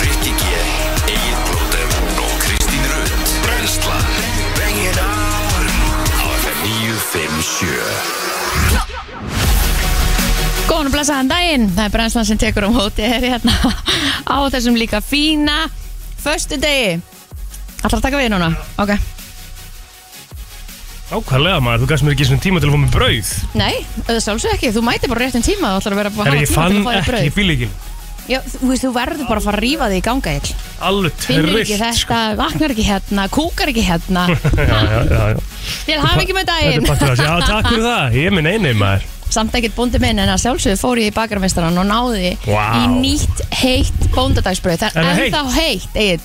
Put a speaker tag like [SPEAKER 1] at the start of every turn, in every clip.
[SPEAKER 1] Rikki G, Egil Blóter og Kristín Rund Brenslan Bring it on Á FM 957
[SPEAKER 2] Góðan og blessaðan daginn, það er brennslan sem tekur um hóti er hérna á þessum líka fína Föstu degi Ætlar að taka við núna? Ok
[SPEAKER 3] Ákvæðlega maður, þú gafst mér ekki svona tíma til að fá mér brauð
[SPEAKER 2] Nei, það sjálfsög ekki, þú mæti bara réttin tíma Þú ætlar að vera að
[SPEAKER 3] Þegar
[SPEAKER 2] hafa tíma
[SPEAKER 3] ég
[SPEAKER 2] til
[SPEAKER 3] fann
[SPEAKER 2] að fara í
[SPEAKER 3] ekki
[SPEAKER 2] brauð
[SPEAKER 3] bílíkil
[SPEAKER 2] Já, þú veist, þú verður bara að fara að rífa þig í ganga ill
[SPEAKER 3] Alveg
[SPEAKER 2] Finnur
[SPEAKER 3] trillt
[SPEAKER 2] ekki þetta, vaknar ekki hérna, kúkar ekki hérna
[SPEAKER 3] Já, já, já, já
[SPEAKER 2] Til hafa ekki með
[SPEAKER 3] Þetta er
[SPEAKER 2] daginn
[SPEAKER 3] bara til að segja, já takk fyrir það, ég er minn eini maður
[SPEAKER 2] Samt ekkert bóndi minn en að sjálfsögðu fór ég í bakarmeistaran og náði í
[SPEAKER 3] Vá.
[SPEAKER 2] nýtt heitt bóndadagsbröð Það
[SPEAKER 3] Er
[SPEAKER 2] er
[SPEAKER 3] það heitt?
[SPEAKER 2] ennþá heitt, Egill.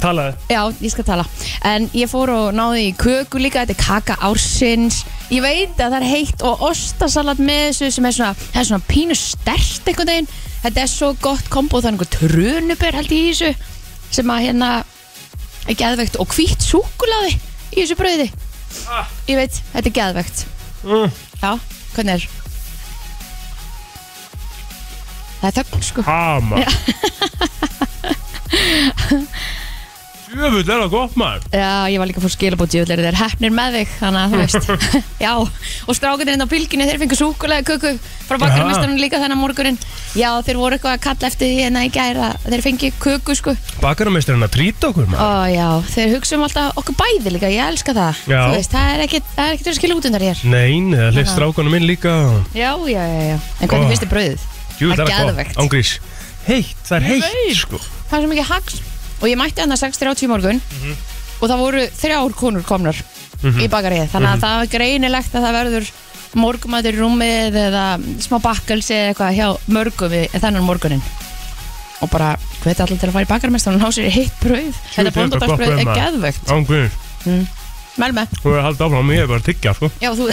[SPEAKER 3] Talaði,
[SPEAKER 2] Já, ég skal tala En ég fór og náði í köku líka Þetta er kaka ársins Ég veit að það er heitt og ostasalat með þessu sem er svona, það er svona pínu stert einhvern veginn Þetta er svo gott kombo það er einhver trönubur held ég í þessu sem að hérna er geðvegt og hvítt súkulaði í þessu brauði Ég veit, þetta er geðvegt
[SPEAKER 3] Mm.
[SPEAKER 2] Já, hvernig er? Það er þögn sko
[SPEAKER 3] hama Jöfull er það gott maður
[SPEAKER 2] Já, ég var líka fór skilabóti, ég ætlaði þeir hefnir með þig, þannig að þú veist. Já, og strákunir inn á bylginni, þeir fengur súkulega köku frá bakarmestarinn líka þennan morgunin. Já, þeir voru eitthvað að kalla eftir því en að í gæra, þeir fengi köku sko.
[SPEAKER 3] Bakararmeistarinn að trýta okkur maður
[SPEAKER 2] Ó já, þeir hugsa um alltaf okkur bæði líka, ég elska það.
[SPEAKER 3] Já.
[SPEAKER 2] Þú veist, það er ekkert, það er ekkert verið skilja út undan hér.
[SPEAKER 3] Nein, það hlust strákunum minn líka
[SPEAKER 2] Já, já, já, já. En hvernig
[SPEAKER 3] Ó.
[SPEAKER 2] finnst þið brauðið? Það
[SPEAKER 3] Jöfull
[SPEAKER 2] er
[SPEAKER 3] er það
[SPEAKER 2] geðveikt.
[SPEAKER 3] gott, ángrís Heitt, það er heitt sko
[SPEAKER 2] Það er svo mikið hags og ég mætti hann að 6.30 í morgun
[SPEAKER 3] Mhm.
[SPEAKER 2] og það voru þrjár konur komnar í bakarið, þannig
[SPEAKER 3] Mhm.
[SPEAKER 2] að það er greinilegt að það verður morgumatur í rúmið eða smá bakkelsi eða eitthvað hjá mörgum við þennan morgunin og bara hvet allir til að fara í bakarmest og ná sér í heitt brauð þetta
[SPEAKER 3] Jú, þetta er gott
[SPEAKER 2] bóndadagsbrauð
[SPEAKER 3] brauð,
[SPEAKER 2] er
[SPEAKER 3] maður.
[SPEAKER 2] geðvögt
[SPEAKER 3] Ángrís,
[SPEAKER 2] mæl með,
[SPEAKER 3] þú er að halda áfram, ég er bara að tyggja sko
[SPEAKER 2] já þú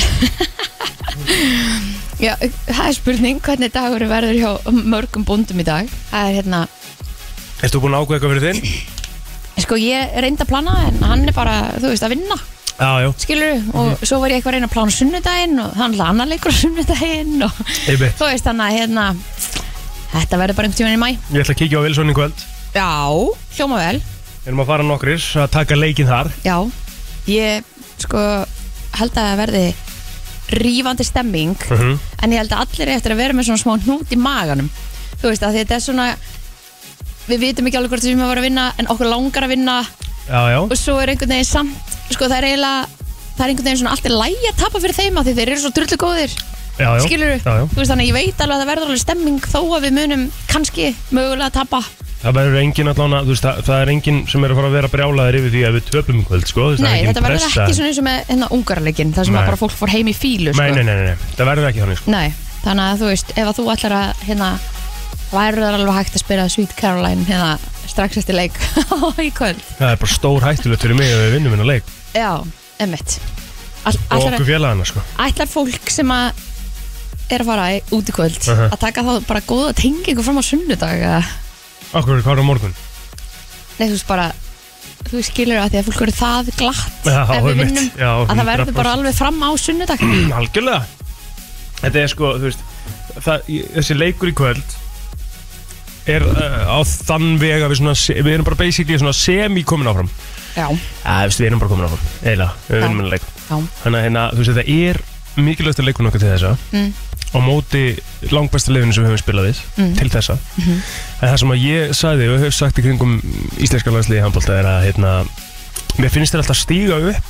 [SPEAKER 2] já, það er spurning hvernig dagur verður hjá mörgum bóndum í dag það er hérna
[SPEAKER 3] Erst þú búin að ákveða eitthvað fyrir þinn?
[SPEAKER 2] Sko ég reyndi að plana en hann er bara, þú veist, að vinna
[SPEAKER 3] Já, já,
[SPEAKER 2] skilur,
[SPEAKER 3] Mhm.
[SPEAKER 2] og svo var ég eitthvað að reyna að plana sunnudaginn og hann hlaði annar leikur á sunnudaginn og
[SPEAKER 3] Einmitt.
[SPEAKER 2] þú veist þannig að hérna þetta verður bara einhvern tímann í mæ
[SPEAKER 3] ég ætla að kíkja á Wilson í kvöld
[SPEAKER 2] Já, hljóma vel,
[SPEAKER 3] Við erum að fara nokkrir að taka leikinn þar
[SPEAKER 2] já ég sko held að það verði rífandi stemming
[SPEAKER 3] Mhm.
[SPEAKER 2] en ég held að allir eigi eftir að vera með svona smá hnút í maganum þú veist að þetta er svona við vitum ekki alveg hvort við sem að vera að vinna en okkur langar að vinna
[SPEAKER 3] Já, já,
[SPEAKER 2] og svo er einhvern veginn samt sko það er eiginlega það er einhvern veginn svona allt er lægi að tapa fyrir þeim af því þeir eru svo drullu góðir
[SPEAKER 3] já, já.
[SPEAKER 2] skilur
[SPEAKER 3] já, já.
[SPEAKER 2] þú veist þannig að ég veit alveg að það verður alveg stemming þó að við munum kannski mögulega að tapa
[SPEAKER 3] Það verður engin allan að, þú veist, það, það er engin sem er að fara að vera brjálaðir yfir því að við töpum í kvöld, sko þú veist, það er
[SPEAKER 2] nei
[SPEAKER 3] engin
[SPEAKER 2] þetta verður
[SPEAKER 3] pressa.
[SPEAKER 2] ekki svona eins og með hérna ungarleikin þar sem
[SPEAKER 3] Nei.
[SPEAKER 2] að bara fólk fór heim í fílu sko.
[SPEAKER 3] Nei, nei, nei, nei, nei, það verður ekki þannig, sko
[SPEAKER 2] Nei, þannig að þú veist ef að þú ætlar að hérna væru það alveg hægt að spila Sweet Caroline hérna strax eftir leik í kvöld
[SPEAKER 3] Það er bara stór hættulegt fyrir mig að við vinnum hennar leik
[SPEAKER 2] já, emmitt All,
[SPEAKER 3] Og
[SPEAKER 2] ætlar-
[SPEAKER 3] okkur félagana, sko
[SPEAKER 2] ætlar fólk sem að er að fara í- út í kvöld
[SPEAKER 3] Mhm.
[SPEAKER 2] að taka þá bara góða tengingu fram á sunnudag eða,
[SPEAKER 3] Okkur er hvað á morgun
[SPEAKER 2] nei þú veist bara þú skilur að því að fólk eru það glatt
[SPEAKER 3] Já,
[SPEAKER 2] ef við
[SPEAKER 3] einmitt.
[SPEAKER 2] vinnum
[SPEAKER 3] Já, Mm.
[SPEAKER 2] að það verður
[SPEAKER 3] 100%.
[SPEAKER 2] bara alveg fram á sunnudag
[SPEAKER 3] Algjörlega Þetta er sko, þú veist það, í- Þessi leikur í kvöld er uh, á þann veg að við, svona, se- við erum bara basically svona semi-komin áfram
[SPEAKER 2] já,
[SPEAKER 3] Já, þú veist, við erum bara komin áfram, eiginlega, við vinnum hennar leik
[SPEAKER 2] já,
[SPEAKER 3] Þannig að hérna, þú veist, þetta er mikilvægsta leikun okkar til þessa
[SPEAKER 2] Mm.
[SPEAKER 3] á móti langbæsta liðinu sem við höfum spilað við til þessa en það sem að ég sagði og hef sagt í kringum íslenska landsliði handbólta er að hérna, mér finnst þér alltaf stíga upp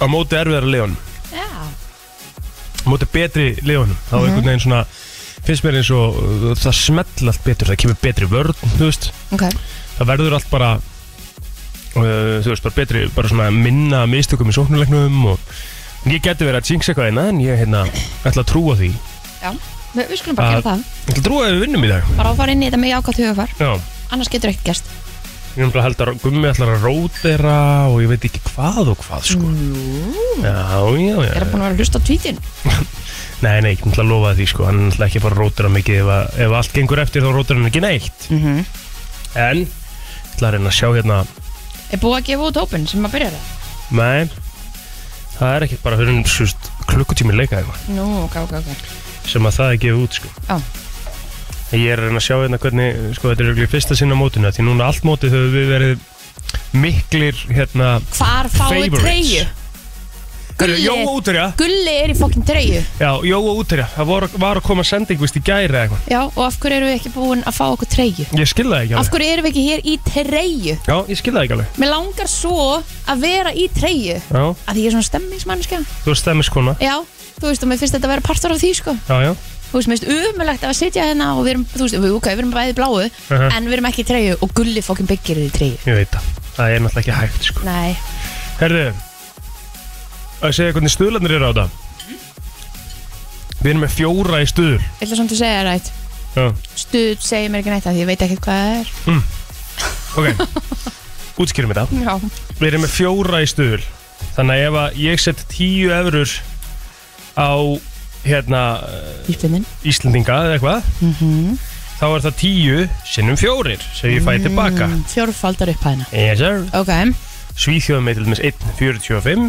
[SPEAKER 3] á móti erfiðara liðunum
[SPEAKER 2] já,
[SPEAKER 3] á móti betri liðunum þá einhvern veginn svona finnst mér eins og uh, það smell allt betur, það kemur betri vörn þú veist,
[SPEAKER 2] ok
[SPEAKER 3] það verður allt bara uh, þú veist, bara betri bara svona minna mistökum í sóknulegnum og en ég geti verið að jinx eitthvað eina en ég hérna, ætla að trúa því ég
[SPEAKER 2] já, við, við skulum bara
[SPEAKER 3] Að-
[SPEAKER 2] gera það
[SPEAKER 3] ætla að trúa að við vinnum í dag
[SPEAKER 2] bara að fara inn í þetta með jákvæmt hugafar
[SPEAKER 3] Já,
[SPEAKER 2] annars getur ekki gerst
[SPEAKER 3] ég er umlega held að gummi ætlar að rótera og ég veit ekki hvað og hvað sko. Já, já, já
[SPEAKER 2] er það búin að vera að hlusta á tvítin
[SPEAKER 3] Nei, nei, ég ætla að lofa því sko, hann er náttúrulega ekki bara að rótera mikið ef, að, ef allt gengur eftir þá rótera hann ekki neitt
[SPEAKER 2] mm
[SPEAKER 3] En, ég ætla að reyna að sjá hérna
[SPEAKER 2] er búið að gefa út hópin sem að byrja það
[SPEAKER 3] Nei, það er ekkert bara fyrir um sust klukkutími leika eitthvað
[SPEAKER 2] Nú, ok, ok, ok
[SPEAKER 3] sem að það er gefið út sko.
[SPEAKER 2] Já.
[SPEAKER 3] ég er að reyna að sjá hérna hvernig sko, þetta er örugglega í fyrsta sinna mótinu því núna allt mótið höfum við verið miklir hérna
[SPEAKER 2] Hvar fáið
[SPEAKER 3] Favorites.
[SPEAKER 2] treyju?
[SPEAKER 3] Herru, Jó og útverja
[SPEAKER 2] Gulli er í fokkin treyju
[SPEAKER 3] Já, Jó og útverja Það var, var að koma sending vist í gæri eða eitthvað
[SPEAKER 2] Já, og af hverju erum við ekki búin að fá okkur treyju?
[SPEAKER 3] Ég skil það ekki
[SPEAKER 2] Af
[SPEAKER 3] alveg
[SPEAKER 2] hverju erum við ekki hér í treyju?
[SPEAKER 3] Já, ég skil það ekki alveg
[SPEAKER 2] Mér langar svo að vera í treyju
[SPEAKER 3] Já,
[SPEAKER 2] að því ég er svona stemmingsmannskja
[SPEAKER 3] þú veist stemmiskona
[SPEAKER 2] Já, þú veist, og mér finnst þetta að vera partur af því, sko
[SPEAKER 3] Já, já
[SPEAKER 2] Þú veist, mér finnst umulegt að sitja hérna og við erum, þú veist, við, ok, við erum bæði bláu
[SPEAKER 3] Mhm.
[SPEAKER 2] en við erum ekki í treyju og gulli fokkin byggir í treyju
[SPEAKER 3] Ég veit það Það er náttúrulega ekki hægt sko
[SPEAKER 2] Nei,
[SPEAKER 3] Herðu Að segja hvernig stuðlanir eru á það
[SPEAKER 2] Mm-hmm.
[SPEAKER 3] Við erum með fjóra í stuður
[SPEAKER 2] ég ætla samt að segja það rætt
[SPEAKER 3] Já
[SPEAKER 2] Stuð segir mér ekki neitt að því ég veit ekkert hvað það er
[SPEAKER 3] Ok Útskýrum þetta
[SPEAKER 2] Já,
[SPEAKER 3] Við erum með fjóra í stuðul Þannig að ef að ég set tíu eurur á hérna
[SPEAKER 2] íspið minn
[SPEAKER 3] Íslendinga eða eitthvað
[SPEAKER 2] Mhm.
[SPEAKER 3] þá er það tíu sinnum fjórir sem ég fæ tilbaka
[SPEAKER 2] mm, Fjórfaldar upp hæðina
[SPEAKER 3] yes, sir.
[SPEAKER 2] Ok,
[SPEAKER 3] Svíþjóðum með til dæmis 1.45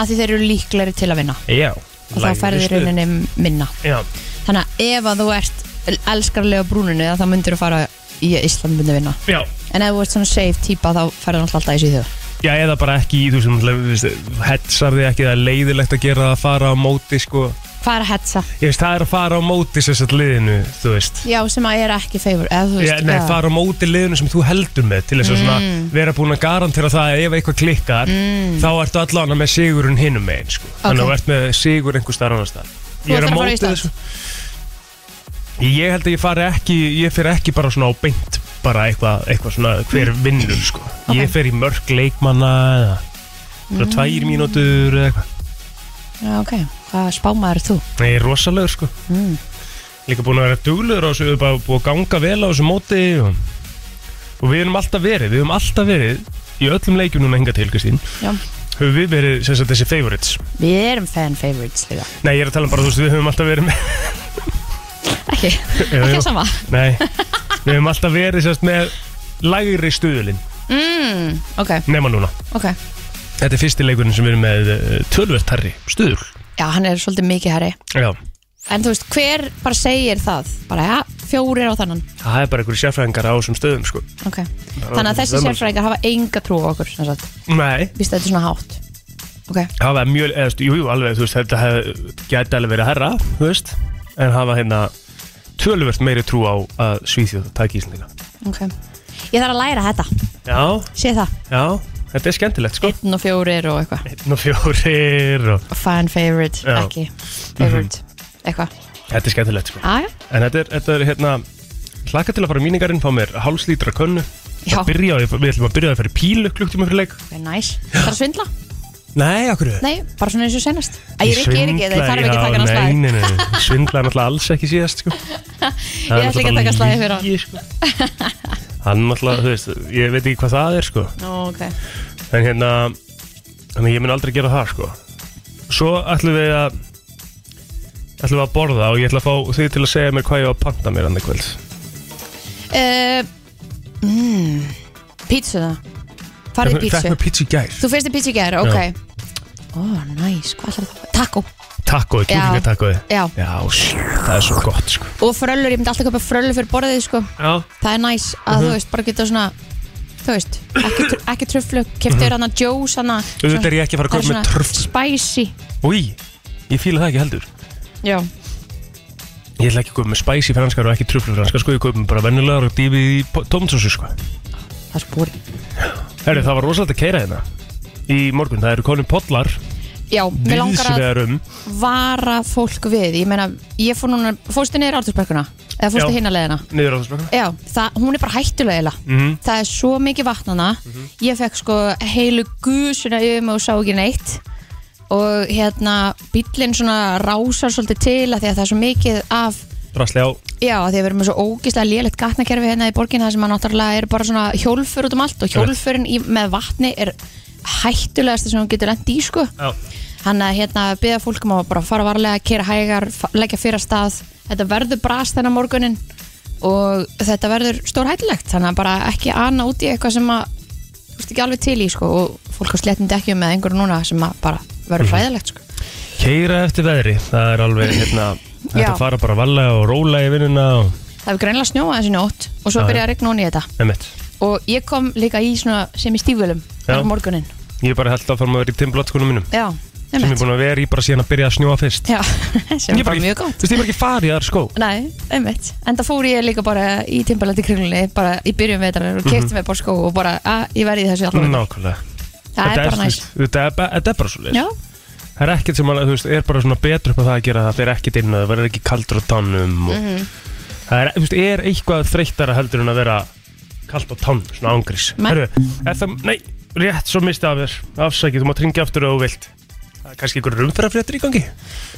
[SPEAKER 2] að því þeir eru líklegri til að vinna
[SPEAKER 3] Já
[SPEAKER 2] og þá færði rauninni minna
[SPEAKER 3] Já,
[SPEAKER 2] Þannig að ef að þú ert elskarlega brúninu þá myndir þú fara í Ísland myndi vinna
[SPEAKER 3] já
[SPEAKER 2] En ef þú ert svona safe típa þá færði hann alltaf í síðu
[SPEAKER 3] Já, eða bara ekki í þú sem náttúrulega, þú veist, hetsar þig ekki, það er leiðilegt að gera það að fara á móti, sko.
[SPEAKER 2] Hvað er að hetsa?
[SPEAKER 3] Ég veist, það er að fara á móti sem sagt liðinu, þú veist.
[SPEAKER 2] Já, sem að er ekki favor eða, þú
[SPEAKER 3] Já,
[SPEAKER 2] veist, Mm.
[SPEAKER 3] nei,
[SPEAKER 2] eða-
[SPEAKER 3] fara á móti liðinu sem þú heldur með til þess að svona vera búin að garantera það að ef eitthvað klikkar þá ertu allan með sigurinn hinum megin sko.
[SPEAKER 2] Mm.
[SPEAKER 3] þannig að
[SPEAKER 2] Ok.
[SPEAKER 3] þú ert með sigur einhver starf annars þar
[SPEAKER 2] Þú ætlar að fara á Ísland?
[SPEAKER 3] Ég held að ég fari ekki ég fer ekki bara svona á beint bara eitthvað eitthva svona hver vinnur sko.
[SPEAKER 2] Mm. Ok.
[SPEAKER 3] ég fer í mörg leikmanna eða mm. tvær mínútur eða eitthvað
[SPEAKER 2] Já, ok, hvað spámaður ert þú?
[SPEAKER 3] Nei, ég er rosalegur sko
[SPEAKER 2] Mm.
[SPEAKER 3] Líka búin að vera duglegur á þessu Við erum bara búin að ganga vel á þessu móti og, og við erum alltaf verið Við erum alltaf verið Í öllum leikjum núna hinga til, Kristín
[SPEAKER 2] Já.
[SPEAKER 3] Höfum við verið, sem sagt, þessi favorites
[SPEAKER 2] Við erum fan favorites líka
[SPEAKER 3] Nei, ég er að tala um bara, þú veist, við höfum alltaf verið með
[SPEAKER 2] Ekki,
[SPEAKER 3] Jú, jú.
[SPEAKER 2] ekki sama
[SPEAKER 3] Nei, við höfum alltaf verið, sem sagt, með Lægri stuðulinn,
[SPEAKER 2] mm, Ok,
[SPEAKER 3] nema núna
[SPEAKER 2] ok
[SPEAKER 3] Þetta er fyrsti leikurinn sem við erum með uh, Tölvert herri, stuðul
[SPEAKER 2] Já, hann er svolítið mikið herri
[SPEAKER 3] Já,
[SPEAKER 2] En þú veist, hver bara segir það? Bara, ja, fjórir á þannan
[SPEAKER 3] það er bara einhverju sérfræðingar á þessum stöðum, sko
[SPEAKER 2] Ok, þannig að þessi
[SPEAKER 3] það er-
[SPEAKER 2] sérfræðingar hafa enga trú á okkur sem sagt.
[SPEAKER 3] Nei,
[SPEAKER 2] Víst að þetta er svona hátt Ok,
[SPEAKER 3] hafa mjög, eða, þú veist, jú, jú, alveg, þú veist, þetta hef, gæti alveg verið herra, þú veist, en hafa hérna töluvert meiri trú á að Svíþjóð taki Íslandina.
[SPEAKER 2] ok Ég þarf að læra þetta,
[SPEAKER 3] Já,
[SPEAKER 2] sé það
[SPEAKER 3] já, þetta er skemmtilegt, sko.
[SPEAKER 2] Einn og fjórir og eitthvað
[SPEAKER 3] Einn og fjórir og
[SPEAKER 2] Fan favorite,
[SPEAKER 3] Já. Mhm.
[SPEAKER 2] ekki Favorite, eitthvað
[SPEAKER 3] þetta er skemmtilegt, sko.
[SPEAKER 2] Aja,
[SPEAKER 3] En þetta er, þetta er hérna, hlaka til að fara í míningarinn, fá mér hálslítra könnu,
[SPEAKER 2] já,
[SPEAKER 3] að byrja, á því- við ætlum að byrja að fara í pílu klukktíma fyrir leik.
[SPEAKER 2] ok, næs Það er að svindla?
[SPEAKER 3] Nei, okkur.
[SPEAKER 2] Nei, bara svona eins og senast Æ, ég er ekki, ég er ekki, það þarf ekki að taka hann að
[SPEAKER 3] Nei,
[SPEAKER 2] slæði
[SPEAKER 3] nei, nei, svindlaði náttúrulega alls ekki síðast sko. Það
[SPEAKER 2] Ég ætla ekki að taka slagið fyrir hann.
[SPEAKER 3] lygi, sko. Hann náttúrulega, þú veist, ég veit ekki hvað það er sko.
[SPEAKER 2] Nú, ok
[SPEAKER 3] En hérna, þannig að ég mun aldrei gera það sko. Svo ætlum við að ætlum við að borða og ég ætla að fá þið til að segja mér hvað ég á að panta mér hann í kvöld
[SPEAKER 2] uh, mm, Pítsu það Farið í
[SPEAKER 3] Fekk
[SPEAKER 2] pítsu
[SPEAKER 3] mér pítsu í gær
[SPEAKER 2] Þú fyrst í pítsu í gær, ok Ó, næs, hvað ætlar það? Taco,
[SPEAKER 3] Takkói,
[SPEAKER 2] Já.
[SPEAKER 3] kjúklingatakkói
[SPEAKER 2] já
[SPEAKER 3] Já, sí, það er svo gott sko
[SPEAKER 2] Og fröllur, ég myndi alltaf köpa fröllur fyrir borðið, sko
[SPEAKER 3] Já,
[SPEAKER 2] Það er næs að,
[SPEAKER 3] Mhm.
[SPEAKER 2] þú veist, bara geta svona Þú veist, ekki, tr- ekki tröflu Keftur hann að juice, hann að
[SPEAKER 3] Mhm. auðvitað er ég ekki að fara að
[SPEAKER 2] Það er
[SPEAKER 3] köpa með tröfl
[SPEAKER 2] spicy
[SPEAKER 3] Úi, ég fíla það ekki heldur
[SPEAKER 2] Já,
[SPEAKER 3] Ég ætla ekki að köpa með spicy franskar og ekki truflu franskar sko, ég köpa með bara vennilegar og dýfið í tómatsósu sko.
[SPEAKER 2] það er spori
[SPEAKER 3] Herri, það var rosalega að keira hérna í morgun, það eru komin podlar
[SPEAKER 2] Já, mér langar að
[SPEAKER 3] viðsvegar um
[SPEAKER 2] vara fólk við ég meina, ég fór núna, fórstu niður ártursberguna eða fórstu
[SPEAKER 3] Já.
[SPEAKER 2] hinn að leiðina
[SPEAKER 3] niður á þessu spökkum
[SPEAKER 2] já, það, hún er bara hættulega eiginlega.
[SPEAKER 3] Mhm.
[SPEAKER 2] það er svo mikið vatnana ég fekk sko heilu gusuna yfir mig og sá ekki neitt og hérna bíllinn svona rásar svolítið til að því að það er svo mikið af
[SPEAKER 3] Drasli á,
[SPEAKER 2] já, af því að við erum með svo ógislega lélegt gatnakerfi hérna í borginna sem að náttúrulega er bara svona hjólfur út um allt og hjólfurinn í, með vatni er hættulegasta sem hún getur lendi í sko
[SPEAKER 3] á.
[SPEAKER 2] hann að hérna byggja fólk um að bara fara varlega, kera hægar, fa- leggja fyrir að stað þetta verður brast þennan morgunin og þetta verður stór hættilegt þannig að bara ekki ana út í eitthvað sem að um
[SPEAKER 3] Mhm.
[SPEAKER 2] þú veist ekki alveg til í sko og fólk á sléttindi ekki með einhverju núna sem að bara verður fræðilegt sko
[SPEAKER 3] keira eftir veðri það er alveg hérna þetta
[SPEAKER 2] Já.
[SPEAKER 3] að fara bara varlega og róla í vinnuna og
[SPEAKER 2] Það hefur greinlega snjóað þessi nótt og svo
[SPEAKER 3] Já, já.
[SPEAKER 2] byrjaði að regna honi í þetta
[SPEAKER 3] emitt
[SPEAKER 2] og ég kom líka í svona sem í stífölum
[SPEAKER 3] Já.
[SPEAKER 2] á morgunin
[SPEAKER 3] ég er bara held að fara að vera í timblottskunum mínum
[SPEAKER 2] Já,
[SPEAKER 3] sem ég
[SPEAKER 2] einmitt
[SPEAKER 3] er búin að vera í bara síðan að byrja að snjóa fyrst
[SPEAKER 2] Já, sem
[SPEAKER 3] Ég
[SPEAKER 2] er bara
[SPEAKER 3] ekki-
[SPEAKER 2] mjög gott
[SPEAKER 3] þú veist ég er bara ekki farið í aðra skó
[SPEAKER 2] Nei, einmitt En það fór ég líka bara í timbalandi kringlunni bara í byrjun veitarar og
[SPEAKER 3] Mhm.
[SPEAKER 2] kefti mig bara skó og bara að ég verði í þessu allavega
[SPEAKER 3] nákvæmlega
[SPEAKER 2] Það er
[SPEAKER 3] Þetta
[SPEAKER 2] bara
[SPEAKER 3] þú
[SPEAKER 2] næs
[SPEAKER 3] veist, þetta er ba- þetta er bara svo
[SPEAKER 2] Já,
[SPEAKER 3] það er ekkert sem að, þú veist, er bara svona betur upp á það að gera það, það er ekkert inn og það verður ekki kaldur á tánum og
[SPEAKER 2] Mhm.
[SPEAKER 3] það er, þú veist, er eitthvað þreyttara heldur en að vera kald á tánum, svona ángris
[SPEAKER 2] Nei.
[SPEAKER 3] Herru, er það, nei, rétt svo misti af þér afsækið, þú mátt ringja aftur ef þú vilt það er kannski einhverjum umferðarfréttir í gangi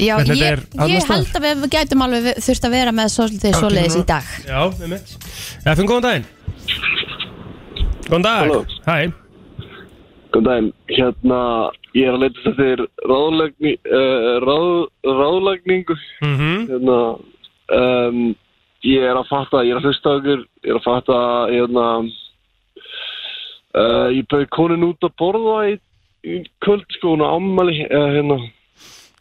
[SPEAKER 2] já
[SPEAKER 3] En þetta
[SPEAKER 2] ég,
[SPEAKER 3] er annars
[SPEAKER 2] ég held að við gætum alveg þurft að vera með svolítið svoleiðis í dag
[SPEAKER 3] Já, með mitt Efum, góðan daginn Góðan dag
[SPEAKER 4] Halló.
[SPEAKER 3] Hæ,
[SPEAKER 4] Góðan daginn, hérna, ég er að leita eftir ráðlagni, uh, ráð, ráðlagningu,
[SPEAKER 3] mhm
[SPEAKER 4] hérna, um, ég er að fatta, ég er að hlusta á ykkur, ég er að fatta, hérna, uh, ég bauði konin út að borða í, í kvöld, sko, hún á ammali, uh, hérna,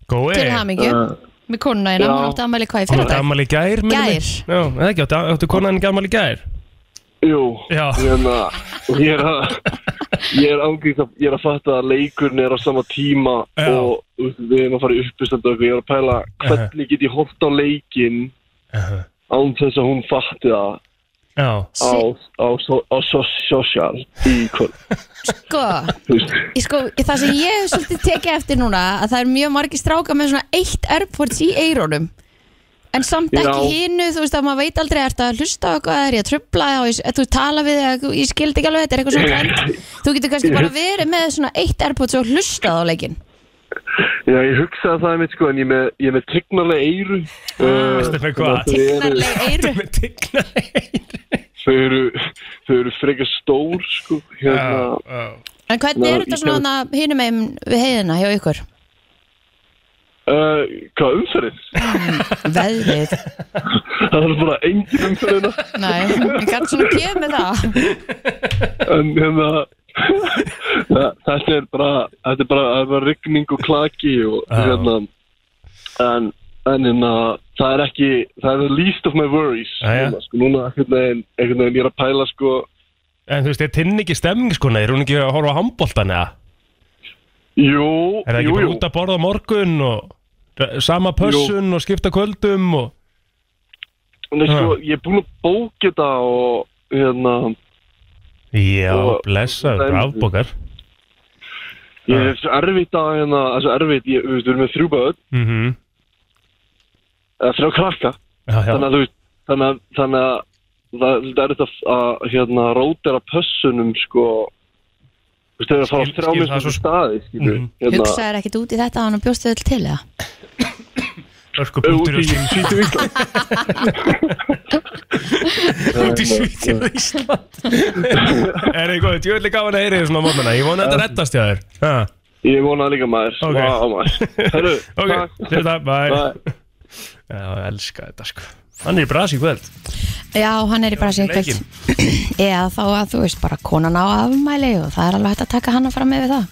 [SPEAKER 3] Gói
[SPEAKER 2] Til hamingju,
[SPEAKER 4] uh,
[SPEAKER 2] með konuna hérna,
[SPEAKER 4] Já.
[SPEAKER 2] hún átti ammæli hvað í
[SPEAKER 3] Hún átti
[SPEAKER 2] fyrradag
[SPEAKER 3] ammali í gær minnir
[SPEAKER 2] Gær.
[SPEAKER 3] mig. Já, eða ekki, áttu- áttu konan ekki ammali í gær
[SPEAKER 4] jú,
[SPEAKER 3] Já.
[SPEAKER 4] hérna, ég er að, ég er ángríð að, ég er að fatta að leikurinn er á sama tíma
[SPEAKER 3] Já.
[SPEAKER 4] og þú veist, við erum að fara í uppistand og eitthvað, ég er að pæla, hvernig get ég hótt á leikinn,
[SPEAKER 3] uh
[SPEAKER 4] án þess að hún fatti það
[SPEAKER 3] Já,
[SPEAKER 4] á, á, so- á so- social í kvöld
[SPEAKER 2] Sko,
[SPEAKER 4] þú veist.
[SPEAKER 2] ég sko, það sem ég hef svolítið tekið eftir núna að það er mjög margir stráka með svona eitt airpods í eirónum en samt
[SPEAKER 4] Já.
[SPEAKER 2] ekki hinu, þú veist að maður veit aldrei ert að hlusta á eitthvað, er ég að trubla og ég, þú tala við, þig, ég skildi ekki alveg þetta er eitthvað svona trend, þú getur kannski bara verið með svona eitt airpods og hlustað á leikin
[SPEAKER 4] Já, ég hugsaði það mitt sko en ég er með, ég er með tegnarlega eyru uh,
[SPEAKER 3] Veistu með hvað?
[SPEAKER 4] þau eru,
[SPEAKER 2] Tignarleg eiru
[SPEAKER 3] með tigna
[SPEAKER 4] Hérna- þau eru, þau eru frekar stór sko hérna,
[SPEAKER 2] En hvernig er þetta svona hinum einn við heiðina hjá ykkur?
[SPEAKER 4] uh, hvað umferðin?
[SPEAKER 2] Veðrið
[SPEAKER 4] það er bara engin hérna. umferðina
[SPEAKER 2] Nei, ég kann svona kemur með það
[SPEAKER 4] en hérna þa- þetta er bara þetta er bara, það er bara rigning og klaki og
[SPEAKER 3] Já.
[SPEAKER 4] hérna en, en hérna það er ekki, það er the least of my worries
[SPEAKER 3] Jæja.
[SPEAKER 4] núna, sko, núna einhvern veginn, einhvern veginn ég er að pæla sko
[SPEAKER 3] En þú veist, er tinn ekki stemming sko, nei, er hún ekki að horfa á handbóltan eða?
[SPEAKER 4] jú,
[SPEAKER 3] Er það ekki
[SPEAKER 4] jú,
[SPEAKER 3] bara
[SPEAKER 4] jú,
[SPEAKER 3] út að borða á morgun og r- sama pössun og skipta kvöldum og...
[SPEAKER 4] Nei, sko, ég er búin að bóka þetta og hérna,
[SPEAKER 3] Já,
[SPEAKER 4] Og-
[SPEAKER 3] blessa,
[SPEAKER 4] Það er-
[SPEAKER 3] rafbókar.
[SPEAKER 4] ég er svo erfitt að hérna, þessu erfitt, ég, við erum með þrjú börn
[SPEAKER 3] Mm
[SPEAKER 4] eða þrjá krakka,
[SPEAKER 3] Já, já.
[SPEAKER 4] þannig að þú veist þannig að, þannig að það það er þetta að hérna rótera pössunum sko þú veist, þau eru að fara á
[SPEAKER 3] Skil-
[SPEAKER 4] þrjá
[SPEAKER 3] skil það
[SPEAKER 4] mismunandi
[SPEAKER 3] svo-
[SPEAKER 4] staði skilur,
[SPEAKER 3] Mhm.
[SPEAKER 4] hérna,
[SPEAKER 2] Hugsaður ekkert út í þetta að hann bjóstu öll til eða?
[SPEAKER 3] Örku
[SPEAKER 4] út
[SPEAKER 3] punktur
[SPEAKER 4] í
[SPEAKER 3] og sín.
[SPEAKER 4] svítu Ísland hérna,
[SPEAKER 3] Út í svítið á Ísland. Er það góð, ég vil ekki að heyri þér svona á morgunna. Ég vona að þetta rettast hjá þér. Ha,
[SPEAKER 4] ég vona líka maður
[SPEAKER 3] Ok.
[SPEAKER 4] Vá, maður. Herru,
[SPEAKER 3] Ok,
[SPEAKER 4] takk.
[SPEAKER 3] til þetta, bye.
[SPEAKER 4] Bye.
[SPEAKER 3] Já, ég elska þetta sko. Hann er í brasi í kvöld.
[SPEAKER 2] Já, hann er í bara sér
[SPEAKER 3] Leikinn.
[SPEAKER 2] kvöld Eða þá að þú veist bara konan á afmæli og það er alveg hægt að taka hann að fara með við það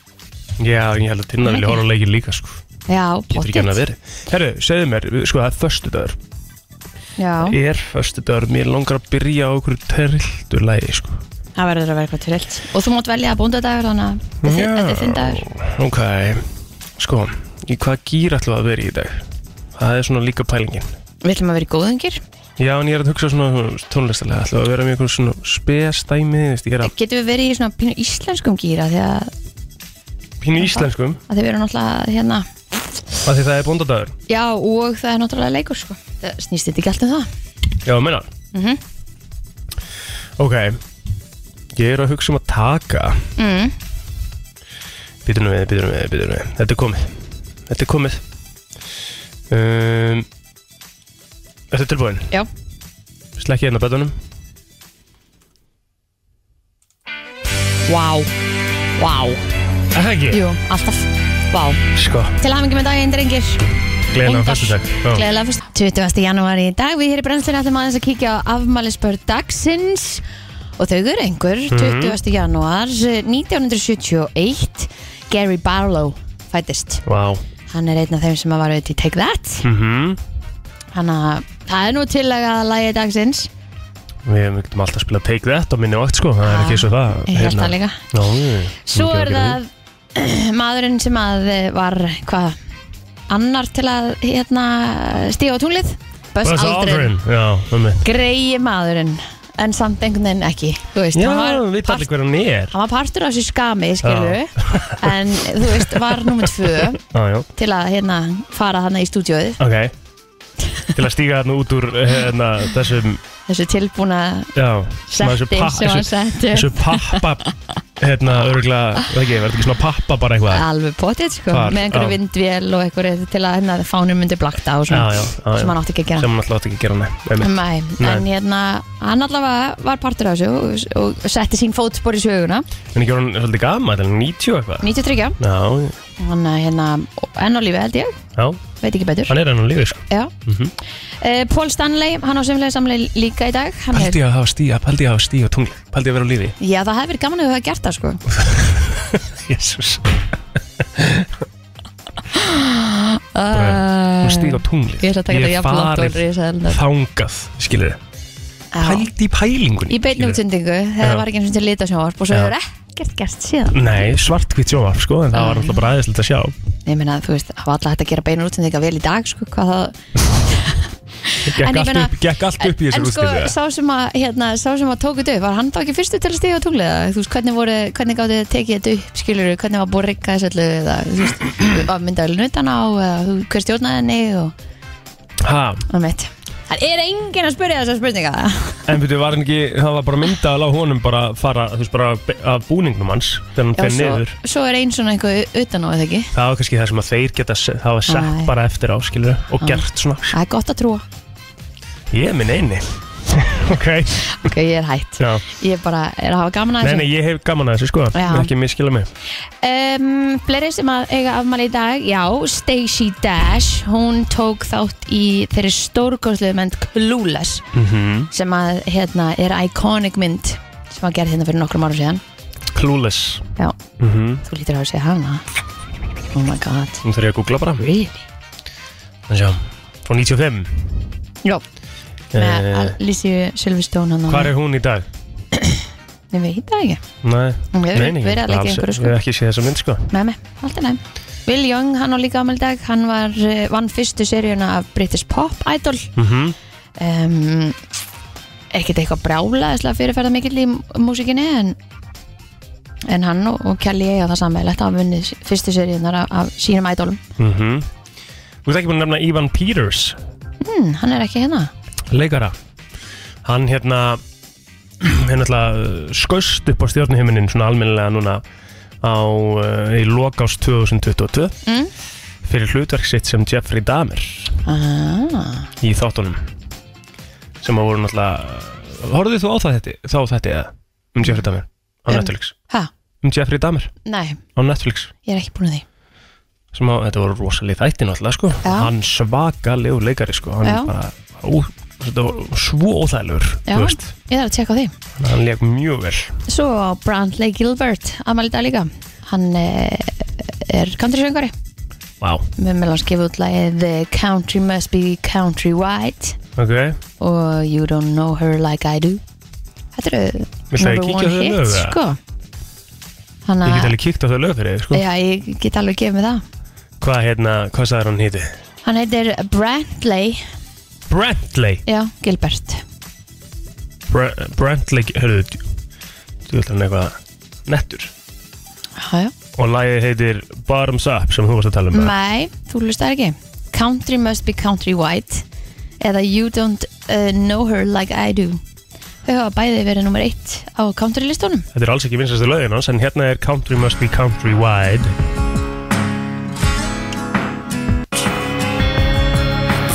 [SPEAKER 3] Já, ég held að tinnar vilja horfa á leikir líka sko.
[SPEAKER 2] Já,
[SPEAKER 3] Getur ekki hann að
[SPEAKER 2] pottitt
[SPEAKER 3] veri. Herru, segðu mér, sko það er förstu dagur.
[SPEAKER 2] Já,
[SPEAKER 3] er föstudagur, mér langar að byrja á okkur terrildu lægi sko.
[SPEAKER 2] það verður að vera eitthvað til eitt Og þú mátt velja að bóndadagur þannig að þetta er- þetta er þinn dagur
[SPEAKER 3] ok sko, í hvað gýr ætlum við að vera í dag það er svona líka pælingin
[SPEAKER 2] Við ætlum að vera í góðungir
[SPEAKER 3] já, en ég er að hugsa svona þú veist, tónlistalega ætlum við að vera með einhver svona spesdæmi þú veist, ég er að
[SPEAKER 2] Getum við verið í svona pínu íslenskum gýra því að,
[SPEAKER 3] pínu íslenskum
[SPEAKER 2] að þið verður náttúrulega hérna
[SPEAKER 3] af því það er bóndadagur
[SPEAKER 2] Já, og það er náttúrulega leikur sko Það snýst þetta ekki allt um það
[SPEAKER 3] já, menna
[SPEAKER 2] Mhm.
[SPEAKER 3] ok ég er að hugsa um að taka
[SPEAKER 2] mm.
[SPEAKER 3] Býtum við, býtum við, býtum við Þetta er komið Þetta er komið um, Þetta er tilbúin
[SPEAKER 2] Já.
[SPEAKER 3] Slekki hérna betanum
[SPEAKER 2] Vá, vá
[SPEAKER 3] Það ekki
[SPEAKER 2] Jú, alltaf, vá
[SPEAKER 3] Sko,
[SPEAKER 2] Til hafingi með daginn, drengir
[SPEAKER 3] gleðilega
[SPEAKER 2] Bóndag.
[SPEAKER 3] fyrstu dag
[SPEAKER 2] Gleðilega fyrst 20. janúar í dag Við hér í brennslunni ætlum aðeins að kíkja á afmælisbörn dagsins Og þau eru einhver eh, 20. janúar 1971 Gary Barlow fættist
[SPEAKER 3] Vá,
[SPEAKER 2] Hann er einn af þeim sem að var auðvitað í Take That
[SPEAKER 3] mm
[SPEAKER 2] Þannig að það er nú tillega að lægi dagsins
[SPEAKER 3] Við við getum alltaf að spila Take That á minni vakt sko, það er ekki svo það
[SPEAKER 2] Ég held það líka
[SPEAKER 3] Já, jú,
[SPEAKER 2] Svo er
[SPEAKER 3] mikið að gera.
[SPEAKER 2] það maðurinn sem að eh, var hvað annar til að hérna, stíga á tunglið Buzz
[SPEAKER 3] Buzz
[SPEAKER 2] Aldrin,
[SPEAKER 3] Aldrin Já, um mitt
[SPEAKER 2] greiði maðurinn en samt einhvern veginn ekki þú veist,
[SPEAKER 3] Já,
[SPEAKER 2] hann var,
[SPEAKER 3] við
[SPEAKER 2] part,
[SPEAKER 3] talum hver hann er
[SPEAKER 2] hann var partur af þessu skami skilur, en þú veist, var nummer tvö
[SPEAKER 3] Já, já,
[SPEAKER 2] til að hérna, fara þarna í stúdíóið
[SPEAKER 3] ok Til að stíga hann út úr hérna, þessum
[SPEAKER 2] þessu tilbúna
[SPEAKER 3] Já, svona þessu
[SPEAKER 2] setti
[SPEAKER 3] pa-
[SPEAKER 2] sem hann
[SPEAKER 3] þessu-
[SPEAKER 2] setti
[SPEAKER 3] Þessu pappa Hérna, örgulega, ekki, verður ekki svona pappa bara eitthvað
[SPEAKER 2] alveg potið sko,
[SPEAKER 3] Hvar?
[SPEAKER 2] með einhverju
[SPEAKER 3] Já.
[SPEAKER 2] vindvél og einhverju til að hérna, fánum myndi blakta og svona
[SPEAKER 3] Já, já, já, já.
[SPEAKER 2] sem hann átti ekki að gera
[SPEAKER 3] sem hann alltaf átti ekki að gera hann um,
[SPEAKER 2] Nei,
[SPEAKER 3] Nei.
[SPEAKER 2] en hérna hann allavega var partur af þessu og, og setti sín fótspor í söguna
[SPEAKER 3] En ekki var hann svolítið gama, þetta er 90 og eitthvað
[SPEAKER 2] 93,
[SPEAKER 3] Já,
[SPEAKER 2] hann eh, hérna enn á lífi held ég,
[SPEAKER 3] já,
[SPEAKER 2] veit ekki betur
[SPEAKER 3] hann er enn á lífi sko
[SPEAKER 2] Já
[SPEAKER 3] Mhm.
[SPEAKER 2] Eh, Paul Stanley, hann á semlega samlega líka í dag Hann
[SPEAKER 3] Paldi að hafa stíga, paldi að hafa stíga tungli Paldi að vera á lífi
[SPEAKER 2] Já, það hefði verið gaman að hafa gert það sko
[SPEAKER 3] Jésús
[SPEAKER 2] uh,
[SPEAKER 3] Hún stíga tungli
[SPEAKER 2] Ég ætla að taka þetta jafnlangt og risa
[SPEAKER 3] Þangað, skilur þið Paldi í pælingunni
[SPEAKER 2] Í beinni
[SPEAKER 3] skilurðu.
[SPEAKER 2] útsendingu, þegar
[SPEAKER 3] Já.
[SPEAKER 2] það var ekki eins og til litasjónvarp og svo
[SPEAKER 3] Já.
[SPEAKER 2] hefur ekkert gert síðan
[SPEAKER 3] Nei, svartkvitt sjónvarp sko En það var alltaf bara aðeins að sjá
[SPEAKER 2] Ég meina, þú veist, það var alltaf hægt að gera beinar útsendinga vel í dag sko, hvað það En
[SPEAKER 3] Gekk
[SPEAKER 2] ég
[SPEAKER 3] allt
[SPEAKER 2] meina-
[SPEAKER 3] upp, gekk allt upp í
[SPEAKER 2] en
[SPEAKER 3] þessu
[SPEAKER 2] sko,
[SPEAKER 3] útstildu
[SPEAKER 2] sá sem að, hérna, sá sem að tók þetta upp, var hann þá ekki fyrstu til að stíga á tunglið eða, þú veist, hvernig voru, hvernig gáttu þið tekið þetta upp, skilur hvernig var búið að rigga þessu öllu, eða, þú veist, að mynda öllu nutan á, eða, þú, hver stjórnaði henni og,
[SPEAKER 3] Ha,
[SPEAKER 2] og mitt. Það er enginn að spyrja þessar spurninga.
[SPEAKER 3] en betur var hann ekki Það var bara myndað að lág honum bara fara Þú veist bara be- af búningnum hans Þegar hann fer
[SPEAKER 2] svo,
[SPEAKER 3] niður
[SPEAKER 2] svo er einn svona eitthvað utan á þetta ekki.
[SPEAKER 3] Það var kannski það sem að þeir geta se- Það var sett
[SPEAKER 2] Æ.
[SPEAKER 3] bara eftir á, skilur Og
[SPEAKER 2] Æ.
[SPEAKER 3] gert svona
[SPEAKER 2] Það er gott að trúa.
[SPEAKER 3] Ég er minn eini Ok,
[SPEAKER 2] Ok, ég er hætt.
[SPEAKER 3] já
[SPEAKER 2] Ég bara er að hafa gaman að
[SPEAKER 3] Nei, nei,
[SPEAKER 2] þessu.
[SPEAKER 3] ég hef gaman að þessu sko
[SPEAKER 2] Já.
[SPEAKER 3] Ekki miskila mig
[SPEAKER 2] Um, Fleiri sem að eiga afmæli í dag, já, Stacey Dash, hún tók þátt í þeirri stórkosluðu mynd Clueless.
[SPEAKER 3] mm
[SPEAKER 2] sem að hérna er iconic mynd sem að gera hérna fyrir nokkrum árum síðan
[SPEAKER 3] Clueless
[SPEAKER 2] Já,
[SPEAKER 3] mm
[SPEAKER 2] þú lítur að segja hana Oh my god
[SPEAKER 3] Nú þarf ég að googla bara
[SPEAKER 2] Really?
[SPEAKER 3] Þannig sjá Frá 95
[SPEAKER 2] Já, með
[SPEAKER 3] Eh,
[SPEAKER 2] Alicia Silverstone hann
[SPEAKER 3] Hvar er hún í dag?
[SPEAKER 2] Nei, við hittum það ekki
[SPEAKER 3] Nei
[SPEAKER 2] Hún hefur verið að leika í
[SPEAKER 3] alls-
[SPEAKER 2] einhverju, sko.
[SPEAKER 3] Ég hef ekki séð þessa mynd sko
[SPEAKER 2] Með mig, allt er næm Will Young, hann á líka ámæli dag Hann var, eh, vann fyrstu seríuna af British Pop Idol
[SPEAKER 3] mm
[SPEAKER 2] um, Ekkert eitthvað brjálaðislega fyrirferða mikill í músikinni en, en hann og, og Kelly eiga það sammeðilegt að vunni fyrstu seríunar af, af sínum idolum
[SPEAKER 3] -hmm. Þú ert ekki búin að nefna Ivan Peters
[SPEAKER 2] hmm, Hann er ekki hérna
[SPEAKER 3] Leikara Hann hérna Hann ætla skust upp á stjórnuhiminin Svona almennilega núna Á uh, í lokás 2022
[SPEAKER 2] Mm.
[SPEAKER 3] Fyrir hlutverk sitt sem Jeffrey Dahmer
[SPEAKER 2] Ah,
[SPEAKER 3] í þáttunum sem að voru náttúrulega horfðu þú á það þetta, þá þetta eða um Jeffrey Dahmer á
[SPEAKER 2] Um.
[SPEAKER 3] Netflix
[SPEAKER 2] ha,
[SPEAKER 3] um Jeffrey Dahmer
[SPEAKER 2] nei,
[SPEAKER 3] á Netflix
[SPEAKER 2] ég er ekki búin að því
[SPEAKER 3] sem að þetta voru rosalið þætti náttúrulega sko
[SPEAKER 2] Já.
[SPEAKER 3] hann svakalegur leikari sko hann
[SPEAKER 2] Já.
[SPEAKER 3] bara ó, þetta var svo óþægilegur
[SPEAKER 2] Já,
[SPEAKER 3] þú veist
[SPEAKER 2] ég þarf að tjekka á því
[SPEAKER 3] Þannig að hann leik mjög vel
[SPEAKER 2] Svo á Brantley Gilbert, aðmælita líka Hann eh, er countrysöngari
[SPEAKER 3] Vá,
[SPEAKER 2] Við meðlum hans gefið út lagið The Country Must Be Countrywide
[SPEAKER 3] ok
[SPEAKER 2] og You Don't Know Her Like I Do Þetta eru
[SPEAKER 3] Viltu að ég
[SPEAKER 2] number
[SPEAKER 3] kíkja á
[SPEAKER 2] one
[SPEAKER 3] þau lög,
[SPEAKER 2] hits
[SPEAKER 3] eða?
[SPEAKER 2] sko
[SPEAKER 3] Ég get
[SPEAKER 2] Þannig að
[SPEAKER 3] alveg kíkt á þau lög fyrir þig sko
[SPEAKER 2] Já, ég get alveg gefið mig það
[SPEAKER 3] Hvað hérna, hvað sagði hann hýti?
[SPEAKER 2] Hann heitir Brantley,
[SPEAKER 3] Brantley
[SPEAKER 2] já, Gilbert
[SPEAKER 3] Br Brantley, hörðu Þú ætlar hann eitthvað nettur
[SPEAKER 2] Já, já
[SPEAKER 3] Og lagið heitir Bottoms Up sem þú varst að tala um eða?
[SPEAKER 2] Nei, þú hlustar ekki Country must be country white eða You don't uh, know her like I do Þau hafa bæði verið nummer eitt á countrylistunum
[SPEAKER 3] Þetta er alls ekki vinsastu lögin hans, en hérna er Country Must Be Countrywide.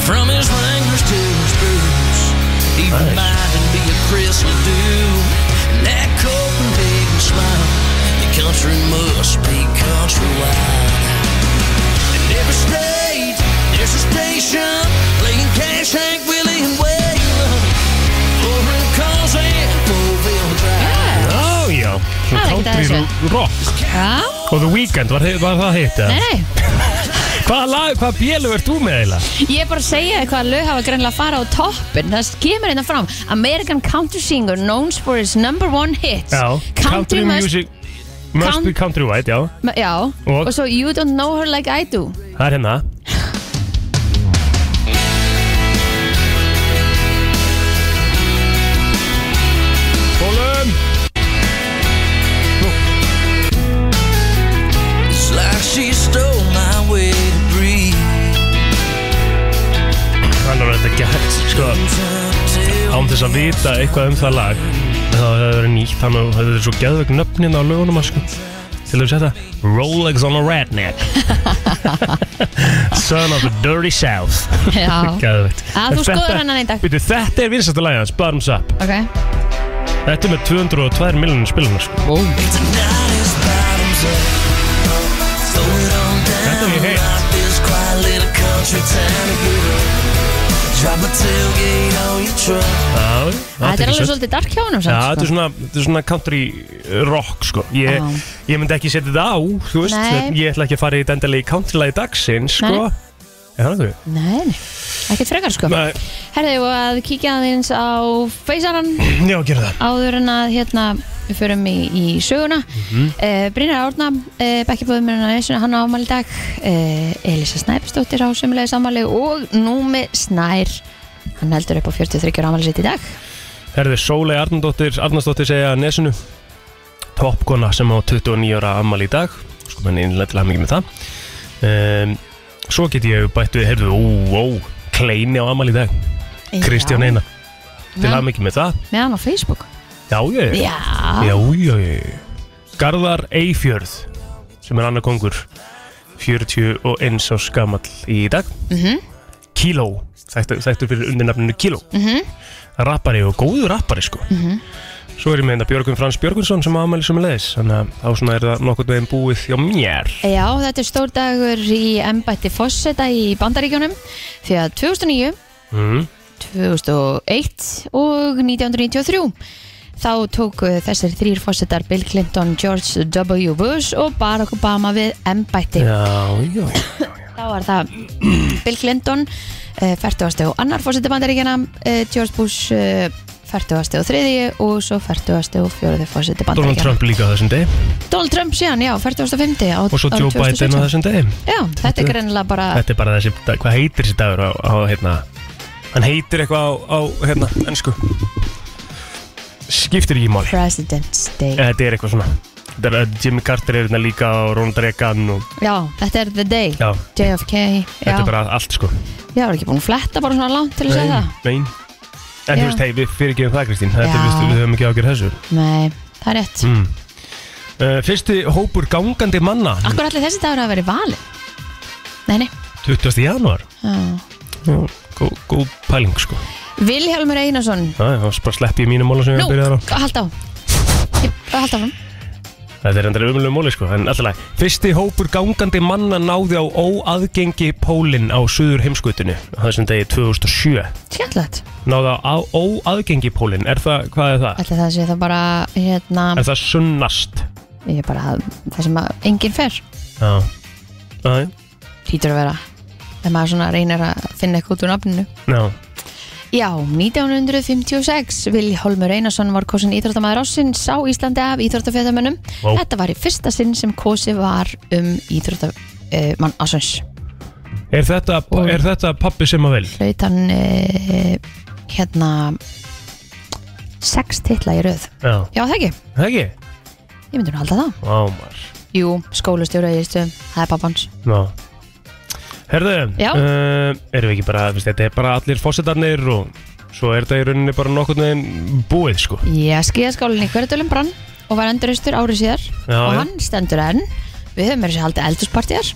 [SPEAKER 5] From his wranglers to his boots, even
[SPEAKER 3] Nice.
[SPEAKER 5] minding be a Chris Ledoux. And that Copenhagen smile, the country must be countrywide. In every state, there's a station playing Cash, Hank, Willie, and Waylon. Over in Calls and Fourville Drive.
[SPEAKER 3] Já, Oh, já, svona
[SPEAKER 2] Það er ekkert að
[SPEAKER 3] country rock.
[SPEAKER 2] Já,
[SPEAKER 3] Og The Weeknd, var, var það hitt? eða?
[SPEAKER 2] nei, nei
[SPEAKER 3] Hvaða lag, hvaða bjölu ert þú með eiginlega?
[SPEAKER 2] Ég er bara að segja þér hvaða lög hafa greinlega að fara á toppin Það kemur hérna fram American country singer known for his number one hits
[SPEAKER 3] Country
[SPEAKER 2] must-
[SPEAKER 3] music Must
[SPEAKER 2] Count-
[SPEAKER 3] be countrywide, já
[SPEAKER 2] Ma- Já, og, svo You Don't Know Her Like I Do
[SPEAKER 3] Það er hérna Bólum
[SPEAKER 5] It's like she stole my way to breathe.
[SPEAKER 3] Hann er þetta gert, sko
[SPEAKER 5] Tempted
[SPEAKER 3] Án þess að vita eitthvað um það lag Þá hefur það verið nýtt Þannig að þetta er svo geðvögg nöfnin á lögunum sko. Til þess að þetta Rolex on a redneck Son of the dirty south
[SPEAKER 2] Já,
[SPEAKER 3] Geðvögt
[SPEAKER 2] Að Ah, þú skoðar hennan einn dag.
[SPEAKER 3] Þetta er vinsastu lagið hans, Bottoms Up
[SPEAKER 2] ok
[SPEAKER 3] Þetta er með 202 miljonir spilunar sko.
[SPEAKER 2] Bú.
[SPEAKER 5] Tonight is bottoms up. Throw it on
[SPEAKER 3] That's
[SPEAKER 5] down.
[SPEAKER 3] what you hate.
[SPEAKER 5] Rock this quiet little country town to get up. Drop a tailgate on your truck.
[SPEAKER 3] Já,
[SPEAKER 2] Ah, Þetta er
[SPEAKER 3] Ah, ekki
[SPEAKER 2] alveg
[SPEAKER 3] sett.
[SPEAKER 2] svolítið dark hjá honum
[SPEAKER 3] Já,
[SPEAKER 2] samt,
[SPEAKER 3] þetta er
[SPEAKER 2] sko.
[SPEAKER 3] svona, þetta er svona country eh, rock sko. ég,
[SPEAKER 2] Já.
[SPEAKER 3] ég myndi ekki setja þetta á þú veist,
[SPEAKER 2] Nei.
[SPEAKER 3] Ég ætla ekki að fara í dendali countrylagi dagsins sko.
[SPEAKER 2] Nei.
[SPEAKER 3] Er það þú?
[SPEAKER 2] Nei, nei, ekkert frekar sko
[SPEAKER 3] Nei,
[SPEAKER 2] Herðu og að kíkja aðeins á feysarann
[SPEAKER 3] já, gera það
[SPEAKER 2] áður en að hérna við förum í, í söguna mm
[SPEAKER 3] Mhm.
[SPEAKER 2] -hmm. uh, Brynjar Árna, uh, bekkjabóðumurinn á Nesuna, hann á afmæli í dag uh, Elisa Snæpsdóttir á sömulegi sammáli og Númi Snær hann heldur upp á 43 ára afmæli sitt í dag
[SPEAKER 3] Herði Sólei Arnardóttir, Arnarsdóttir segja að nesinu Topkona sem á 29 ára ammali í dag Sko menn innlega til að mikið með það um, Svo get ég bætt við, heyrðu, ó, ó Kleini á ammali í dag, Kristján Einar Til að
[SPEAKER 2] með
[SPEAKER 3] mikið með það
[SPEAKER 2] hann á Facebook
[SPEAKER 3] Já, ég
[SPEAKER 2] Já,
[SPEAKER 3] Já, já, já. Garðar Eifjörð sem er annar kongur 41 á skamall í dag
[SPEAKER 2] Mhm.
[SPEAKER 3] Kíló, þekktur þekktur fyrir undirnafninu Kíló
[SPEAKER 2] Mhm.
[SPEAKER 3] Rappari og góður rappari sko Svo er ég með þetta Björgum Frans Björgunsson sem aðmæli sem er leiðis þannig að þá svona er það nokkurn veginn búið hjá mér
[SPEAKER 2] Já, þetta er stór dagur í embætti Fosseta í Bandaríkjónum því að 2009
[SPEAKER 3] mm.
[SPEAKER 2] Mhm. 2001 og 1993 þá tóku þessir þrýr fósettar Bill Clinton, George W. Bush og Barack Obama við embætti
[SPEAKER 3] Já, já, já
[SPEAKER 2] þá var það Bill Clinton uh, 40. og annar fósetti bandaríkjana uh, George Bush uh, 40. og 3. og svo 40. og 4. fósetti
[SPEAKER 3] Donald
[SPEAKER 2] bandaríkjana
[SPEAKER 3] Trump líka á þessum degi
[SPEAKER 2] Donald Trump síðan, já, 40. og 5. Á,
[SPEAKER 3] og svo Joe
[SPEAKER 2] árið
[SPEAKER 3] Biden
[SPEAKER 2] 2017.
[SPEAKER 3] á þessum degi
[SPEAKER 2] Já, þetta er greinilega bara
[SPEAKER 3] Þetta er bara þessi, hvað heitir þessi dagur á, á hérna Hann heitir eitthvað á, á hérna, ennsku Skiptir ekki máli
[SPEAKER 2] President's Day
[SPEAKER 3] Þetta er eitthvað svona Þetta er að Jimmy Carter er hérna líka og Ronald Reagan og
[SPEAKER 2] Já, þetta er the day
[SPEAKER 3] já,
[SPEAKER 2] JFK
[SPEAKER 3] þetta
[SPEAKER 2] já.
[SPEAKER 3] er bara allt sko
[SPEAKER 2] Ég var ekki búin að fletta bara svona langt til að segja það.
[SPEAKER 3] Nein En
[SPEAKER 2] Já.
[SPEAKER 3] þú veist, hei, við fyrir það Kristín Þetta
[SPEAKER 2] Já.
[SPEAKER 3] er, veistu, við höfum ekki ágjör þessu
[SPEAKER 2] Nei, það er rétt.
[SPEAKER 3] mm. uh, Fyrsti hópur gangandi manna
[SPEAKER 2] Akkur allir þessi dagur að vera valið? Nei, nei.
[SPEAKER 3] 20. janúar
[SPEAKER 2] Já.
[SPEAKER 3] Gó- Góð pæling sko
[SPEAKER 2] Vilhjálmur Einarsson.
[SPEAKER 3] Það er bara slepp ég mínu móla sem
[SPEAKER 2] Nú,
[SPEAKER 3] ég byrjaði á
[SPEAKER 2] hald á. Ég- Hald á hann.
[SPEAKER 3] Þetta er endur umlum móli sko, en alltaf leið. Fyrsti hópur gangandi manna náði á óaðgengi pólinn á suður heimskutinu á þessum degi 2007.
[SPEAKER 2] Skemmtilegt.
[SPEAKER 3] Náði á óaðgengi pólinn, er það, hvað er það?
[SPEAKER 2] Alltaf það sé það bara, hérna,
[SPEAKER 3] Er það sunnast?
[SPEAKER 2] ég er bara það sem að enginn fer.
[SPEAKER 3] Já. Æ,
[SPEAKER 2] Týtur að vera. Þegar maður svona reynir að finna eitthvað út úr nafninu.
[SPEAKER 3] já.
[SPEAKER 2] Já, 1956 Vilhjálmur Einarsson var kosin íþróttamæður ásins á Íslandi af íþróttafjöðamönnum
[SPEAKER 3] Vá.
[SPEAKER 2] Þetta var í fyrsta sinn sem kosi var um íþróttamann uh, ásins
[SPEAKER 3] Er þetta,
[SPEAKER 2] Og-
[SPEAKER 3] er þetta pappi sem að vil?
[SPEAKER 2] hlaut hann uh, hérna sex titla í röð
[SPEAKER 3] Já.
[SPEAKER 2] Já, það ekki,
[SPEAKER 3] Það ekki?
[SPEAKER 2] ég myndi nú halda það
[SPEAKER 3] Vá, maður.
[SPEAKER 2] Jú, skólastjóra í stöðum, það er pappans
[SPEAKER 3] Já. Herðu,
[SPEAKER 2] Já.
[SPEAKER 3] uh, erum við ekki bara, þú veist, þetta er bara allir fósettarnir og svo er þetta í rauninni bara nokkurn veginn búið sko.
[SPEAKER 2] Já, skíðaskálinni Hverjadölum brann og var endurustur árið síðar
[SPEAKER 3] Já,
[SPEAKER 2] og
[SPEAKER 3] já.
[SPEAKER 2] hann stendur enn Við höfum verið sér haldið eldurspartjar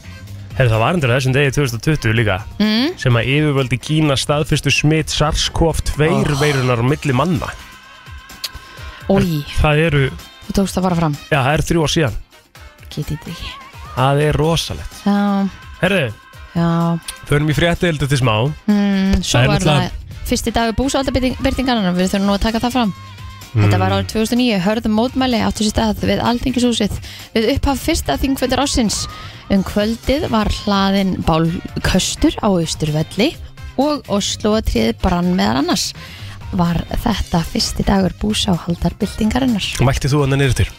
[SPEAKER 3] Herri, það var endur á þessum degi 2020 líka
[SPEAKER 2] mm.
[SPEAKER 3] sem að yfirvöldi Kína staðfyrstu smitt SARS-CoV-2 veirunar
[SPEAKER 2] Ah.
[SPEAKER 3] á milli manna.
[SPEAKER 2] Ói,
[SPEAKER 3] Það eru,
[SPEAKER 2] þú tókst það bara fram
[SPEAKER 3] já, það eru þrjú ár síðan.
[SPEAKER 2] Getið þetta ekki
[SPEAKER 3] Það er rosalegt.
[SPEAKER 2] Já,
[SPEAKER 3] Herri,
[SPEAKER 2] já
[SPEAKER 3] förum í fréttiðildu til smá.
[SPEAKER 2] mm, Svo
[SPEAKER 3] Það er
[SPEAKER 2] var
[SPEAKER 3] náttúrulega-
[SPEAKER 2] það fyrsti dagur búsaldabyrtingarnar Við þurfum nú að taka það fram Þetta var árið 2009, hörðum mótmæli áttu sér stað við Alþingishúsið við upphaf fyrsta þingfundar ásins Um kvöldið var hlaðin bálköstur á Austurvelli og Osloatriðið brann meðan annars. Var þetta fyrsti dagur búsáhaldarbyltingarinnar?
[SPEAKER 3] Mætti þú hann niður til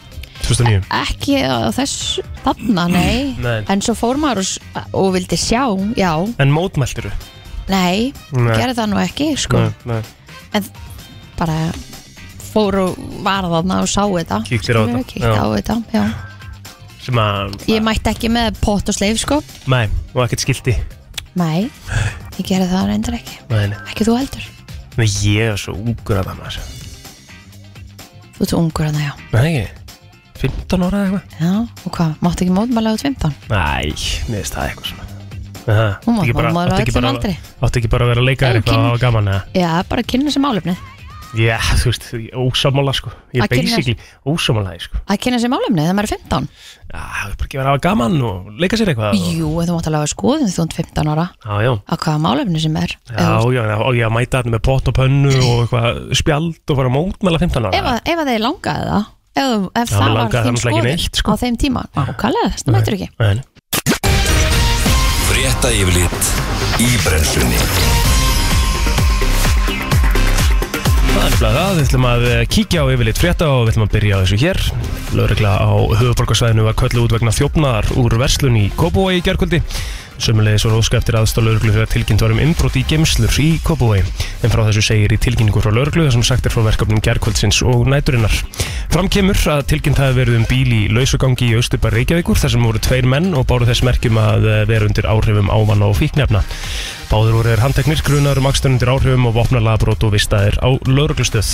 [SPEAKER 3] 2009
[SPEAKER 2] Ekki á þess þarna, nei.
[SPEAKER 3] Nei.
[SPEAKER 2] En svo fór maður og, s- og vildi sjá, já,
[SPEAKER 3] En mótmæltiru
[SPEAKER 2] nei,
[SPEAKER 3] Nei.
[SPEAKER 2] gerði það nú ekki, sko. Bara fór og var þarna og sá þetta.
[SPEAKER 3] Kíktir á
[SPEAKER 2] Skilurðu,
[SPEAKER 3] þetta.
[SPEAKER 2] kíkti
[SPEAKER 3] Já.
[SPEAKER 2] á þetta, já.
[SPEAKER 3] Sem að
[SPEAKER 2] Ég mætti ekki með pott og sleif, sko.
[SPEAKER 3] Nei, og ekkert skildi
[SPEAKER 2] Nei, ég gerði það reyndar ekki.
[SPEAKER 3] Nei, nei
[SPEAKER 2] Ekki þú heldur.
[SPEAKER 3] Nei, Ég er svo ungur að það maður
[SPEAKER 2] Þú ert ungur hana, já.
[SPEAKER 3] Nei, ekki 15 ára eða eitthvað
[SPEAKER 2] Já, og hvað? Máttu ekki mótmæla á 15?
[SPEAKER 3] Nei, mér veist það eitthvað svona Aha,
[SPEAKER 2] Hún var
[SPEAKER 3] ekki bara-
[SPEAKER 2] mamma á
[SPEAKER 3] átti ekki
[SPEAKER 2] öllum
[SPEAKER 3] bara-
[SPEAKER 2] aldri.
[SPEAKER 3] Átti ekki bara að vera að leika þér
[SPEAKER 2] Nei,
[SPEAKER 3] eitthvað
[SPEAKER 2] kyn-
[SPEAKER 3] og hafa gaman eða
[SPEAKER 2] Já, bara kynna sér málefnið.
[SPEAKER 3] Já, þú veist, ég er ósámála sko Ég er
[SPEAKER 2] Að kynna-
[SPEAKER 3] basically ósámála sko
[SPEAKER 2] Að kynna sér málefnið þegar maður er 15?
[SPEAKER 3] Já, það er bara ekki verið að hafa gaman og leika sér eitthvað og...
[SPEAKER 2] Jú, en þú mátt alveg að skoða þegar þú ert 15 ára.
[SPEAKER 3] Já, já
[SPEAKER 2] Á hvaða málefni sem er.
[SPEAKER 3] Já, já, já, og ég að mæta þarna með pott og pönnu og eitthvað spjald og fara að mótmæla 15 ára
[SPEAKER 2] Ef, að- ef að þeir langaði það, ef, þú- ef
[SPEAKER 3] Já,
[SPEAKER 2] það var
[SPEAKER 3] mig langaði
[SPEAKER 2] þín
[SPEAKER 3] það
[SPEAKER 2] skoðun
[SPEAKER 3] náttúrulega ekki neitt, sko.
[SPEAKER 2] á þeim tíma. Ákallega, það mættur ekki.
[SPEAKER 3] Nei, nei.
[SPEAKER 1] Frétta yfirlit í brennslunni
[SPEAKER 3] Það er nefnilega það, við ætlum að eh, kíkja á yfirleitt frétta og við ætlum að byrja á þessu hér. Lörgla á höfuborgarsvæðinu var köllu út vegna þjófnaðar úr verslun í Kópavogi í gerkvöldi. Sömulegis var óska eftir aðstáð lörglu þegar tilkynnt var um innbrot í gemslur í Kópavogi. En frá þessu segir í tilkynningu frá lörglu þar sem sagt er frá verkefnum gerkvöldsins og næturinnar. Fram kemur að tilkynnt hafi verið um bíl í lausugangi í Austubar Reykjavíkur þar sem voru tveir menn og báru þess merkjum að eh, vera undir áhrifum ávanna og fíknefna. Báður voru þeir handteknir, grunar um akstunundir áhrifum og vopnalagabrót og vistaðir á lauruglustöð.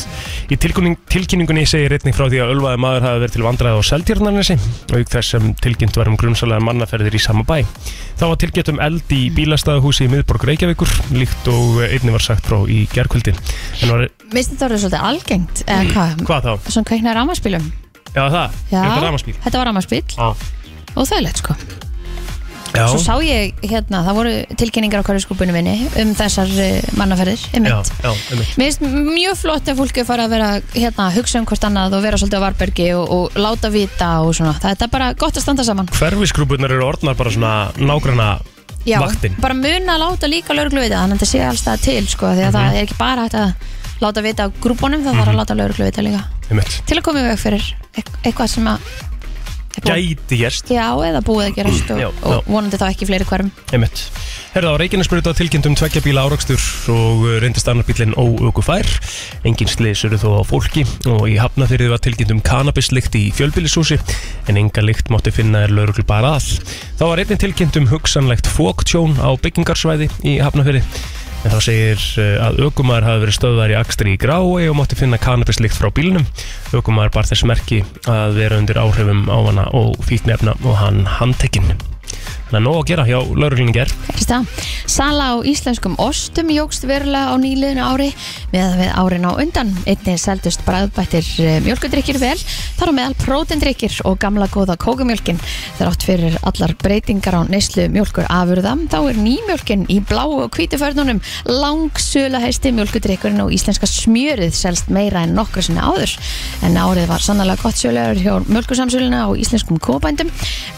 [SPEAKER 3] Í tilkynning, tilkynningunni segir einnig frá því að ölvaði maður hafi verið til vandræða á Seldjarnarnesi, auk þess sem tilkynnt var um grunsalega mannaferðir í sama bæ. Þá var tilkynnt um eld í bílastæðahúsi í miðborg Reykjavíkur, líkt og einnig var sagt frá í gerkvöldi. En var,
[SPEAKER 2] Minnst þetta voru svolítið algengt, eða hvað?
[SPEAKER 3] Mm. hvað þá?
[SPEAKER 2] Svona kveiknaði rámaspílum.
[SPEAKER 3] Já, það?
[SPEAKER 2] Já,
[SPEAKER 3] Þetta ramaspíl?
[SPEAKER 2] þetta var rámaspíl
[SPEAKER 3] Já.
[SPEAKER 2] og það er leitt sko.
[SPEAKER 3] Já.
[SPEAKER 2] Svo sá ég hérna, það voru tilkynningar á hverjuskúpunum minni um þessar eh, mannaferðir,
[SPEAKER 3] Já,
[SPEAKER 2] einmitt.
[SPEAKER 3] já, einmitt.
[SPEAKER 2] Mér finnst mjög flott ef fólki fara að vera hérna, að hugsa um hvort annað og vera svolítið á varbergi og, og láta vita og svona. Það er bara gott að standa saman.
[SPEAKER 3] Hverfisgrúpurnar eru orðnar bara svona nágranna
[SPEAKER 2] Já,
[SPEAKER 3] vaktin.
[SPEAKER 2] bara muna að láta líka lauruglu vita þannig að þetta sé alls það til sko því að
[SPEAKER 3] Mhm.
[SPEAKER 2] það er ekki bara hægt að láta vita á grúpunum það þarf að láta lauruglu vita líka
[SPEAKER 3] Einmitt.
[SPEAKER 2] til að koma í veg fyrir eit- eitthvað sem að er búið-
[SPEAKER 3] Gæti gerst.
[SPEAKER 2] Já, eða búið að gerast og,
[SPEAKER 3] Já,
[SPEAKER 2] og vonandi þá ekki í fleiri hverfum
[SPEAKER 3] Einmitt. Herða á Reykjanesbruta tilkynnt um tveggja bíla árakstur og uh, reyndist annar bílinn óöku fær. Engin slis eru þó á fólki og í Hafnafyrði var tilkynnt um kannabislikt í fjölbílishúsi en enga likt mátti finna er lauruglu bara að. Þá var einnig tilkynnt um hugsanlegt fóktjón á byggingarsvæði í Hafnafyrði en þá segir uh, að ökumar hafi verið stöðvar í akstri í grái og mátti finna kannabislikt frá bílnum. Ökumar bar þess merki að vera undir áhrifum ávana og fíknefna og hann handtekinn. Þannig að nóg að gera hjá lauruglinni ger
[SPEAKER 2] Fyrst það. Sala á íslenskum ostum jógst verulega á nýliðinu ári með við árin á undan. Einnig seldust bræðbættir mjölkudrykkir vel, þar á meðal prótendrykkir og gamla góða kókumjölkin. Þrátt fyrir allar breytingar á neyslu mjölkur afurða, þá er nýmjölkin í bláu og hvítu förnunum langsula hæsti mjölkudrykkurinn og íslenska smjörið selst meira en nokkru sinni áður. En árið var sannlega gott sölulegur hjá mjölkusamsöluna og íslenskum kópændum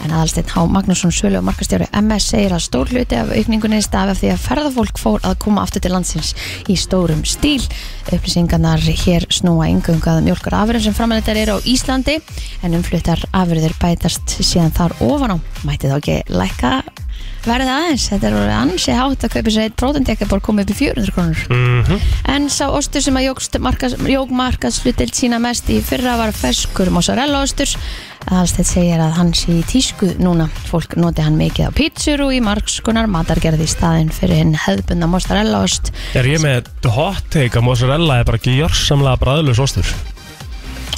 [SPEAKER 2] en aðalsteinn H. Magnússon sölu og markastjóri MS segir að stór hluti af aukningunni stafi af því að ferðafólk fór að koma aftur til landsins í stórum stíl. Upplýsingarnar hér snúa yngöngu að mjölkur afurðum sem framleitar eru á Íslandi en umfluttar afurður bætast síðan þar ofan á. Mæti þá ekki lækka verðið aðeins, þetta er orðið ansi hátt að kaupa sér eitt prótendekabor komið upp í 400 krónur en sá ostur sem að jógst markas, jóg markaðslutild sína mest í fyrra var ferskur mozzarella ostur Alstedt segir að hann sé í tísku núna fólk noti hann mikið á pítsur og í margskonar matargerð í staðin fyrir hinn hefðbunda mozzarella ost
[SPEAKER 3] Er ég með hot take að mozzarella er bara ekki jörsamlega bræðlus ostur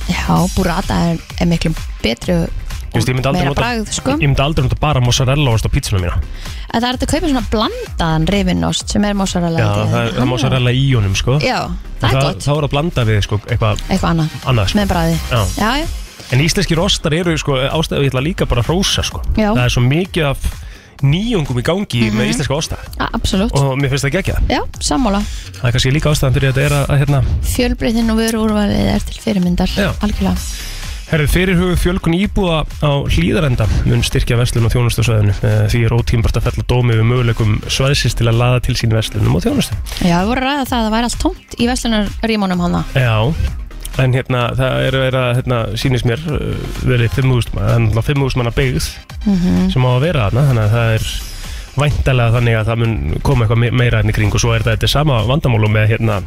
[SPEAKER 2] já, burrata er, er miklu betri og
[SPEAKER 3] Ég veist, ég myndi aldrei
[SPEAKER 2] meira
[SPEAKER 3] nota-
[SPEAKER 2] bragð sko
[SPEAKER 3] Ég myndi aldrei nota bara mozzarella ost á pítsuna mína
[SPEAKER 2] að það er hægt að kaupa svona blandaðan rifinnost sem er mozzarella
[SPEAKER 3] Já,
[SPEAKER 2] held ég.
[SPEAKER 3] það er- það er
[SPEAKER 2] Hann-
[SPEAKER 3] mozzarella í honum sko
[SPEAKER 2] já,
[SPEAKER 3] En
[SPEAKER 2] það er gott,
[SPEAKER 3] Þá er að blanda við sko eitthvað
[SPEAKER 2] eitthvað annað
[SPEAKER 3] annað sko
[SPEAKER 2] með bræði
[SPEAKER 3] Já.
[SPEAKER 2] já, já.
[SPEAKER 3] En íslenskir ostar eru sko ástæðu ég ætla líka bara að hrósa sko
[SPEAKER 2] Já. Mhm.
[SPEAKER 3] Það er svo mikið af nýjungum í gangi með íslenska osta
[SPEAKER 2] A- Absolutt,
[SPEAKER 3] og mér finnst það gegja
[SPEAKER 2] já, sammála
[SPEAKER 3] Það er kannski líka ástæðan fyrir að þetta er að, að hérna,
[SPEAKER 2] Fjölbreytin og vöruúrvalið er til fyrirmyndar
[SPEAKER 3] Já.
[SPEAKER 2] Algjörlega
[SPEAKER 3] Herðu, fyrirhuguð fjölkun íbúa á hlýðarenda mun styrkja verslun og þjónustusvæðinu Eh, því er ótímbart að fella dómi við möguleikum svæðsins til að laða til sín verslunum og þjónustu.
[SPEAKER 2] Já, við vorum að ræða það að það væri allt tómt í veslunarrímunum hana
[SPEAKER 3] Já, en hérna, það er að vera, hérna, sýnist mér uh, verið 5.000 manna, það er náttúrulega 5.000 manna byggð
[SPEAKER 2] Mhm.
[SPEAKER 3] sem á að vera þarna, þannig að það er væntalega þannig að það mun koma eitthvað me- meira enn í kring og svo er þetta, þetta er sama vandamálu með, hérna,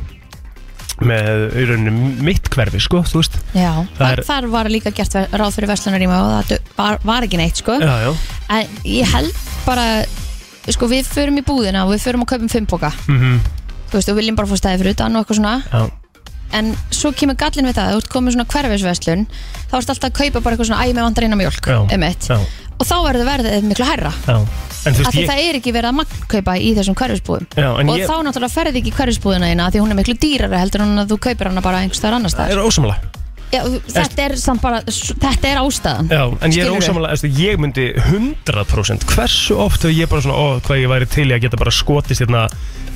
[SPEAKER 3] með í rauninni mitt hverfi, sko, þú veist.
[SPEAKER 2] Já,
[SPEAKER 3] Það
[SPEAKER 2] þar,
[SPEAKER 3] er-
[SPEAKER 2] þar var líka gert ver- ráð fyrir veslunarrímu og það du- var, var ekki neitt sko
[SPEAKER 3] Já, já.
[SPEAKER 2] En ég held bara, sko við förum í búðina og við förum og kaupum fimmboka
[SPEAKER 3] Mm
[SPEAKER 2] Þú veist, og viljum bara fá stæði fyrir utan og eitthvað svona
[SPEAKER 3] já.
[SPEAKER 2] En svo kemur gallin við það, þú ert komið svona hverfisveslun Þá ert alltaf að kaupa bara eitthvað svona æmi vantar eina mjólk
[SPEAKER 3] Já,
[SPEAKER 2] einmitt.
[SPEAKER 3] já.
[SPEAKER 2] Og þá verður verðið miklu hærra
[SPEAKER 3] Já, en
[SPEAKER 2] af
[SPEAKER 3] þú veist
[SPEAKER 2] því
[SPEAKER 3] ég
[SPEAKER 2] það er ekki verið að magnkaupa í þessum hverfisbúðum
[SPEAKER 3] Já, en
[SPEAKER 2] og
[SPEAKER 3] ég-
[SPEAKER 2] þá náttúrulega ferði ekki í hverfisbúðina þína af því hún er miklu dýrari heldur en að þú kaupir hana bara einhvers staðar annars
[SPEAKER 3] Það
[SPEAKER 2] staðar
[SPEAKER 3] er ósamlega
[SPEAKER 2] Já, þetta er samt bara, þetta er ástæðan
[SPEAKER 3] Já, en ég er
[SPEAKER 2] Skilurðu?
[SPEAKER 3] ósamlega, eftir, ég myndi 100% Hversu oft hef ég bara svona, ó, hvað ég væri til í að geta bara skotist hérna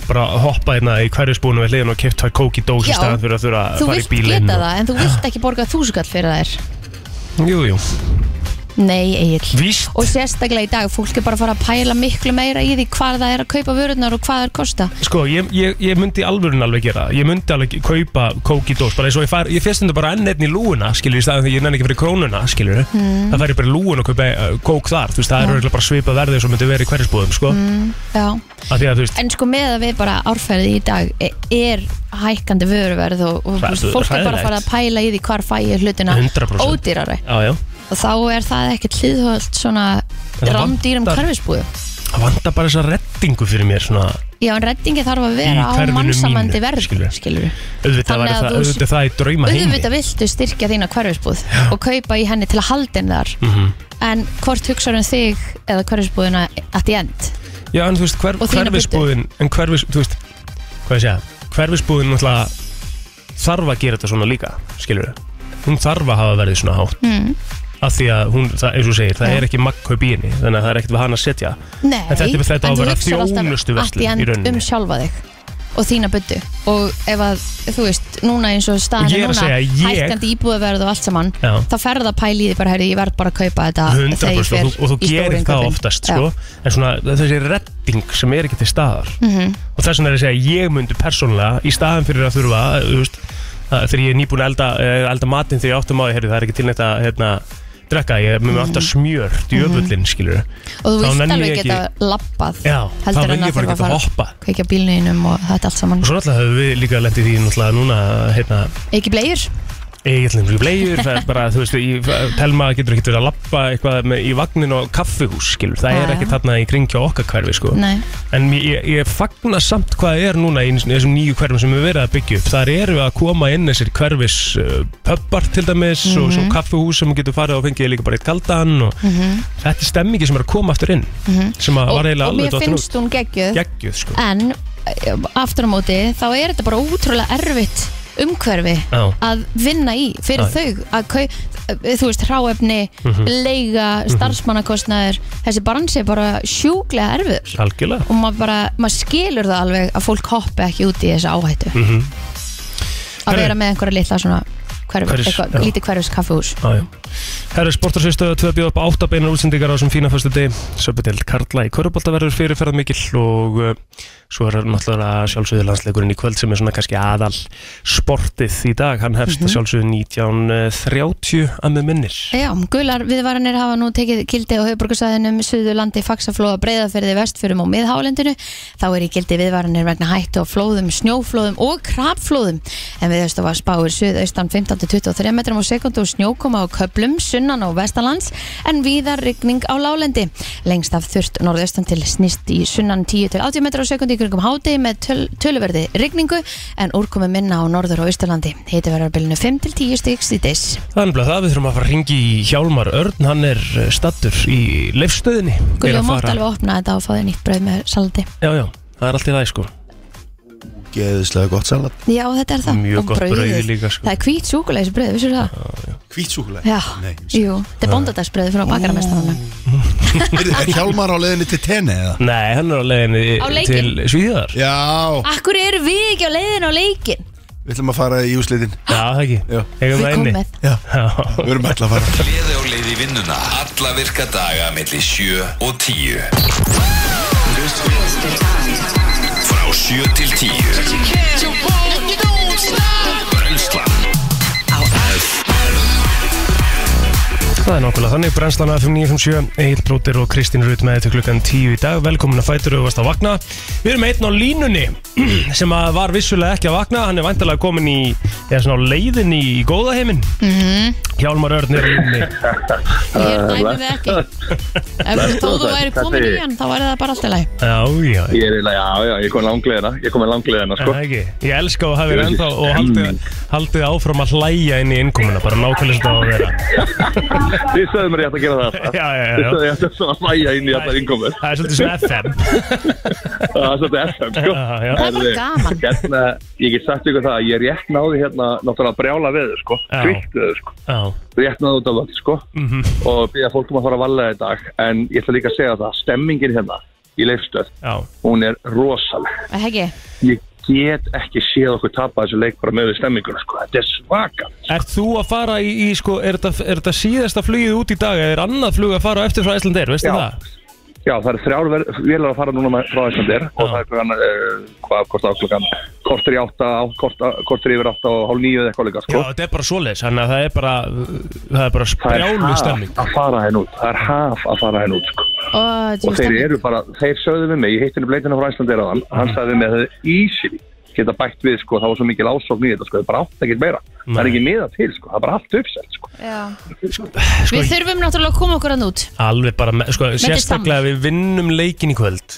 [SPEAKER 3] bara hoppa hérna í hverjusbúinu við hliðin og keipt tvær kók í dós í
[SPEAKER 2] Já,
[SPEAKER 3] staðan fyrir að þurfa að
[SPEAKER 2] Þú
[SPEAKER 3] fara í
[SPEAKER 2] vilt
[SPEAKER 3] bílinn
[SPEAKER 2] geta
[SPEAKER 3] og...
[SPEAKER 2] það en þú vilt ekki borga þúsugall fyrir þær
[SPEAKER 3] Jú, jú,
[SPEAKER 2] Nei, Egil
[SPEAKER 3] víst
[SPEAKER 2] Og sérstaklega í dag, fólk er bara að fara að pæla miklu meira í því hvað það er að kaupa vörurnar og hvað það er kosta
[SPEAKER 3] Sko, ég, ég, ég myndi í alvörun alveg gera það. Ég myndi alveg kaupa kók í dós Bara eins og ég fær, ég fyrstundu bara enn einn í lúuna Skilur, í staðan því ég nenni ekki fyrir krónuna, skilur mm. Það færi bara í lúuna og kaupa uh, kók þar Þú veist, það
[SPEAKER 2] Já.
[SPEAKER 3] er örugglega bara svipað verðið Svo myndi verið í hverjusbúðum, sko mm.
[SPEAKER 2] Já,
[SPEAKER 3] Því að þú veist,
[SPEAKER 2] en sko með að við bara árferði í dag e- er hækkandi vöruverð og, og
[SPEAKER 3] Hræ-
[SPEAKER 2] fólk er bara að fara að pæla í því hvar fæ ég hlutina
[SPEAKER 3] 100%.
[SPEAKER 2] ódýrari
[SPEAKER 3] á, já
[SPEAKER 2] og þá er það ekkert hlýðhöld svona
[SPEAKER 3] það
[SPEAKER 2] rámdýrum
[SPEAKER 3] vantar-
[SPEAKER 2] hverfisbúðu
[SPEAKER 3] Það vantar bara þessa reddingu fyrir mér svona
[SPEAKER 2] Já, en reddingi þarf að
[SPEAKER 3] Í
[SPEAKER 2] vera á
[SPEAKER 3] hverfinu
[SPEAKER 2] mannsamandi
[SPEAKER 3] mínu,
[SPEAKER 2] verð
[SPEAKER 3] skilurðu.
[SPEAKER 2] skilur
[SPEAKER 3] Auðvitað
[SPEAKER 2] Þannig
[SPEAKER 3] væri
[SPEAKER 2] að
[SPEAKER 3] það,
[SPEAKER 2] þú-
[SPEAKER 3] auðvitað það í drauma heimi
[SPEAKER 2] Auðvitað viltu styrkja þína hverfisbúð og kaupa í henni til að halda henni þar
[SPEAKER 3] Mhm.
[SPEAKER 2] en hvort hugsaður um þig eða hverfisbúðuna at the end
[SPEAKER 3] Já, en þú veist, hver,
[SPEAKER 2] Og þína
[SPEAKER 3] hverfisbúðin En hverfis, þú veist, hvað ég segja Hverfisbúðin náttúrulega þarf að gera þetta svona líka, skilur Hún þarf að hafa verið svona hátt mm. Af því að hún, það, eins og þú segir, það
[SPEAKER 2] Hmm. Já.
[SPEAKER 3] er ekki magkaup í henni Þannig að það er ekkert við hann að setja
[SPEAKER 2] Nei,
[SPEAKER 3] En þetta er- þetta á
[SPEAKER 2] en
[SPEAKER 3] að
[SPEAKER 2] þú
[SPEAKER 3] vera
[SPEAKER 2] hugsar alltaf
[SPEAKER 3] þjónustuverslun
[SPEAKER 2] allt
[SPEAKER 3] í rauninni.
[SPEAKER 2] end um sjálfa þig og þína buddu og ef að, þú veist, núna eins og
[SPEAKER 3] Og
[SPEAKER 2] staðan
[SPEAKER 3] ég er að
[SPEAKER 2] núna,
[SPEAKER 3] segja, ég-
[SPEAKER 2] hækkandi íbúðverð og allt saman,
[SPEAKER 3] Já.
[SPEAKER 2] þá ferða að pæla í því bara, herri, ég verð bara að kaupa þetta
[SPEAKER 3] 100%
[SPEAKER 2] þegar ég fer
[SPEAKER 3] og þú, og
[SPEAKER 2] í
[SPEAKER 3] þú
[SPEAKER 2] stóru
[SPEAKER 3] gerir það
[SPEAKER 2] innkaupin.
[SPEAKER 3] oftast
[SPEAKER 2] Já. Mhm.
[SPEAKER 3] sko. en svona þessi redding sem er ekki til staðar -hmm. og þess vegna er ég að segja ég myndi persónulega í staðan fyrir að þurfa þú veist, að þegar ég er nýbúin að elda, eh, elda matinn þegar ég áttum á því, heyrðu, það er ekki til neitt að hérna, drekka, ég er með
[SPEAKER 2] Mhm.
[SPEAKER 3] mm. alltaf smjör djöfullin, skilur
[SPEAKER 2] og þú
[SPEAKER 3] Þá
[SPEAKER 2] vilt
[SPEAKER 3] nenni ég
[SPEAKER 2] alveg
[SPEAKER 3] ekki-
[SPEAKER 2] geta labbað
[SPEAKER 3] Já, þá
[SPEAKER 2] heldur
[SPEAKER 3] vil
[SPEAKER 2] en að þurfa
[SPEAKER 3] ég bara
[SPEAKER 2] að
[SPEAKER 3] geta
[SPEAKER 2] fara
[SPEAKER 3] hoppa
[SPEAKER 2] að kveikja bílnuðinum og þetta allt saman
[SPEAKER 3] og svo náttúrulega höfum við líka lendið því náttúrulega núna, hérna,
[SPEAKER 2] ekki blegjur,
[SPEAKER 3] Egilin fyrir bleiður, það er bara, þú veist, í, telma getur ekki verið að lappa eitthvað með, í vagnin og kaffihús, skilur, það
[SPEAKER 2] Já,
[SPEAKER 3] er
[SPEAKER 2] já.
[SPEAKER 3] ekki þarna í kringja okkar hverfi, sko.
[SPEAKER 2] Nei.
[SPEAKER 3] En ég, ég, ég fagna samt hvað er núna í þessum nýju hverfum sem við verið að byggja upp. Þar eru við að koma inn þessir hverfis uh, pöbbar til dæmis
[SPEAKER 2] Mhm.
[SPEAKER 3] og svo kaffihús sem getur farið og fengið líka bara eitt kaldan og þetta er stemmingi sem er að koma aftur inn, sem að
[SPEAKER 2] Mhm. og,
[SPEAKER 3] var eiginlega
[SPEAKER 2] og
[SPEAKER 3] alveg
[SPEAKER 2] mér
[SPEAKER 3] dottin út.
[SPEAKER 2] finnst hún geggjuð
[SPEAKER 3] Geggjuð, sko.
[SPEAKER 2] en eh, aftur á móti þá er þetta bara útrúlega erfitt umhverfi
[SPEAKER 3] Já.
[SPEAKER 2] að vinna í fyrir
[SPEAKER 3] Já. Mhm.
[SPEAKER 2] þau að kau, eh, þú veist, hráefni leiga, starfsmannakostnaður þessi bransi er bara sjúklega erfiður
[SPEAKER 3] Algjörlega.
[SPEAKER 2] og maður bara, maður skilur það alveg að fólk hoppa ekki út í þessa áhættu
[SPEAKER 3] Mhm.
[SPEAKER 2] að
[SPEAKER 3] Herru.
[SPEAKER 2] vera með einhverja litla svona hverfi,
[SPEAKER 3] Hverfis, já.
[SPEAKER 2] eitthvað, lítið hverfis kaffehús
[SPEAKER 3] Jájá. Herra sportarsviðstöðu tvö bjóð upp á átta beinar útsendingar á þessum fína fyrstu deg Söpudeld Karla í Körubolta verður fyrirferðar mikill og uh, svo er náttúrulega sjálfsögðu landsleikurinn í kvöld sem er svona kannski aðal sportið í dag hann hefst mm -hmm. sjálfsögðu 1930 að með minnir
[SPEAKER 2] Já, gular viðvaranir hafa nú tekið gildi á höfuborgarsæðinum, Suðurlandi, Faxaflóa, Breiðafyrði, Vestfyrðum og Miðhálendinu. Þá er í gildi viðvaranir vegna hættu á flóðum, snjóflóðum og krabflóðum. En viðstofa spáir suðaustan 15-23 metrum á sekundu og snjókoma á köplum, sunnan og vestanlands en víðar rigning á lálendi. Lengst af þurft norðaustan til snýst í sunnan 10-80 metrum á sekundu í kringum hádegi með töl, töluverði rigningu en úrkomi minna á norður og austurlandi. Hiti verður á bilinu 5-10 stíks í dis.
[SPEAKER 3] Þannig að það við þurfum að fara að ringi í Hjálmar Örn hann er stattur í leifstöðinni Er
[SPEAKER 2] Gulli
[SPEAKER 3] að
[SPEAKER 2] og mátt
[SPEAKER 3] fara-
[SPEAKER 2] alveg opna þetta og fá þér nýtt brauð með salati
[SPEAKER 3] Já, já, það er allt í það sko
[SPEAKER 1] Geðislega gott salat
[SPEAKER 2] Já, þetta er það
[SPEAKER 3] Mjög
[SPEAKER 2] Og
[SPEAKER 3] gott brauðið
[SPEAKER 2] brauðið.
[SPEAKER 3] líka, sko.
[SPEAKER 2] Það er hvít súkulegis brauð, vissur það?
[SPEAKER 1] Hvít súkulega
[SPEAKER 2] Já,
[SPEAKER 1] Nei,
[SPEAKER 2] jú, þetta er bóndadagsbrauð frá bakararmestaranum
[SPEAKER 1] Er er Hjálmar á leiðinni til tenni eða?
[SPEAKER 3] Nei, hann er á leiðinni
[SPEAKER 2] Á leikinn.
[SPEAKER 3] til Svíðar
[SPEAKER 1] Já
[SPEAKER 2] Akkur eru við ekki á leiðin á leikin?
[SPEAKER 1] Við ætlum að fara í úslitin
[SPEAKER 3] Já, það ekki
[SPEAKER 1] Já.
[SPEAKER 3] Eigum það
[SPEAKER 2] Við komum
[SPEAKER 3] inni
[SPEAKER 2] með
[SPEAKER 1] Já,
[SPEAKER 3] Já.
[SPEAKER 1] við erum alltaf að fara
[SPEAKER 6] Gleði og leiði vinnuna Alla virka daga millir 7 og 10 Frá 7 til 10 Brenslan
[SPEAKER 3] Það er nákvæmlega þannig, brennslan að 5957, Egil Blóter og Kristín Rut með þetta klukkan 10 í dag, velkomin að fætur og varst að vakna. Við erum einn á línunni sem að var vissulega ekki að vakna, hann er væntalega komin í, eða svona á leiðin í góða heiminn. Mm -hmm. Hjálmar Örn er á línunni.
[SPEAKER 2] Ég dæmi þið ekki Ef þú þó þú væri komin í hann þá væri það bara alltaf læg
[SPEAKER 3] Já, já, já.
[SPEAKER 7] Ég er eiginlega, já, já, ég kom langleðina, ég kom með langleðina,
[SPEAKER 3] Er
[SPEAKER 7] sko.
[SPEAKER 3] það Ekki. Ég elska að hafa þér
[SPEAKER 7] Ég er
[SPEAKER 3] ennþá
[SPEAKER 7] ekki
[SPEAKER 3] og
[SPEAKER 7] stemming.
[SPEAKER 3] haldið, haldið áfram að hlæja inn í innkomuna, bara nákvæmlega sem það á að vera.
[SPEAKER 7] Þið sögðum mér ég ætti að gera það.
[SPEAKER 3] Já, já, já.
[SPEAKER 7] Þið sögðum ég ætti svona að hlæja inn í allar innkomur.
[SPEAKER 3] Það er svolítið svona FM.
[SPEAKER 7] Það er svolítið FM, sko.
[SPEAKER 3] Já, já.
[SPEAKER 2] Það er bara
[SPEAKER 7] Herðu,
[SPEAKER 2] gaman.
[SPEAKER 7] Hérna, ég get sagt ykkur það að ég rétt náði hérna náttúrulega brjála veður, sko.
[SPEAKER 3] Já.
[SPEAKER 7] Kvikt veður, sko.
[SPEAKER 3] Já,
[SPEAKER 7] Rétt náði út af völd, sko.
[SPEAKER 3] mhm,
[SPEAKER 7] Og býða fólk um að fara að valega í dag. En ég ætla líka að segja það, stemmingin hérna í leifstöð,
[SPEAKER 3] já.
[SPEAKER 7] hún er rosaleg.
[SPEAKER 2] Hegge,
[SPEAKER 7] Ég get ekki séð okkur tapa þessu leik bara með við stemminguna, sko. Þetta er svakalegt.
[SPEAKER 3] Er þú að fara í, í sko, er þetta, er þetta síðasta flugið út í dag eða er annað flug að fara á eftir frá Æslandeir, veistu
[SPEAKER 7] Já.
[SPEAKER 3] það?
[SPEAKER 7] Já, það eru þrjár ver- vélar að fara núna með- frá Íslandir og
[SPEAKER 3] Já.
[SPEAKER 7] það er klukkan, uh, hvað kostar það klukkan, kortir í átta, á- korta- kortir yfir átta og hálf nýju eða eitthvað líka,
[SPEAKER 3] Já,
[SPEAKER 7] sko.
[SPEAKER 3] þetta er bara svoleiðis, þannig að það er bara, það er bara
[SPEAKER 7] það er
[SPEAKER 3] sprjálu
[SPEAKER 7] haf
[SPEAKER 3] stemming.
[SPEAKER 7] að fara henn út, það er haf að fara henn út, sko.
[SPEAKER 2] og
[SPEAKER 7] Og þeir eru bara, þeir sögðu við mig, ég heitti henni bleitina frá Íslandir á hann, hann sagði við mig að það er easy geta bætt við, sko, það var svo mikil ásókn í þetta, sko, það er bara átt ekkert meira. Það er
[SPEAKER 3] Nei.
[SPEAKER 7] ekki miða til, sko, það er bara allt uppsett, sko.
[SPEAKER 3] sko,
[SPEAKER 2] Við þurfum náttúrulega að koma okkur hann út
[SPEAKER 3] Alveg bara, með- sko,
[SPEAKER 2] þetta er
[SPEAKER 3] sérstaklega við vinnum leikin í kvöld.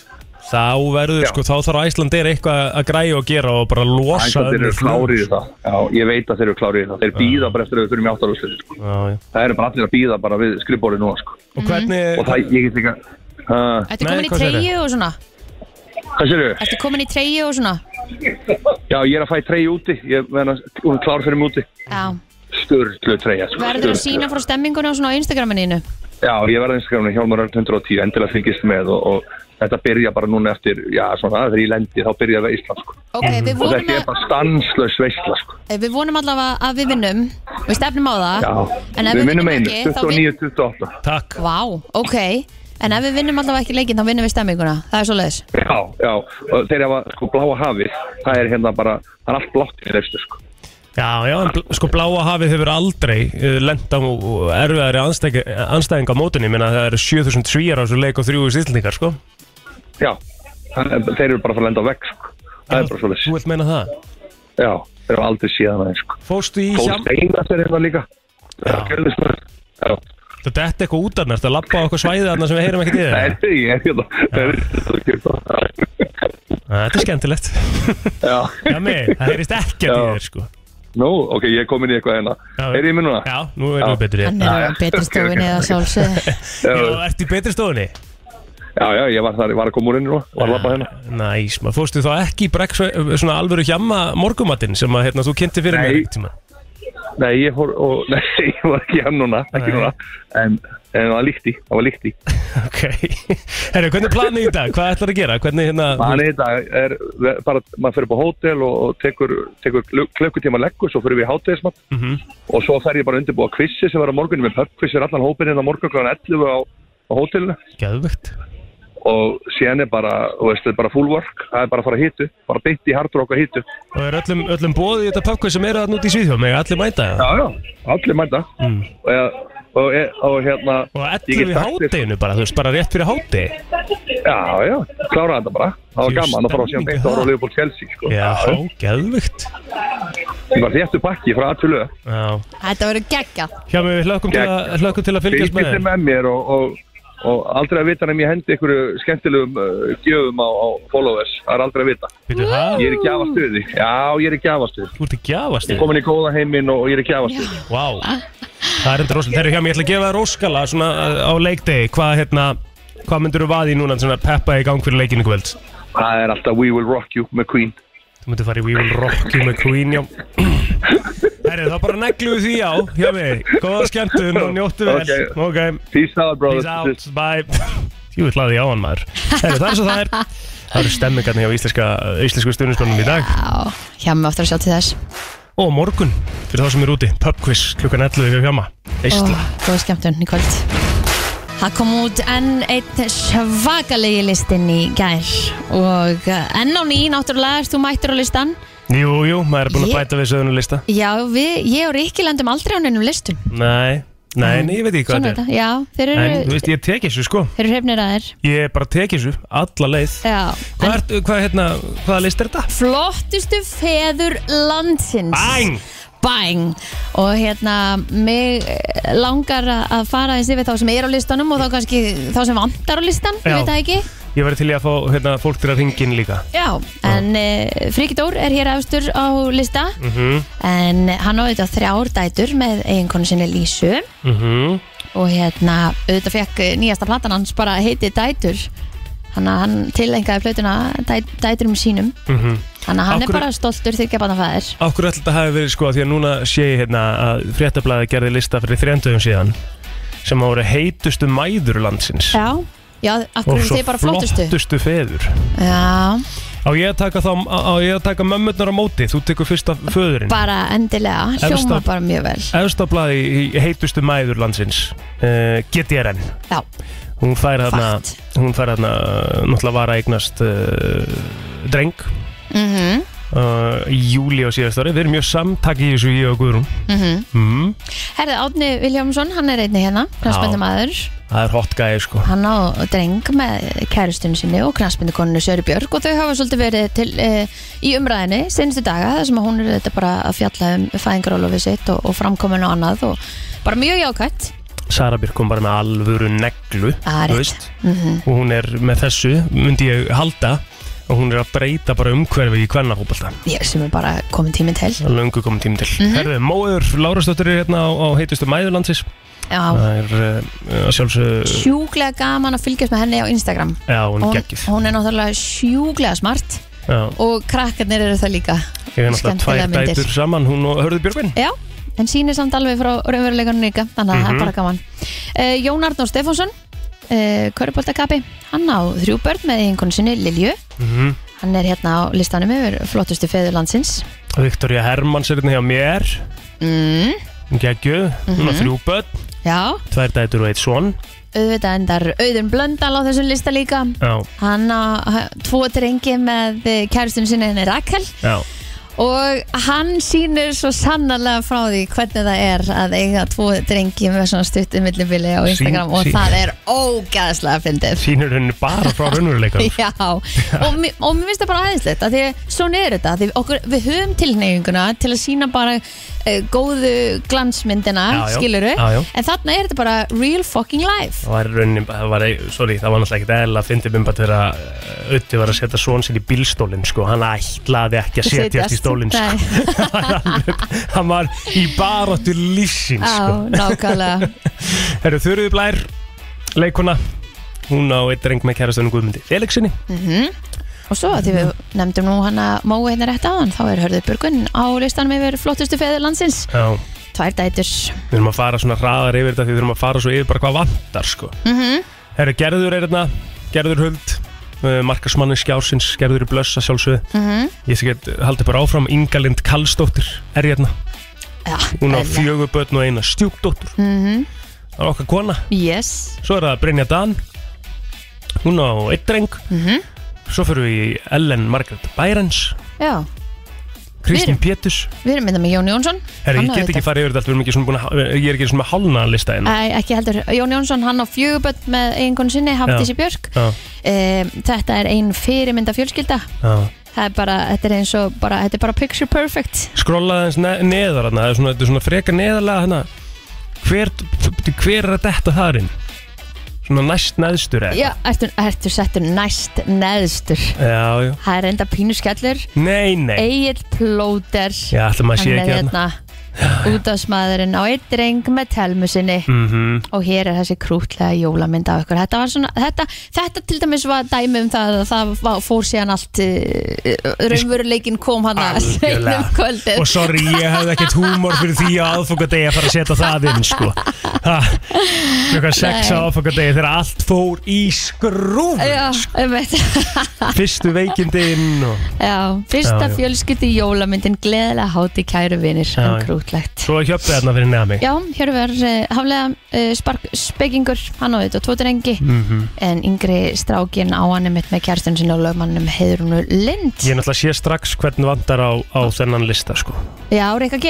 [SPEAKER 3] Þá verður,
[SPEAKER 7] Já.
[SPEAKER 3] sko, þá þarf Æslandeir eitthvað að græja og gera og bara losa
[SPEAKER 7] Æslandir eru
[SPEAKER 3] önnur flug.
[SPEAKER 7] klárið í það, já, ég veit að þeir eru klárið í það, þeir býða bara eftir að við fyrir mjög áttarúsliðið, sko.
[SPEAKER 3] Já, já.
[SPEAKER 7] Það eru bara allir að býða bara við skrifbórið núna, sko.
[SPEAKER 3] Og hvernig,
[SPEAKER 7] og það ég get líka uh,
[SPEAKER 2] Ertu
[SPEAKER 3] Nei,
[SPEAKER 2] komin í
[SPEAKER 3] hvað segirðu?
[SPEAKER 2] treyju og svona?
[SPEAKER 7] hvað sér þau?
[SPEAKER 2] Ertu komin í treyju og svona?
[SPEAKER 7] Já, ég er að fæ treyja úti, ég meðan að hún er klár fyrir mig úti
[SPEAKER 2] Já,
[SPEAKER 7] Sturlu treyja sko,
[SPEAKER 2] verður að
[SPEAKER 7] sturluð.
[SPEAKER 2] sína frá stemmingunni og svona á Instagraminu
[SPEAKER 7] Já, ég verði einstaklega hjálmar öll 110, endilega fylgist með og, og þetta byrja bara núna eftir, já, svona, þegar ég lendi þá byrja það Ísland, sko
[SPEAKER 2] Ok, við
[SPEAKER 7] og
[SPEAKER 2] vonum,
[SPEAKER 7] þetta er
[SPEAKER 2] að,
[SPEAKER 7] bara stanslaus veistla, sko
[SPEAKER 2] Eh, við vonum allavega að við vinnum Við stefnum á það
[SPEAKER 7] Já,
[SPEAKER 2] En ef
[SPEAKER 7] við
[SPEAKER 2] við
[SPEAKER 7] minnum
[SPEAKER 2] vinnum
[SPEAKER 7] einu,
[SPEAKER 2] ekki, þá vin-
[SPEAKER 7] 29, 28
[SPEAKER 3] takk.
[SPEAKER 2] Vá, ok En ef við vinnum allavega ekki leikinn þá vinnum við stemminguna Það er svo leiðis
[SPEAKER 7] Já, já, og þeir hafa, sko, bláa hafið það er hérna bara, það er allt blátt í reyfstu, sko
[SPEAKER 3] Já, já, en bl- sko bláa hafið hefur aldrei uh, lenda á uh, erfiðari anstæk- anstæðing á mótunni, minna það eru 7000 svíjar á þessu leik og 3000 íslendingar, sko.
[SPEAKER 7] Já, það, þeir eru bara að fara að lenda á vegg, sko Það er bara svo
[SPEAKER 3] Þú vilt meina það?
[SPEAKER 7] Já, þeir hafa aldrei séð það, sko
[SPEAKER 3] Fóstu í
[SPEAKER 7] Góð
[SPEAKER 3] hjam...
[SPEAKER 7] steina fyrir hérna líka Já, gerðist það. Já.
[SPEAKER 3] Þetta er eitthvað út þarna, þetta er lappa á okkur svæðið þarna sem við heyrum ekkert í
[SPEAKER 7] Nei,
[SPEAKER 3] þér.
[SPEAKER 7] ég er hérna Það er það er það.
[SPEAKER 3] Þetta er skemmtilegt.
[SPEAKER 7] Já,
[SPEAKER 3] Já, mig, það heyrist ekkert í
[SPEAKER 7] Já.
[SPEAKER 3] þér, sko.
[SPEAKER 7] nú, ok, ég er komin í eitthvað hérna
[SPEAKER 3] Já.
[SPEAKER 7] Er ég minn núna?
[SPEAKER 3] Já, nú erum við betur í þér.
[SPEAKER 2] Hann
[SPEAKER 7] Ah,
[SPEAKER 2] er á betri stofinni eða sjálfsögðu
[SPEAKER 3] Já, ertu í betri stofunni?
[SPEAKER 7] Já, já, ég var, þar, var að koma úr inn núna Var að lappa hérna
[SPEAKER 3] Næs, maður fóstu þá ekki í brekk svona alvöru hjamma morgumattinn sem að hérna, þú kynnti fyrir
[SPEAKER 7] Nei.
[SPEAKER 3] mér einhvern tímann?
[SPEAKER 7] Nei, ég fór og Nei, ég var ekki hann núna Ekki
[SPEAKER 3] Nei.
[SPEAKER 7] núna En, en það var líkt í Það var líkt í
[SPEAKER 3] Ok, herru, hvernig er planið í dag? Hvað ætlar að gera? Hvernig hérna...
[SPEAKER 7] Þannig þetta er bara Maður fyrir upp á hótel og, og tekur, tekur klukk- klukkutíma leggur Svo fyrir við í hátegismat
[SPEAKER 3] Mhm.
[SPEAKER 7] og svo fer ég bara að undirbúa kvissi sem verður á morgunum með pubquissir allan hópinn hérna á morgun kl. 11 á, á hótelinu
[SPEAKER 3] Geðvögt
[SPEAKER 7] og síðan er bara, þú veist, þetta er bara full work það er bara að fara að hitu, bara beint í hardrock að hitu Já,
[SPEAKER 3] Og er öllum, öllum bóðið í þetta pökkvið sem eru þarna út í Svíþjóð Mega allir mæta það
[SPEAKER 7] já, allir mæta
[SPEAKER 3] mm.
[SPEAKER 7] og, ég- og, ég- og hérna
[SPEAKER 3] Og
[SPEAKER 7] ég
[SPEAKER 3] ellum
[SPEAKER 7] get
[SPEAKER 3] í
[SPEAKER 7] sagt þér-
[SPEAKER 3] hátteginu bara, þú veist, bara rétt fyrir hátegi
[SPEAKER 7] Já, já, klára þetta bara það var
[SPEAKER 3] Jú,
[SPEAKER 7] gaman að fara síðan
[SPEAKER 3] stemning
[SPEAKER 7] beint og
[SPEAKER 3] það.
[SPEAKER 7] horfa á Leopold Chelsea sko.
[SPEAKER 3] Já, geðvögt
[SPEAKER 7] ég var réttu pakki frá að til lög
[SPEAKER 3] Já,
[SPEAKER 2] Þetta verður geggja
[SPEAKER 3] hjá mig við hlökkum til, að- hlökkum til að fylgjast með
[SPEAKER 7] fylgist
[SPEAKER 3] þér
[SPEAKER 7] með mér og, og, og aldrei að vita nefn ég hendi ykkur skemmtilegum uh, gjöfum á, á followers, það er aldrei að vita
[SPEAKER 3] Býtu það?
[SPEAKER 7] ég er í gjafastuði, já, ég er í gjafastuði
[SPEAKER 3] Þú ert í gjafast Vá,
[SPEAKER 7] komin í góða heiminn og ég er ekki afast
[SPEAKER 3] það er enda rosalega Þeir eru hjá mig, ég ætla að gefa þér óskala svona uh, á leikdegi Hvað hérna, hvað myndur þú vaði núna svona peppa í gang fyrir leikinu í kvöld?
[SPEAKER 7] það er alltaf We Will Rock You með Queen
[SPEAKER 3] Þú myndir fara í We Will Rock You með Queen, já Herri, þá bara neglu við því á, hjá mig Góða skemmtun og njóttu vel
[SPEAKER 7] Ok.
[SPEAKER 3] Ok.
[SPEAKER 7] Peace out brothers
[SPEAKER 3] Peace out, bye Jú, ég hlaði á hann maður Heru, Það er svo það er Það eru stemmingarnir hjá íslenska, íslensku stjórnismönnum í dag
[SPEAKER 2] Já, hjá mig aftur að sjá til þess
[SPEAKER 3] Og á morgun, fyrir þá sem er úti Pubquiz klukkan 11 hjá Hjama
[SPEAKER 2] og
[SPEAKER 3] Eistla
[SPEAKER 2] góð skemmtun í kvöld Það kom út enn eitt svakalegi listin í gær og eh, enn á ný náttúrulega erst þú mættur á listan
[SPEAKER 3] Jú, jú, maður er búin að
[SPEAKER 2] Ég-
[SPEAKER 3] bæta við söðunarlista
[SPEAKER 2] Já, við, ég og Rikki lendum aldrei á neinum listum
[SPEAKER 3] Nei, nei, nei, ég veit ekki hvað
[SPEAKER 2] Svona er
[SPEAKER 3] þetta
[SPEAKER 2] þetta, já, þeir
[SPEAKER 3] er En, þú
[SPEAKER 2] eru,
[SPEAKER 3] veist, ég tek þessu, sko
[SPEAKER 2] þeir eru hefnir að þér
[SPEAKER 3] Ég bara tek þessu, alla leið
[SPEAKER 2] Já,
[SPEAKER 3] Hvað,
[SPEAKER 2] en
[SPEAKER 3] er, hvað, hérna, hvaða list er þetta?
[SPEAKER 2] flottustu feður landsins
[SPEAKER 3] Bang!
[SPEAKER 2] Bang! Og hérna, mig eh, langar að að fara eins yfir þá sem er á listanum og þá kannski þá sem vantar á listan, ég
[SPEAKER 3] Já.
[SPEAKER 2] veit það ekki
[SPEAKER 3] Ég væri til í að fá hérna, fólk til að ringin líka
[SPEAKER 2] Já, en uh, Friki Dór er hér efstur á lista
[SPEAKER 3] Mhm.
[SPEAKER 2] en hann á auðvitað þrjár dætur með eiginkonu sinni Lísu
[SPEAKER 3] mhm.
[SPEAKER 2] og hérna auðvitað fekk eh, nýjasta platan hans bara heiti Dætur hann, hann tilengaði plötuna dæ, dæturum sínum þannig að hann
[SPEAKER 3] Mhm. Af hverju-
[SPEAKER 2] er bara stoltur þykja barnafæðir
[SPEAKER 3] Okkur ætla þetta hafi verið sko því að núna sé ég hérna að fréttablaði gerði lista fyrir þrjandöfum síðan sem að voru heitustu mæður landsins
[SPEAKER 2] Já, já, af
[SPEAKER 3] og
[SPEAKER 2] hverju eru
[SPEAKER 3] svo
[SPEAKER 2] þið bara flottustu
[SPEAKER 3] feður
[SPEAKER 2] Já,
[SPEAKER 3] Á ég að taka, þá, á, á ég að taka mömmurnar á móti þú tekur fyrsta föðurinn
[SPEAKER 2] bara endilega, hljóma
[SPEAKER 3] Efsta-
[SPEAKER 2] bara mjög vel
[SPEAKER 3] Efstablaði í í heitustu mæður landsins uh, GTRN
[SPEAKER 2] Já,
[SPEAKER 3] Hún fær þarna,
[SPEAKER 2] Fakt.
[SPEAKER 3] hún fær þarna uh, náttúrulega var að eignast uh, dreng
[SPEAKER 2] mhm
[SPEAKER 3] uh, í júli á síðast ári Við erum mjög samtaki í þessu ég og Guðrún
[SPEAKER 2] mhm
[SPEAKER 3] mm,
[SPEAKER 2] Herði, Átni Viljámsson, hann er einni hérna knastbendamaður,
[SPEAKER 3] Það er hot gæði sko
[SPEAKER 2] hann á dreng með kærustunni sinni og knastbendakoninu Söru Björg og þau hafa svolítið verið til, e, í umræðinni senstu daga þar sem að hún er þetta bara að fjalla um fæðingarólofið sitt og, og framkominu og annað og bara mjög jákvætt
[SPEAKER 3] Sara Björk kom bara með alvöru neglu
[SPEAKER 2] Það er Ah,
[SPEAKER 3] þú
[SPEAKER 2] rétt. Mm.
[SPEAKER 3] veist.
[SPEAKER 2] Mhm.
[SPEAKER 3] og hún er með þessu myndi ég halda og hún er að breyta bara umhverfi í kvennahópalda
[SPEAKER 2] ég sem er bara komin tími til
[SPEAKER 3] það er löngu komin tími til
[SPEAKER 2] Mhm.
[SPEAKER 3] mm -hmm. Herðu, Móður Lárasdóttir er hérna á, á heitustu mæðurlandsins
[SPEAKER 2] Já,
[SPEAKER 3] það er uh, sjálfsög
[SPEAKER 2] sjúglega gaman að fylgjast með henni á Instagram
[SPEAKER 3] já, hún er
[SPEAKER 2] hún,
[SPEAKER 3] geggið
[SPEAKER 2] hún er náttúrulega sjúglega smart
[SPEAKER 3] Já,
[SPEAKER 2] og krakkarnir eru það líka
[SPEAKER 3] ég er náttúrulega tvær
[SPEAKER 2] skemmtilegar myndir.
[SPEAKER 3] dætur saman hún og Hörður Björgvin
[SPEAKER 2] Já, en sýnir samt alveg frá raunveruleikanum líka, þannig að það
[SPEAKER 3] Mhm.
[SPEAKER 2] er bara gaman. Uh, Jón Arnór Stefánsson, uh, Köruboltakapi, hann á þrjú börn með einhvern sinni Lilju.
[SPEAKER 3] mm
[SPEAKER 2] Hann er hérna á listanum yfir flottustu feður landsins.
[SPEAKER 3] Viktoria Hermanns er hérna hjá mér
[SPEAKER 2] Mm,
[SPEAKER 3] hún geggjuð, hún
[SPEAKER 2] Mhm.
[SPEAKER 3] á þrjú börn
[SPEAKER 2] já,
[SPEAKER 3] tvær dætur og eitt son
[SPEAKER 2] auðvitað endar Auðun Blöndal á þessum lista líka.
[SPEAKER 3] já,
[SPEAKER 2] Hann á ha- tvo drengi með eh, kærustunni sinni henni Rakel
[SPEAKER 3] já,
[SPEAKER 2] og hann sýnir svo sannarlega frá því hvernig það er að eiga tvo drengi með svona stuttum millibili á
[SPEAKER 3] Sýn-
[SPEAKER 2] Instagram og
[SPEAKER 3] sýn-
[SPEAKER 2] það er ógæðslega fyndið.
[SPEAKER 3] sínur henni bara frá raunveruleikanum
[SPEAKER 2] Já, og, mi- og mér finnst það bara aðeinslegt að því að svona er þetta, af því okkur, við höfum tilneyinguna til að sína bara uh, góðu glansmyndina,
[SPEAKER 3] Já, já.
[SPEAKER 2] skiluru
[SPEAKER 3] Já, já.
[SPEAKER 2] en þarna er þetta bara real fucking life
[SPEAKER 3] Það var raunin, það var, sorry, það var náttúrulega ekkert eðla að fyndi minn bara þegar að Ötti var að setja són sinn í bílstólinn, sko, hann ætlaði ekki að setjast í stólinn, sko,
[SPEAKER 2] Nei,
[SPEAKER 3] hann, alveg, hann var í baróttu lífsins,
[SPEAKER 2] á,
[SPEAKER 3] sko.
[SPEAKER 2] nákvæmlega
[SPEAKER 3] Herru, Þurriði Blær, leikuna, hún á eitt dreng með kærastunum Guðmundi Felixinni,
[SPEAKER 2] og svo að því við nefndum nú hana mói hérna rétt áðan, þá er hörðu burgun á listanum yfir flottustu feður landsins
[SPEAKER 3] já,
[SPEAKER 2] tvær dætur,
[SPEAKER 3] við erum að fara svona hraðar yfir þetta því við erum að fara svo yfir bara hvað vantar, sko. Mm -hmm. Herru, Gerður er hérna, Gerður Huld, uh, markasmannin Skjársins, Gerður í Blössa sjálfsögðu, mm -hmm. ég sé ekki, haldi bara áfram, Ingalind Kallstóttir er hérna.
[SPEAKER 2] já,
[SPEAKER 3] Hún á
[SPEAKER 2] eðlilega.
[SPEAKER 3] fjögur börn og eina stjúkdóttur Það er okkar kona
[SPEAKER 2] yes,
[SPEAKER 3] Svo er það Brynja Dan Hún á eitt dreng
[SPEAKER 2] Mhm.
[SPEAKER 3] Svo fyrir við í Ellen Margaret Bærens
[SPEAKER 2] já
[SPEAKER 3] Kristín
[SPEAKER 2] Við-
[SPEAKER 3] Péturs
[SPEAKER 2] við erum mynda með Jón Jónsson
[SPEAKER 3] Herri,
[SPEAKER 2] Hann
[SPEAKER 3] ég
[SPEAKER 2] á
[SPEAKER 3] get
[SPEAKER 2] þetta
[SPEAKER 3] ekki farið yfir þetta allt, við erum ekki svona búin að, Ég er ekki svona með hálna lista hérna. en
[SPEAKER 2] Æ, ekki heldur. Jón Jónsson, hann á fjöguböld með eiginkonu sinni, Hafdísi Björk.
[SPEAKER 3] Já.
[SPEAKER 2] Um, þetta er ein fyrirmynda fjölskylda.
[SPEAKER 3] Já.
[SPEAKER 2] Það er bara, þetta er eins og bara, þetta er bara picture perfect.
[SPEAKER 3] Skrollaði hans ne neðar hana, það er svona, Þetta er svona freka neðarlega hana. hver, hver er að detta þar inn? Svona næst neðstur eða?
[SPEAKER 2] Já, ertu, ertu settur næst neðstur.
[SPEAKER 3] Já, já
[SPEAKER 2] Það er enda pínu skellur.
[SPEAKER 3] Nei, nei
[SPEAKER 2] Egil Plóter.
[SPEAKER 3] Já, ætla maður að sé
[SPEAKER 2] Hann er
[SPEAKER 3] ekki hérna
[SPEAKER 2] hérna útafsmaðurinn á eitt dreng með telmu sinni
[SPEAKER 3] Mhm.
[SPEAKER 2] og hér er þessi krútlega jólamynd af ykkur þetta, var svona, þetta, þetta til dæmis var dæmi um það að það var, fór síðan allt uh, raunveruleikin kom hann að
[SPEAKER 3] Algjörlega.
[SPEAKER 2] seinum kvöldið
[SPEAKER 3] Og sorry, ég hefði ekkert húmor fyrir því á aðfokkadegi að fara að setja það inn, sko. Ha, Klukkan sex á
[SPEAKER 2] Nei.
[SPEAKER 3] aðfokkadegi þegar allt fór í skrúf.
[SPEAKER 2] Já, einmitt.
[SPEAKER 3] Fyrstu veikindin og...
[SPEAKER 2] já,
[SPEAKER 3] Já,
[SPEAKER 2] fyrsta
[SPEAKER 3] já.
[SPEAKER 2] fjölskyldi jólamyndin gleðilega háti kæru vinir
[SPEAKER 3] Já,
[SPEAKER 2] en
[SPEAKER 3] já.
[SPEAKER 2] krútlegt
[SPEAKER 3] Svo hjöppi þarna fyrir neða mig.
[SPEAKER 2] Já, hér var uh, haflega uh, spark, spekingur, hann á þetta og tótirengi en yngri strákin á hann mitt með kjærstun sinni og lögmannum heiðrunu Lind
[SPEAKER 3] Ég náttúrulega sé strax hvern vantar á, á þennan lista, sko.
[SPEAKER 2] Já, Rikka G,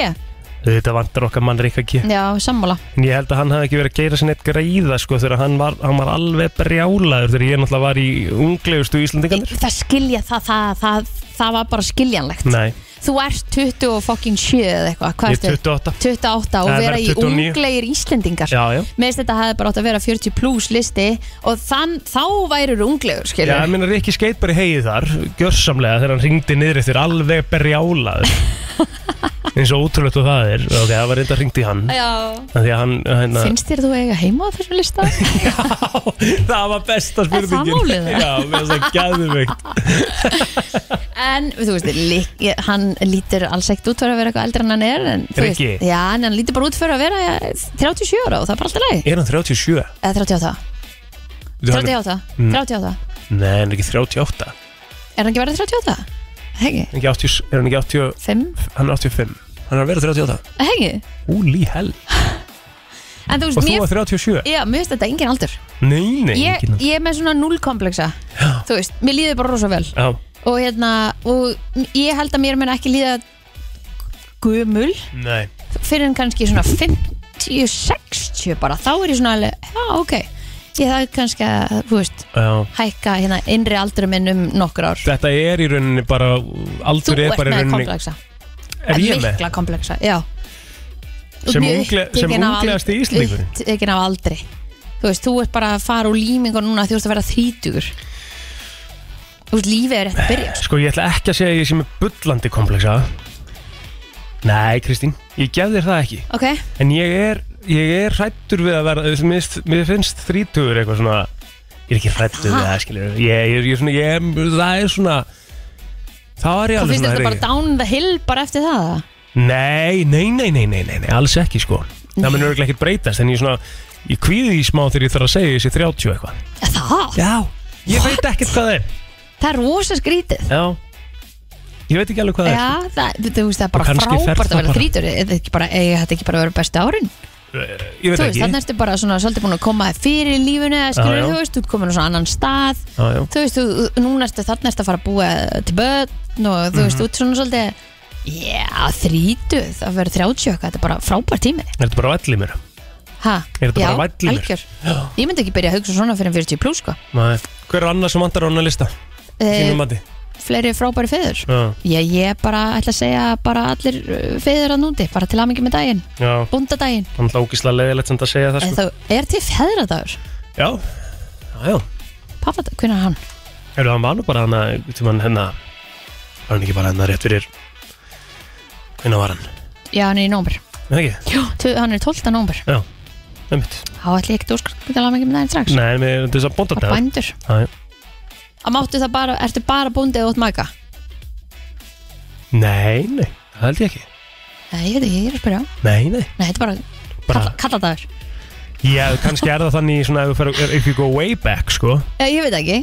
[SPEAKER 3] Þetta vantar okkar mann Ríkka G.
[SPEAKER 2] já, sammála
[SPEAKER 3] En ég held að hann hafði ekki verið að geira sér neitt greiða, sko, þegar hann var, hann var alveg brjálaður þegar ég náttúrulega var í unglegustu Íslandingarnir.
[SPEAKER 2] Það skilja, það, það, það, það var bara skiljanlegt
[SPEAKER 3] Nei,
[SPEAKER 2] Þú ert 20 og fucking 7 eða eitthvað Hvað
[SPEAKER 3] Mm. ég er
[SPEAKER 2] ertu?
[SPEAKER 3] 28.
[SPEAKER 2] 28 og
[SPEAKER 3] Nei,
[SPEAKER 2] vera í
[SPEAKER 3] verður 29.
[SPEAKER 2] unglegir Íslendingar
[SPEAKER 3] Já, já.
[SPEAKER 2] Mér finnst þetta hefði bara átt að vera 40 pluss listi og þann, þá værið unglegur,
[SPEAKER 3] Já,
[SPEAKER 2] skilja
[SPEAKER 3] ég meina Rikki skeitt bara í heið þar, gjörsamlega, þegar hann ringdi niður eftir alveg berjálaður. eins og ótrúlegt og það er, ok, það var reynda ringt í hann.
[SPEAKER 2] Já,
[SPEAKER 3] Af Því að hann, hérna,
[SPEAKER 2] finnst þér þú eiga heima á þessum lista?
[SPEAKER 3] það var besta
[SPEAKER 2] það
[SPEAKER 3] spurningin.
[SPEAKER 2] málið það?
[SPEAKER 3] Já, mér finnst það gæðumveikt.
[SPEAKER 2] En þú veist, lík, hann lítur alls ekkert út fyrir að vera eitthvað eldri en hann er en, þú veist,
[SPEAKER 3] Rikki?
[SPEAKER 2] Já, en hann lítur bara út fyrir að vera eh, 37 ára og það er bara alltaf leið
[SPEAKER 3] Er hann 37?
[SPEAKER 2] Eða 38, 38,
[SPEAKER 3] Mm.
[SPEAKER 2] 38
[SPEAKER 3] Nei, hann er ekki 38.
[SPEAKER 2] Er hann ekki verið 38? Hegi,
[SPEAKER 3] Ekki 80, er hann ekki 80,
[SPEAKER 2] 5?
[SPEAKER 3] hann er 85. Hann er að vera 38.
[SPEAKER 2] Hegi
[SPEAKER 3] Úli hell.
[SPEAKER 2] En þú
[SPEAKER 3] Og
[SPEAKER 2] veist,
[SPEAKER 3] þú
[SPEAKER 2] mér,
[SPEAKER 3] var 37?
[SPEAKER 2] já, mér finnst þetta engin aldur
[SPEAKER 3] Nei, nei,
[SPEAKER 2] Ég,
[SPEAKER 3] enginn.
[SPEAKER 2] ég er með svona nullkompleksa Þú veist, mér líður bara rosa vel
[SPEAKER 3] Já,
[SPEAKER 2] Og hérna, og ég held að mér mun ekki líða Gömul
[SPEAKER 3] nei.
[SPEAKER 2] fyrir en kannski svona 50-60 bara, þá er ég svona alveg, já ok ég það er kannski að, þú veist
[SPEAKER 3] Já.
[SPEAKER 2] hækka hérna innri aldur minn um nokkur ár
[SPEAKER 3] Þetta er í rauninni bara,
[SPEAKER 2] þú
[SPEAKER 3] aldur er
[SPEAKER 2] ert
[SPEAKER 3] bara í
[SPEAKER 2] með
[SPEAKER 3] rauninni.
[SPEAKER 2] kompleksa,
[SPEAKER 3] Er ég með?
[SPEAKER 2] mikla kompleksa já Þú ert
[SPEAKER 3] Sem
[SPEAKER 2] mjög
[SPEAKER 3] ungle-
[SPEAKER 2] upptekin
[SPEAKER 3] sem
[SPEAKER 2] af ald-
[SPEAKER 3] unglegasti Íslendingurinn?
[SPEAKER 2] upptekin af aldri þú veist, þú ert bara að fara úr límingu núna þú ert að vera þrítugur þú veist, lífið er rétt að byrja sko.
[SPEAKER 3] Sko ég ætla ekki að segja að ég sé með bullandi kompleksa Nei Kristín, ég gef þér það ekki
[SPEAKER 2] ok,
[SPEAKER 3] En ég er, ég er hrættur við að vera Mér finnst- mér finnst þrítugur eitthvað svona Ég er ekki hrættur við það skilur Ég, ég, ég, er svona, ég, er- það er svona Það var ég
[SPEAKER 2] þú
[SPEAKER 3] alveg
[SPEAKER 2] finnst
[SPEAKER 3] svona
[SPEAKER 2] þetta
[SPEAKER 3] herri.
[SPEAKER 2] bara down the hill bara eftir það eða?
[SPEAKER 3] Nei, nei, nei, nei, nei, nei, nei, alls ekki sko Það mun örgulega ekkert breytast En ég svona, ég kvíði í smá þegar ég þarf að segja þessi 30 eitthvað
[SPEAKER 2] það,
[SPEAKER 3] Já, ég veit ekkert hvað það er
[SPEAKER 2] það er rosa skrítið
[SPEAKER 3] Já, ég veit ekki alveg hvað það er sko.
[SPEAKER 2] Já, það, þú veist það er bara
[SPEAKER 3] Og kannski fer
[SPEAKER 2] frábært
[SPEAKER 3] það
[SPEAKER 2] að vera
[SPEAKER 3] bara.
[SPEAKER 2] þrítur eða ekki bara, eða þetta ekki bara að vera bestu árin Þú
[SPEAKER 3] Ég veit
[SPEAKER 2] veist,
[SPEAKER 3] ekki
[SPEAKER 2] þannig ertu bara svona svolítið búin að koma þér fyrir í lífinu eða skilur
[SPEAKER 3] já.
[SPEAKER 2] þú veist, þú ert komin á svona annan stað
[SPEAKER 3] Já, já.
[SPEAKER 2] þú veist, þú, núna ertu þannig ertu að fara að búa til börn og þú
[SPEAKER 3] Mhm.
[SPEAKER 2] veist, þú ert svona svolítið Já, þrítuð að vera 30 eitthvað, þetta er bara frábært tími
[SPEAKER 3] Er þetta bara vallið mér?
[SPEAKER 2] ha,
[SPEAKER 3] Er þetta
[SPEAKER 2] Já,
[SPEAKER 3] bara vænn lífur?
[SPEAKER 2] algjör Ég myndi ekki byrja að hugsa svona fyrir 40 plus sko.
[SPEAKER 3] Nei. Hver er annar sem vantar á hennar lista? Þínum
[SPEAKER 2] e,
[SPEAKER 3] mati?
[SPEAKER 2] Fleiri frábæri feður
[SPEAKER 3] Já,
[SPEAKER 2] Já, ég bara ætla að segja bara allir uh, feður að núti, bara til aðmengi með daginn
[SPEAKER 3] já.
[SPEAKER 2] bóndadaginn
[SPEAKER 3] Hann er ógíslega leiðilegt sem þetta segja það
[SPEAKER 2] En
[SPEAKER 3] sko.
[SPEAKER 2] þá er til feðradagur
[SPEAKER 3] Já, já, já.
[SPEAKER 2] Pafladagur, hvernig er hann?
[SPEAKER 3] Hefur hann var nú bara hann að, veitum hann hennar, hérna, var hann ekki bara hennar rétt fyrir, hvernig var hann?
[SPEAKER 2] Já, hann er í nómur
[SPEAKER 3] Nei, ekki?
[SPEAKER 2] Já, hann er 12. nómur
[SPEAKER 3] Já, ummitt.
[SPEAKER 2] Há ætli ég ekkert úrskriftalega mikið með daginn strax
[SPEAKER 3] Nei, með þetta er svo bóndat
[SPEAKER 2] Bara bændur
[SPEAKER 3] Já, já.
[SPEAKER 2] Að máttu það bara, ertu bara bóndið átt mæka?
[SPEAKER 3] Nei, nei, það held ég ekki.
[SPEAKER 2] Nei, ég veit ekki, ég er að spyrja
[SPEAKER 3] Nei, nei.
[SPEAKER 2] Nei, þetta er bara,
[SPEAKER 3] Bara-
[SPEAKER 2] bara. kalladagur
[SPEAKER 3] Já, kannski er það þannig svona ef þú fer- if you go way back, sko.
[SPEAKER 2] Já, ég veit ekki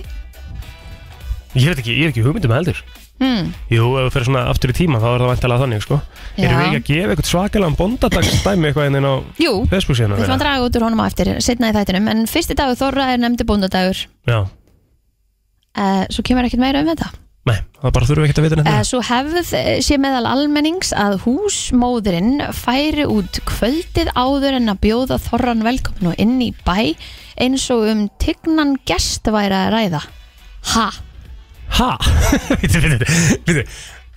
[SPEAKER 3] Ég veit ekki, ég er ekki hugmyndum heldur.
[SPEAKER 2] hmm.
[SPEAKER 3] Jú, ef þú fyrir svona aftur í tíma þá er það vantilega þannig sko
[SPEAKER 2] Já.
[SPEAKER 3] Erum við ekki að gefa eitthvað svakalega bóndadagsdæmi eitthvað hérna inn á
[SPEAKER 2] Jú, við
[SPEAKER 3] Facebook síðan
[SPEAKER 2] ætlum að draga út úr honum á eftir Setna í þættinum, en fyrsti dagur Þorra er nefndi bóndadagur
[SPEAKER 3] Já,
[SPEAKER 2] Uh, svo kemur ekkert meira um þetta
[SPEAKER 3] nei, það bara þurfum við ekkert að vita neitt
[SPEAKER 2] uh,
[SPEAKER 3] meira.
[SPEAKER 2] Svo hefð eh, sé meðal almennings að húsmóðurinn færi út kvöldið áður en að bjóða þorran velkomin og inn í bæ eins og um tignan gest væri að ræða Ha?
[SPEAKER 3] Ha, veitu, veitu, veitu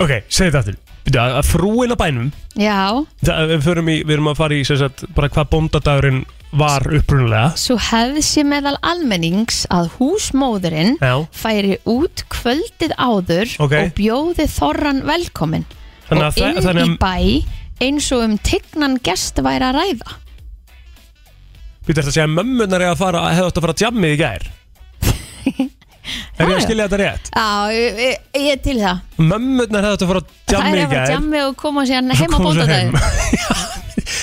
[SPEAKER 3] Ok, segðu þetta aftur Veitu, að að frúin á bænum
[SPEAKER 2] Já,
[SPEAKER 3] það, við, förum í, við erum að fara í sem sagt, bara hvað bóndadagurinn var upprunalega
[SPEAKER 2] svo hefð sé meðal almennings að húsmóðurinn
[SPEAKER 3] Já,
[SPEAKER 2] færi út kvöldið áður
[SPEAKER 3] Ok.
[SPEAKER 2] og bjóði þorran velkomin og
[SPEAKER 3] þannig að,
[SPEAKER 2] inn
[SPEAKER 3] þe- þannig
[SPEAKER 2] í
[SPEAKER 3] að
[SPEAKER 2] bæ eins og um tignan gest væri að ræða
[SPEAKER 3] Þú ert að segja að mömmunar er að fara hefði átt að fara að jammið í gær Er ég
[SPEAKER 2] Já,
[SPEAKER 3] að
[SPEAKER 2] já.
[SPEAKER 3] skilja þetta rétt?
[SPEAKER 2] Já, ég, ég, ég er til það
[SPEAKER 3] Mömmurnar hefði átt að fara að
[SPEAKER 2] Það er
[SPEAKER 3] jammið í
[SPEAKER 2] að fara
[SPEAKER 3] gær
[SPEAKER 2] djammi og koma síðan
[SPEAKER 3] Svo
[SPEAKER 2] heim á
[SPEAKER 3] komu þær heim.
[SPEAKER 2] bóndadaginn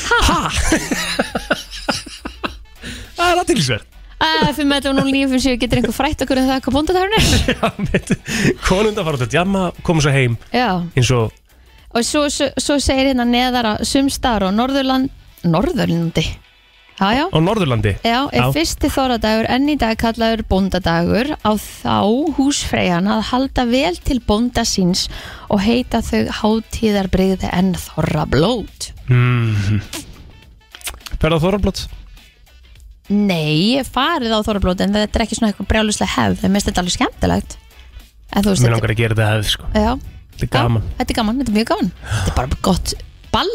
[SPEAKER 3] Það er aðtilsverð
[SPEAKER 2] Fyrir með þetta og nú lífum séu getur einhver frætt okkur um það hvað bóndadagurinn er
[SPEAKER 3] Konundar fara út að jamma, koma svo heim
[SPEAKER 2] Já,
[SPEAKER 3] eins og
[SPEAKER 2] og svo, svo, svo segir hérna neðar að sumstar og Norðurland Norðurlandi Já, já
[SPEAKER 3] á Norðurlandi
[SPEAKER 2] Já, er
[SPEAKER 3] Já.
[SPEAKER 2] fyrsti þóradagur enn í dag kallaður bóndadagur á þá húsfreyjan að halda vel til bónda síns og heita þau hátíðarbrigði enn þorra blót.
[SPEAKER 3] Ferða Þorflót
[SPEAKER 2] Nei, ég hef farið á þorra blót en þetta er ekki svona eitthvað brjáluslega hefð, en mér finnst þetta alveg skemmtilegt. En þú veist,
[SPEAKER 3] Mér
[SPEAKER 2] þetta,
[SPEAKER 3] langar að gera þetta hefði sko
[SPEAKER 2] já,
[SPEAKER 3] Þetta er gaman
[SPEAKER 2] Já, þetta er gaman, þetta er mjög gaman. Þetta er bara gott ball.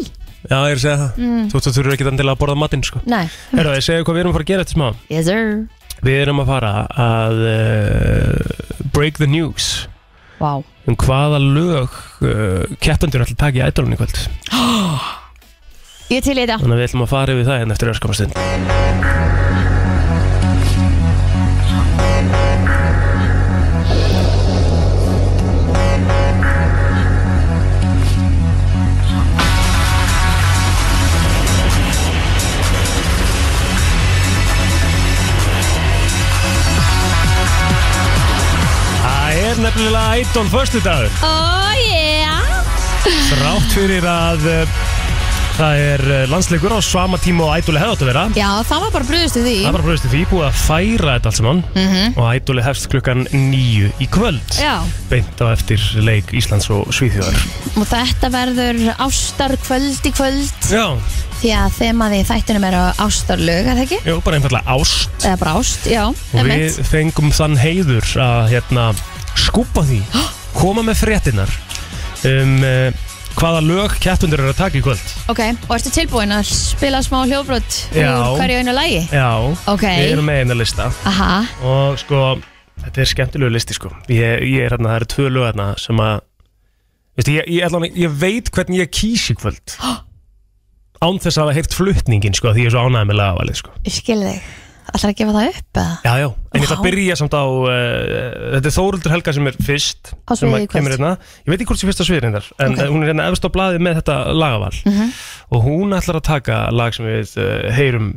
[SPEAKER 3] Já, ég er að segja það Þú þú þurfur ekki þannig að borða matinn sko
[SPEAKER 2] Nei,
[SPEAKER 3] Herra, ég segja hvað við erum að fara að gera eftir smá
[SPEAKER 2] yes sir.
[SPEAKER 3] Við erum að fara að uh, break the news
[SPEAKER 2] Vá,
[SPEAKER 3] um hvaða lög uh, keppendur ætla að taka í ædolunni í kvöld
[SPEAKER 2] ég er til í þetta.
[SPEAKER 3] Þannig að við ætlum að fara yfir það en eftir öskamastund Það er nefnilega ædol förstu dagur
[SPEAKER 2] Oh yeah!
[SPEAKER 3] Rátt fyrir að uh, það er uh, landsleikur á sama tíma og ædoli hefði átt að vera
[SPEAKER 2] Já, það var bara bröðustu því.
[SPEAKER 3] Það var bara bröðist því búið að færa þetta allt saman og ædoli hefst klukkan nýju í kvöld
[SPEAKER 2] Mhm. Já.
[SPEAKER 3] beint á eftir leik Íslands og Svíþjóðar
[SPEAKER 2] Og þetta verður ástar kvöld í kvöld
[SPEAKER 3] Já,
[SPEAKER 2] Því að þemaði í þættinum eru ástarlög, er það ekki?
[SPEAKER 3] Jú, bara einfallega ást
[SPEAKER 2] Eða bara ást, já,
[SPEAKER 3] og
[SPEAKER 2] emmitt
[SPEAKER 3] við fengum þann heiður að hérna skúpa því koma með fréttinnar um uh, hvaða lög keppendur eru að taka í kvöld
[SPEAKER 2] Ok, og ertu tilbúin að spila smá hljóbrot
[SPEAKER 3] Já.
[SPEAKER 2] úr hverju einu lægi?
[SPEAKER 3] Já,
[SPEAKER 2] Ok.
[SPEAKER 3] við erum með eina lista
[SPEAKER 2] Aha,
[SPEAKER 3] og sko þetta er skemmtilegu listi sko ég, ég er hérna, það eru tvö lög hérna sem að veistu, ég, ég, allan, ég veit hvernig ég kýs í kvöld án þess að hafa heyrt flutningin sko því ég er svo ánægð með lagavalið sko
[SPEAKER 2] ég skil þig Ætlar að gefa það upp eða?
[SPEAKER 3] já, já, en ég ætla
[SPEAKER 2] Vá.
[SPEAKER 3] að byrja samt á uh, þetta er Þóruldur Helga sem er fyrst
[SPEAKER 2] Á
[SPEAKER 3] sem
[SPEAKER 2] sviði í
[SPEAKER 3] að
[SPEAKER 2] kvöld.
[SPEAKER 3] kemur hérna, ég veit ekki hvort sem fyrst á sviðin þar en
[SPEAKER 2] Ok. Mhm.
[SPEAKER 3] okay. hún er hérna efst á blaði með þetta lagaval og hún ætlar að taka lag sem við uh, heyrum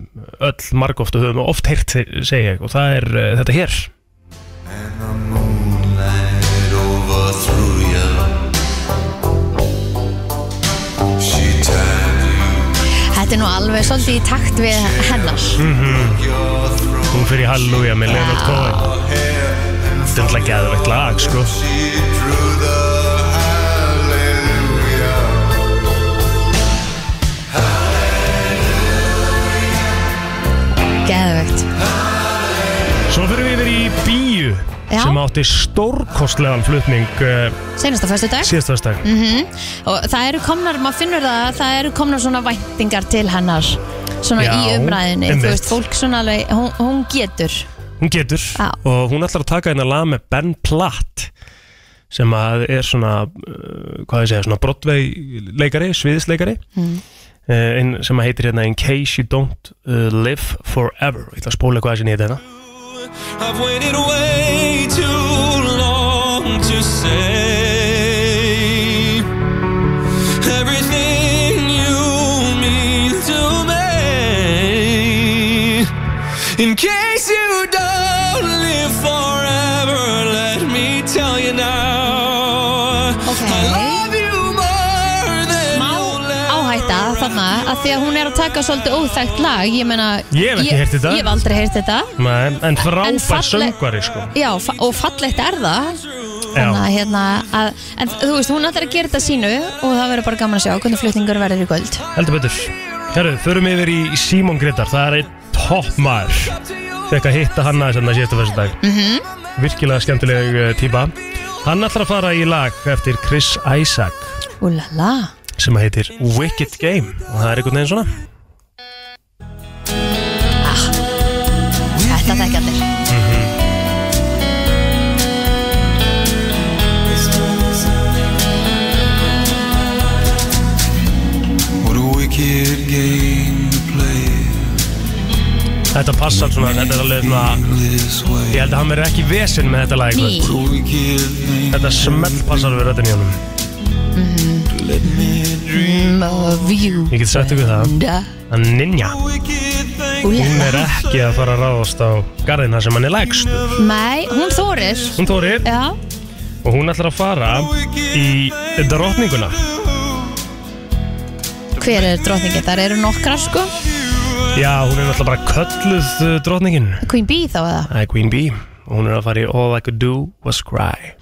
[SPEAKER 3] öll margóft og höfum oft heyrt segja og það er uh, þetta hér
[SPEAKER 6] It overthrew you. She tied
[SPEAKER 2] Þetta er nú alveg svolítið í takt við hennar
[SPEAKER 3] Mm.
[SPEAKER 6] your throat.
[SPEAKER 3] Hún fyrir Halleluja með Leonard Cohen Þetta er alltaf geðveikt lag, sko
[SPEAKER 6] She drew the hallelujah.
[SPEAKER 2] Geðvögt
[SPEAKER 3] Svo fyrir við yfir í Bíu
[SPEAKER 2] Já.
[SPEAKER 3] sem átti stórkostlegan flutning uh,
[SPEAKER 2] Seinasta föstu dag
[SPEAKER 3] síðastastak mm.
[SPEAKER 2] Og það eru komnar, maður finnur það Það eru komnar svona væntingar til hennar Svona
[SPEAKER 3] Já,
[SPEAKER 2] í umræðinni Þú
[SPEAKER 3] einmitt.
[SPEAKER 2] veist, fólk svona alveg, hún, hún getur
[SPEAKER 3] Hún getur
[SPEAKER 2] Já.
[SPEAKER 3] og hún ætlar að taka hérna lag með Ben Platt sem að er svona uh, hvað ég segja, svona Broadway leikari, sviðisleikari mm. sem að heitir hérna In Case You Don't uh, Live Forever Ég ætla að spóla eitthvað sem ég heiti hérna
[SPEAKER 5] I've waited way too long to say everything you mean to me. In case you don't live forever, let me tell you now.
[SPEAKER 2] Ok.
[SPEAKER 5] I love you more than
[SPEAKER 2] Má
[SPEAKER 5] you'll ever
[SPEAKER 2] áhætta þarna að því að hún er að taka svolítið óþægt lag Ég meina
[SPEAKER 3] Ég hef ekki heyrt þetta.
[SPEAKER 2] Ég hef aldrei heyrt þetta
[SPEAKER 3] Nei, En frábær
[SPEAKER 2] falleg-
[SPEAKER 3] söngvari, sko
[SPEAKER 2] Já, fa- og fallegt er það Þannig að hérna að, En þú veist, hún ætlar að gera þetta sínu Og það verður bara gaman að sjá hvernig flutningur verður í kvöld
[SPEAKER 3] Heldur betur Herru, förum yfir í Simon Gretar Það er einn toppmar Fekk að hitta hann aðeins hann að síðasta fyrsta dag mm -hmm. Virkilega skemmtileg eh, típa Hann ætlar að fara í lag eftir Chris Isaac
[SPEAKER 2] Úlala
[SPEAKER 3] sem að heitir Wicked Game og það er einhvern veginn svona
[SPEAKER 2] Ah, Þetta þekkja allir
[SPEAKER 3] Þetta passar svona, þetta er alveg svona Ég held að hann verður ekki vesinn með þetta lag
[SPEAKER 2] Ný.
[SPEAKER 3] eitthvað. Þetta smell passar við röddinn í honum
[SPEAKER 2] Love you
[SPEAKER 3] Ég get sagt ykkur það
[SPEAKER 2] Da.
[SPEAKER 3] að Ninja,
[SPEAKER 2] Úla.
[SPEAKER 3] hún er ekki að fara að ráðast á garðina sem hann er lægst
[SPEAKER 2] Nei, hún þórir
[SPEAKER 3] Hún Þórir
[SPEAKER 2] Já,
[SPEAKER 3] og hún ætlar að fara í drotninguna
[SPEAKER 2] hver er drottningin? Þar eru nokkrar sko
[SPEAKER 3] Já, hún er náttúrulega bara kölluð uh, drotningin
[SPEAKER 2] Queen Bee þá eða
[SPEAKER 3] Það er Queen Bee og hún er að fara í All I Could Do Was Cry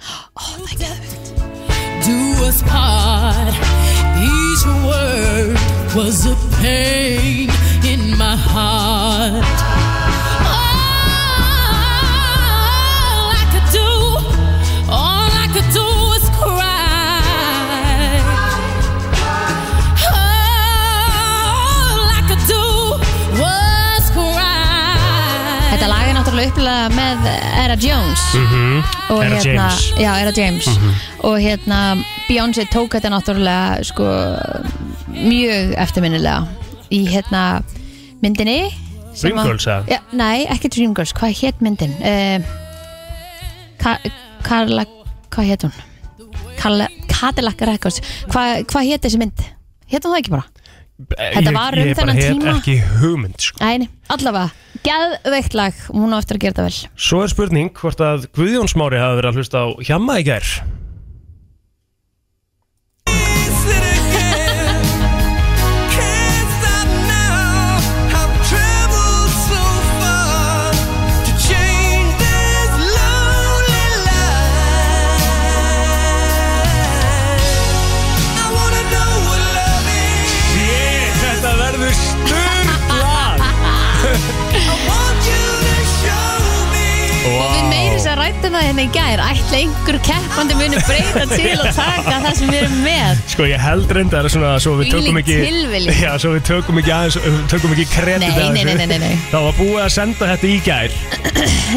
[SPEAKER 8] do us part. Each word was a pain in my heart. All I could do, all I could do was cry. All I could do was cry.
[SPEAKER 2] Þetta lag er náttúrulega upplega með Era Jones Og
[SPEAKER 3] Era
[SPEAKER 2] hérna,
[SPEAKER 3] Mhm. James. Mhm.
[SPEAKER 2] Já, Era James Og hérna, Beyoncé tók þetta náttúrulega sko mjög eftirminnilega í hérna myndinni sem að-
[SPEAKER 3] Dreamgirls, eða?
[SPEAKER 2] Já, nei, ekki Dreamgirls, hvað hétt myndin? Uh, Ka Karla, hvað hétt hún? Karla, Cadillac Records Hva, Hvað hétt þessi mynd? Hétt hún það ekki bara? Þetta var um
[SPEAKER 3] ég,
[SPEAKER 2] þennan
[SPEAKER 3] Ég hef
[SPEAKER 2] tíma.
[SPEAKER 3] bara hef ekki hugmynd sko.
[SPEAKER 2] Æni, allavega, geðveikt lag Hún á eftir að gera þetta vel
[SPEAKER 3] Svo er spurning hvort að Guðjón Smári hafi verið að hlusta á Hjamma í gær Ég, þetta verður styrklað
[SPEAKER 2] Við meiri sér rættum það hérna í gær Ætla einhver keppandi muni breyta til og taka það sem við erum með
[SPEAKER 3] Sko ég held reyndar svona svo við tökum
[SPEAKER 2] Þvílík
[SPEAKER 3] ekki
[SPEAKER 2] tilviljun.
[SPEAKER 3] Já, svo við tökum ekki aðeins tökum ekki kredit
[SPEAKER 2] Nei,
[SPEAKER 3] að
[SPEAKER 2] nei, nei,
[SPEAKER 3] þessu.
[SPEAKER 2] nei, nei, nei.
[SPEAKER 3] Það var búið að senda þetta í gær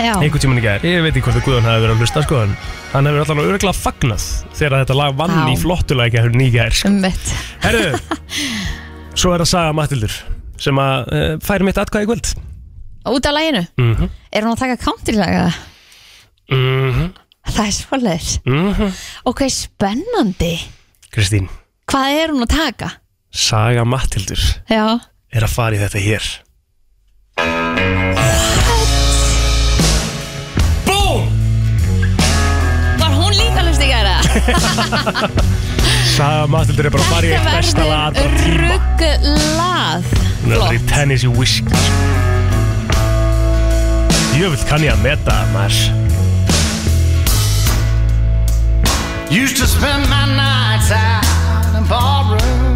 [SPEAKER 2] Já,
[SPEAKER 3] einhvern tíman í gær Ég veit ekki hvort að Guðjón hafi verið að hlusta sko en hann hefur allan örgulega fagnað þegar þetta lag vann
[SPEAKER 2] Já.
[SPEAKER 3] í flottulega í gær sko.
[SPEAKER 2] ummitt
[SPEAKER 3] Herru, svo er það Saga Matildur sem að uh, færi mitt atkvæði í kvöld
[SPEAKER 2] Út af laginu,
[SPEAKER 3] mm -hmm.
[SPEAKER 2] er hún að taka countrylaga?
[SPEAKER 3] Mhm.
[SPEAKER 2] Það er svolítið Ok, spennandi
[SPEAKER 3] Kristín,
[SPEAKER 2] Hvað er hún að taka?
[SPEAKER 3] Saga Matildur
[SPEAKER 2] Já,
[SPEAKER 3] er að fara í þetta hér Búm!
[SPEAKER 2] var hún líka hlust í gæra?
[SPEAKER 3] Saga Matildur er bara að fara í eitt besta lag á tíma
[SPEAKER 2] rugglað
[SPEAKER 3] Hún er að fara í
[SPEAKER 2] Flott.
[SPEAKER 3] tennis í whisky Jöfull kann ég að meta maður
[SPEAKER 5] Used to spend my nights out in ballroom.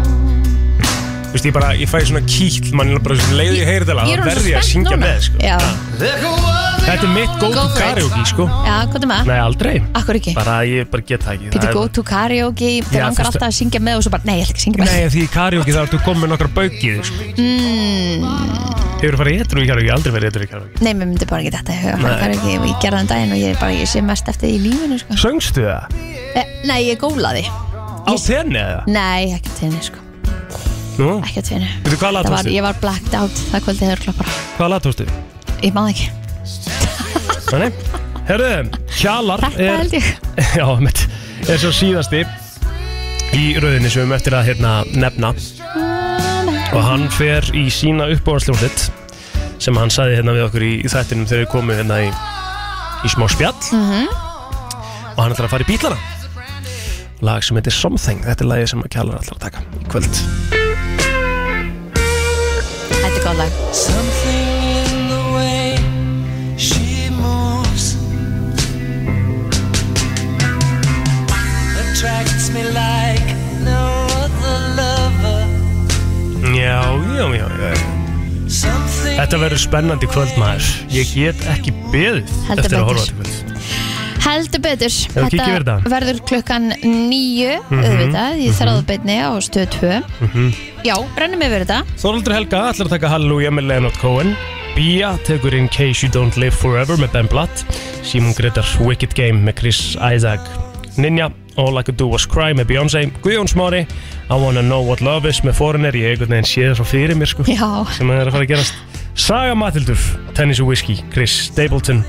[SPEAKER 3] Þú veist, ég bara, ég fæ svona kýll mann er bara svona leið ég heyri þetta lag
[SPEAKER 2] Ég er
[SPEAKER 3] þá
[SPEAKER 2] hún
[SPEAKER 3] verð
[SPEAKER 2] svo
[SPEAKER 3] ég að
[SPEAKER 2] spennt
[SPEAKER 3] syngja
[SPEAKER 2] núna
[SPEAKER 3] með sko.
[SPEAKER 2] Já,
[SPEAKER 3] Þetta er mitt
[SPEAKER 2] Go
[SPEAKER 3] go-to
[SPEAKER 2] for it.
[SPEAKER 3] karaoke sko
[SPEAKER 2] já, hvað er maður?
[SPEAKER 3] Nei, aldrei
[SPEAKER 2] Akkur ekki?
[SPEAKER 3] Bara, ég bara get það ekki Það
[SPEAKER 2] Pítur
[SPEAKER 3] er-
[SPEAKER 2] go to karaoke, þeir
[SPEAKER 3] Já,
[SPEAKER 2] langar
[SPEAKER 3] fyrst-
[SPEAKER 2] alltaf að syngja með og svo bara, nei, ég ætla ekki að syngja með
[SPEAKER 3] Nei, því í karaoke þá ertu komið með nokkra baukið sko. mm. Hefur farið etru í karaoke, aldrei farið etru í karaoke
[SPEAKER 2] Nei, mér myndi bara ekki þetta huga
[SPEAKER 3] Nei.
[SPEAKER 2] karaoke og ég gerði þann daginn og ég er bara, ég sé mest eftir því í lífinu, sko
[SPEAKER 3] Söngstu það?
[SPEAKER 2] e, Nei, ég gólaði
[SPEAKER 3] Á þenni eða?
[SPEAKER 2] Nei, ekki á tveinu, sko,
[SPEAKER 3] Nú,
[SPEAKER 2] ekki á tveinu
[SPEAKER 3] veitu hvað
[SPEAKER 2] Það var,
[SPEAKER 3] latóstu?
[SPEAKER 2] ég var blacked out það kvöldi þegar kloppar
[SPEAKER 3] Hvað latóstu?
[SPEAKER 2] Ég maður ekki,
[SPEAKER 3] Þannig, herðu, Hjalar
[SPEAKER 2] þetta
[SPEAKER 3] er-
[SPEAKER 2] held ég
[SPEAKER 3] Já, mitt, er svo síðasti í rauðinni sem við möttir að hérna, nefna og hann fer í sína uppbóðarsljónlit sem hann sagði hérna við okkur í, í þættinum þegar við komum hérna í, í smá spjall
[SPEAKER 2] Mhm.
[SPEAKER 3] og hann ætlar að fara í bílana lag sem heitir Something þetta er lagið sem að kjallar ætlar að taka í kvöld
[SPEAKER 2] Þetta er góð lag
[SPEAKER 5] Something in the way she moves attracts me like no other lover.
[SPEAKER 3] Já, já, já, já
[SPEAKER 5] Something
[SPEAKER 3] Þetta verður spennandi kvöld maður ég get ekki beðið
[SPEAKER 2] Heldur
[SPEAKER 3] eftir að
[SPEAKER 2] betur.
[SPEAKER 3] horfa til kvöld
[SPEAKER 2] Heldur betur,
[SPEAKER 3] kíkja yfir
[SPEAKER 2] þetta
[SPEAKER 3] þetta? Mhm.
[SPEAKER 2] verður klukkan nýju auðvitað, ég þráðu beinni á stöð 2 Já, rennum yfir þetta
[SPEAKER 3] Þoraldur Helga ætlar að taka Hallelujah með Leonard Cohen Bia tekur In Case You Don't Live Forever með Ben Blatt Simon Gretar Wicked Game með Chris Isaac Ninja All I Could Do Was Cry með Beyoncé Guðjón Smári I Wanna Know What Love Is með Foreigner ég einhvern veginn sé það svo fyrir mér sko
[SPEAKER 2] Já,
[SPEAKER 3] sem það er að fara að gerast Saga Matildur, Tennis og Whiskey, Chris Stapleton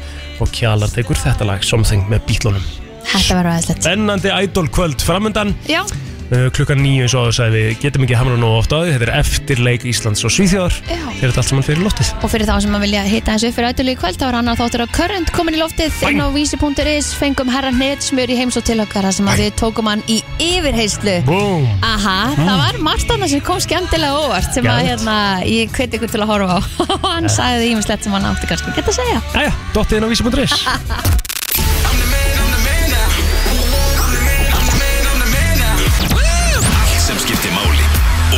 [SPEAKER 3] og Kjalar tekur þetta lag Something með bílunum.
[SPEAKER 2] Þetta var aðeinslegt
[SPEAKER 3] Ennandi idol kvöld framöndan,
[SPEAKER 2] Já,
[SPEAKER 3] uh, klukkan níu eins og áður sagði við getum ekki hamra nóg oft á því, þetta er eftir leik Íslands og Svíþjóðar,
[SPEAKER 2] Já.
[SPEAKER 3] þeir þetta allt saman fyrir loftið.
[SPEAKER 2] og fyrir þá sem að vilja hitta eins upp fyrir ætlulegu í kvöld þá er annar þáttur á Current komin í loftið inn á vísi.is, fengum herra hneitt smjör í heims og til okkar þar sem að við tókum hann í yfirheyslu
[SPEAKER 3] Búm!
[SPEAKER 2] Aha, það var margt annað sem kom skemmtilega óvart sem að
[SPEAKER 3] Geðveikt.
[SPEAKER 2] hérna, ég hveti ykkur til að horfa á og hann sagði ímislegt sem hann átti kannski geta að segja
[SPEAKER 3] Æja, dottið inn á vísi.is.
[SPEAKER 6] Allt sem skiptir máli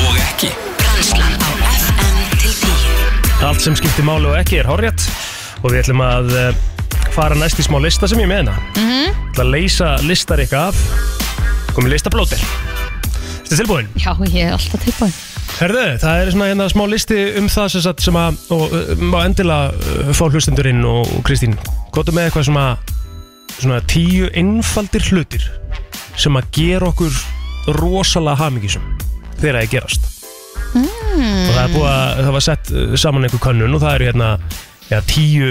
[SPEAKER 6] og ekki
[SPEAKER 9] Brennslan á FM til 10
[SPEAKER 3] Allt sem skiptir máli og ekki er horrið og við ætlum að uh, fara næst í smá lista sem ég er með hérna mm -hmm. ætlum að leysa listar ykkar af komið listablótir Þetta er tilbúin
[SPEAKER 2] Já, ég er alltaf tilbúin
[SPEAKER 3] Herðu, það er svona hérna smá listi um það sem, sagt, sem að og, uh, má endilega uh, fá hlustendurinn og, og Kristín gotum með eitthvað svona, svona tíu einfaldir hlutir sem að gera okkur rosalega hamingisum þegar það er gerast og það er búið að það var sett uh, saman einhver könnun og það eru hérna ja, tíu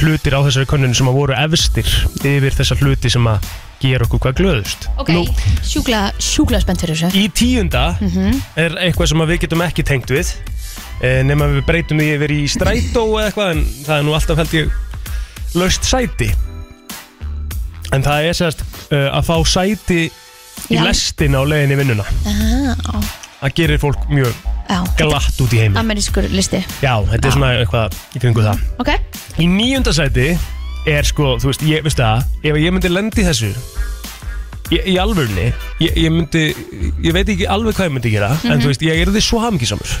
[SPEAKER 3] hlutir á þessari könnun sem að voru efstir yfir þessa hluti sem að gera okkur hvað glöðust
[SPEAKER 2] Ok, sjúkla, sjúkla spennt fyrir þessu
[SPEAKER 3] í tíunda er eitthvað sem að við getum ekki tengt við eh, nema við breytum því yfir í strætó eða eitthvað en það er nú alltaf held ég laust sæti en það er sérst uh, að fá sæti í
[SPEAKER 2] Já.
[SPEAKER 3] lestin á leiðinni í vinnuna
[SPEAKER 2] Já,
[SPEAKER 3] það gerir fólk mjög
[SPEAKER 2] já,
[SPEAKER 3] glatt út í heimi
[SPEAKER 2] amerískur listi
[SPEAKER 3] já, þetta er svona eitthvað í kringu það
[SPEAKER 2] Ok,
[SPEAKER 3] Í nýjunda sæti er sko, þú veist, ég, veistu það, ef ég myndi lendi þessu ég, í alvörni, ég, ég myndi ég veit ekki alveg hvað ég myndi gera en þú veist, ég er því svo hamngisamur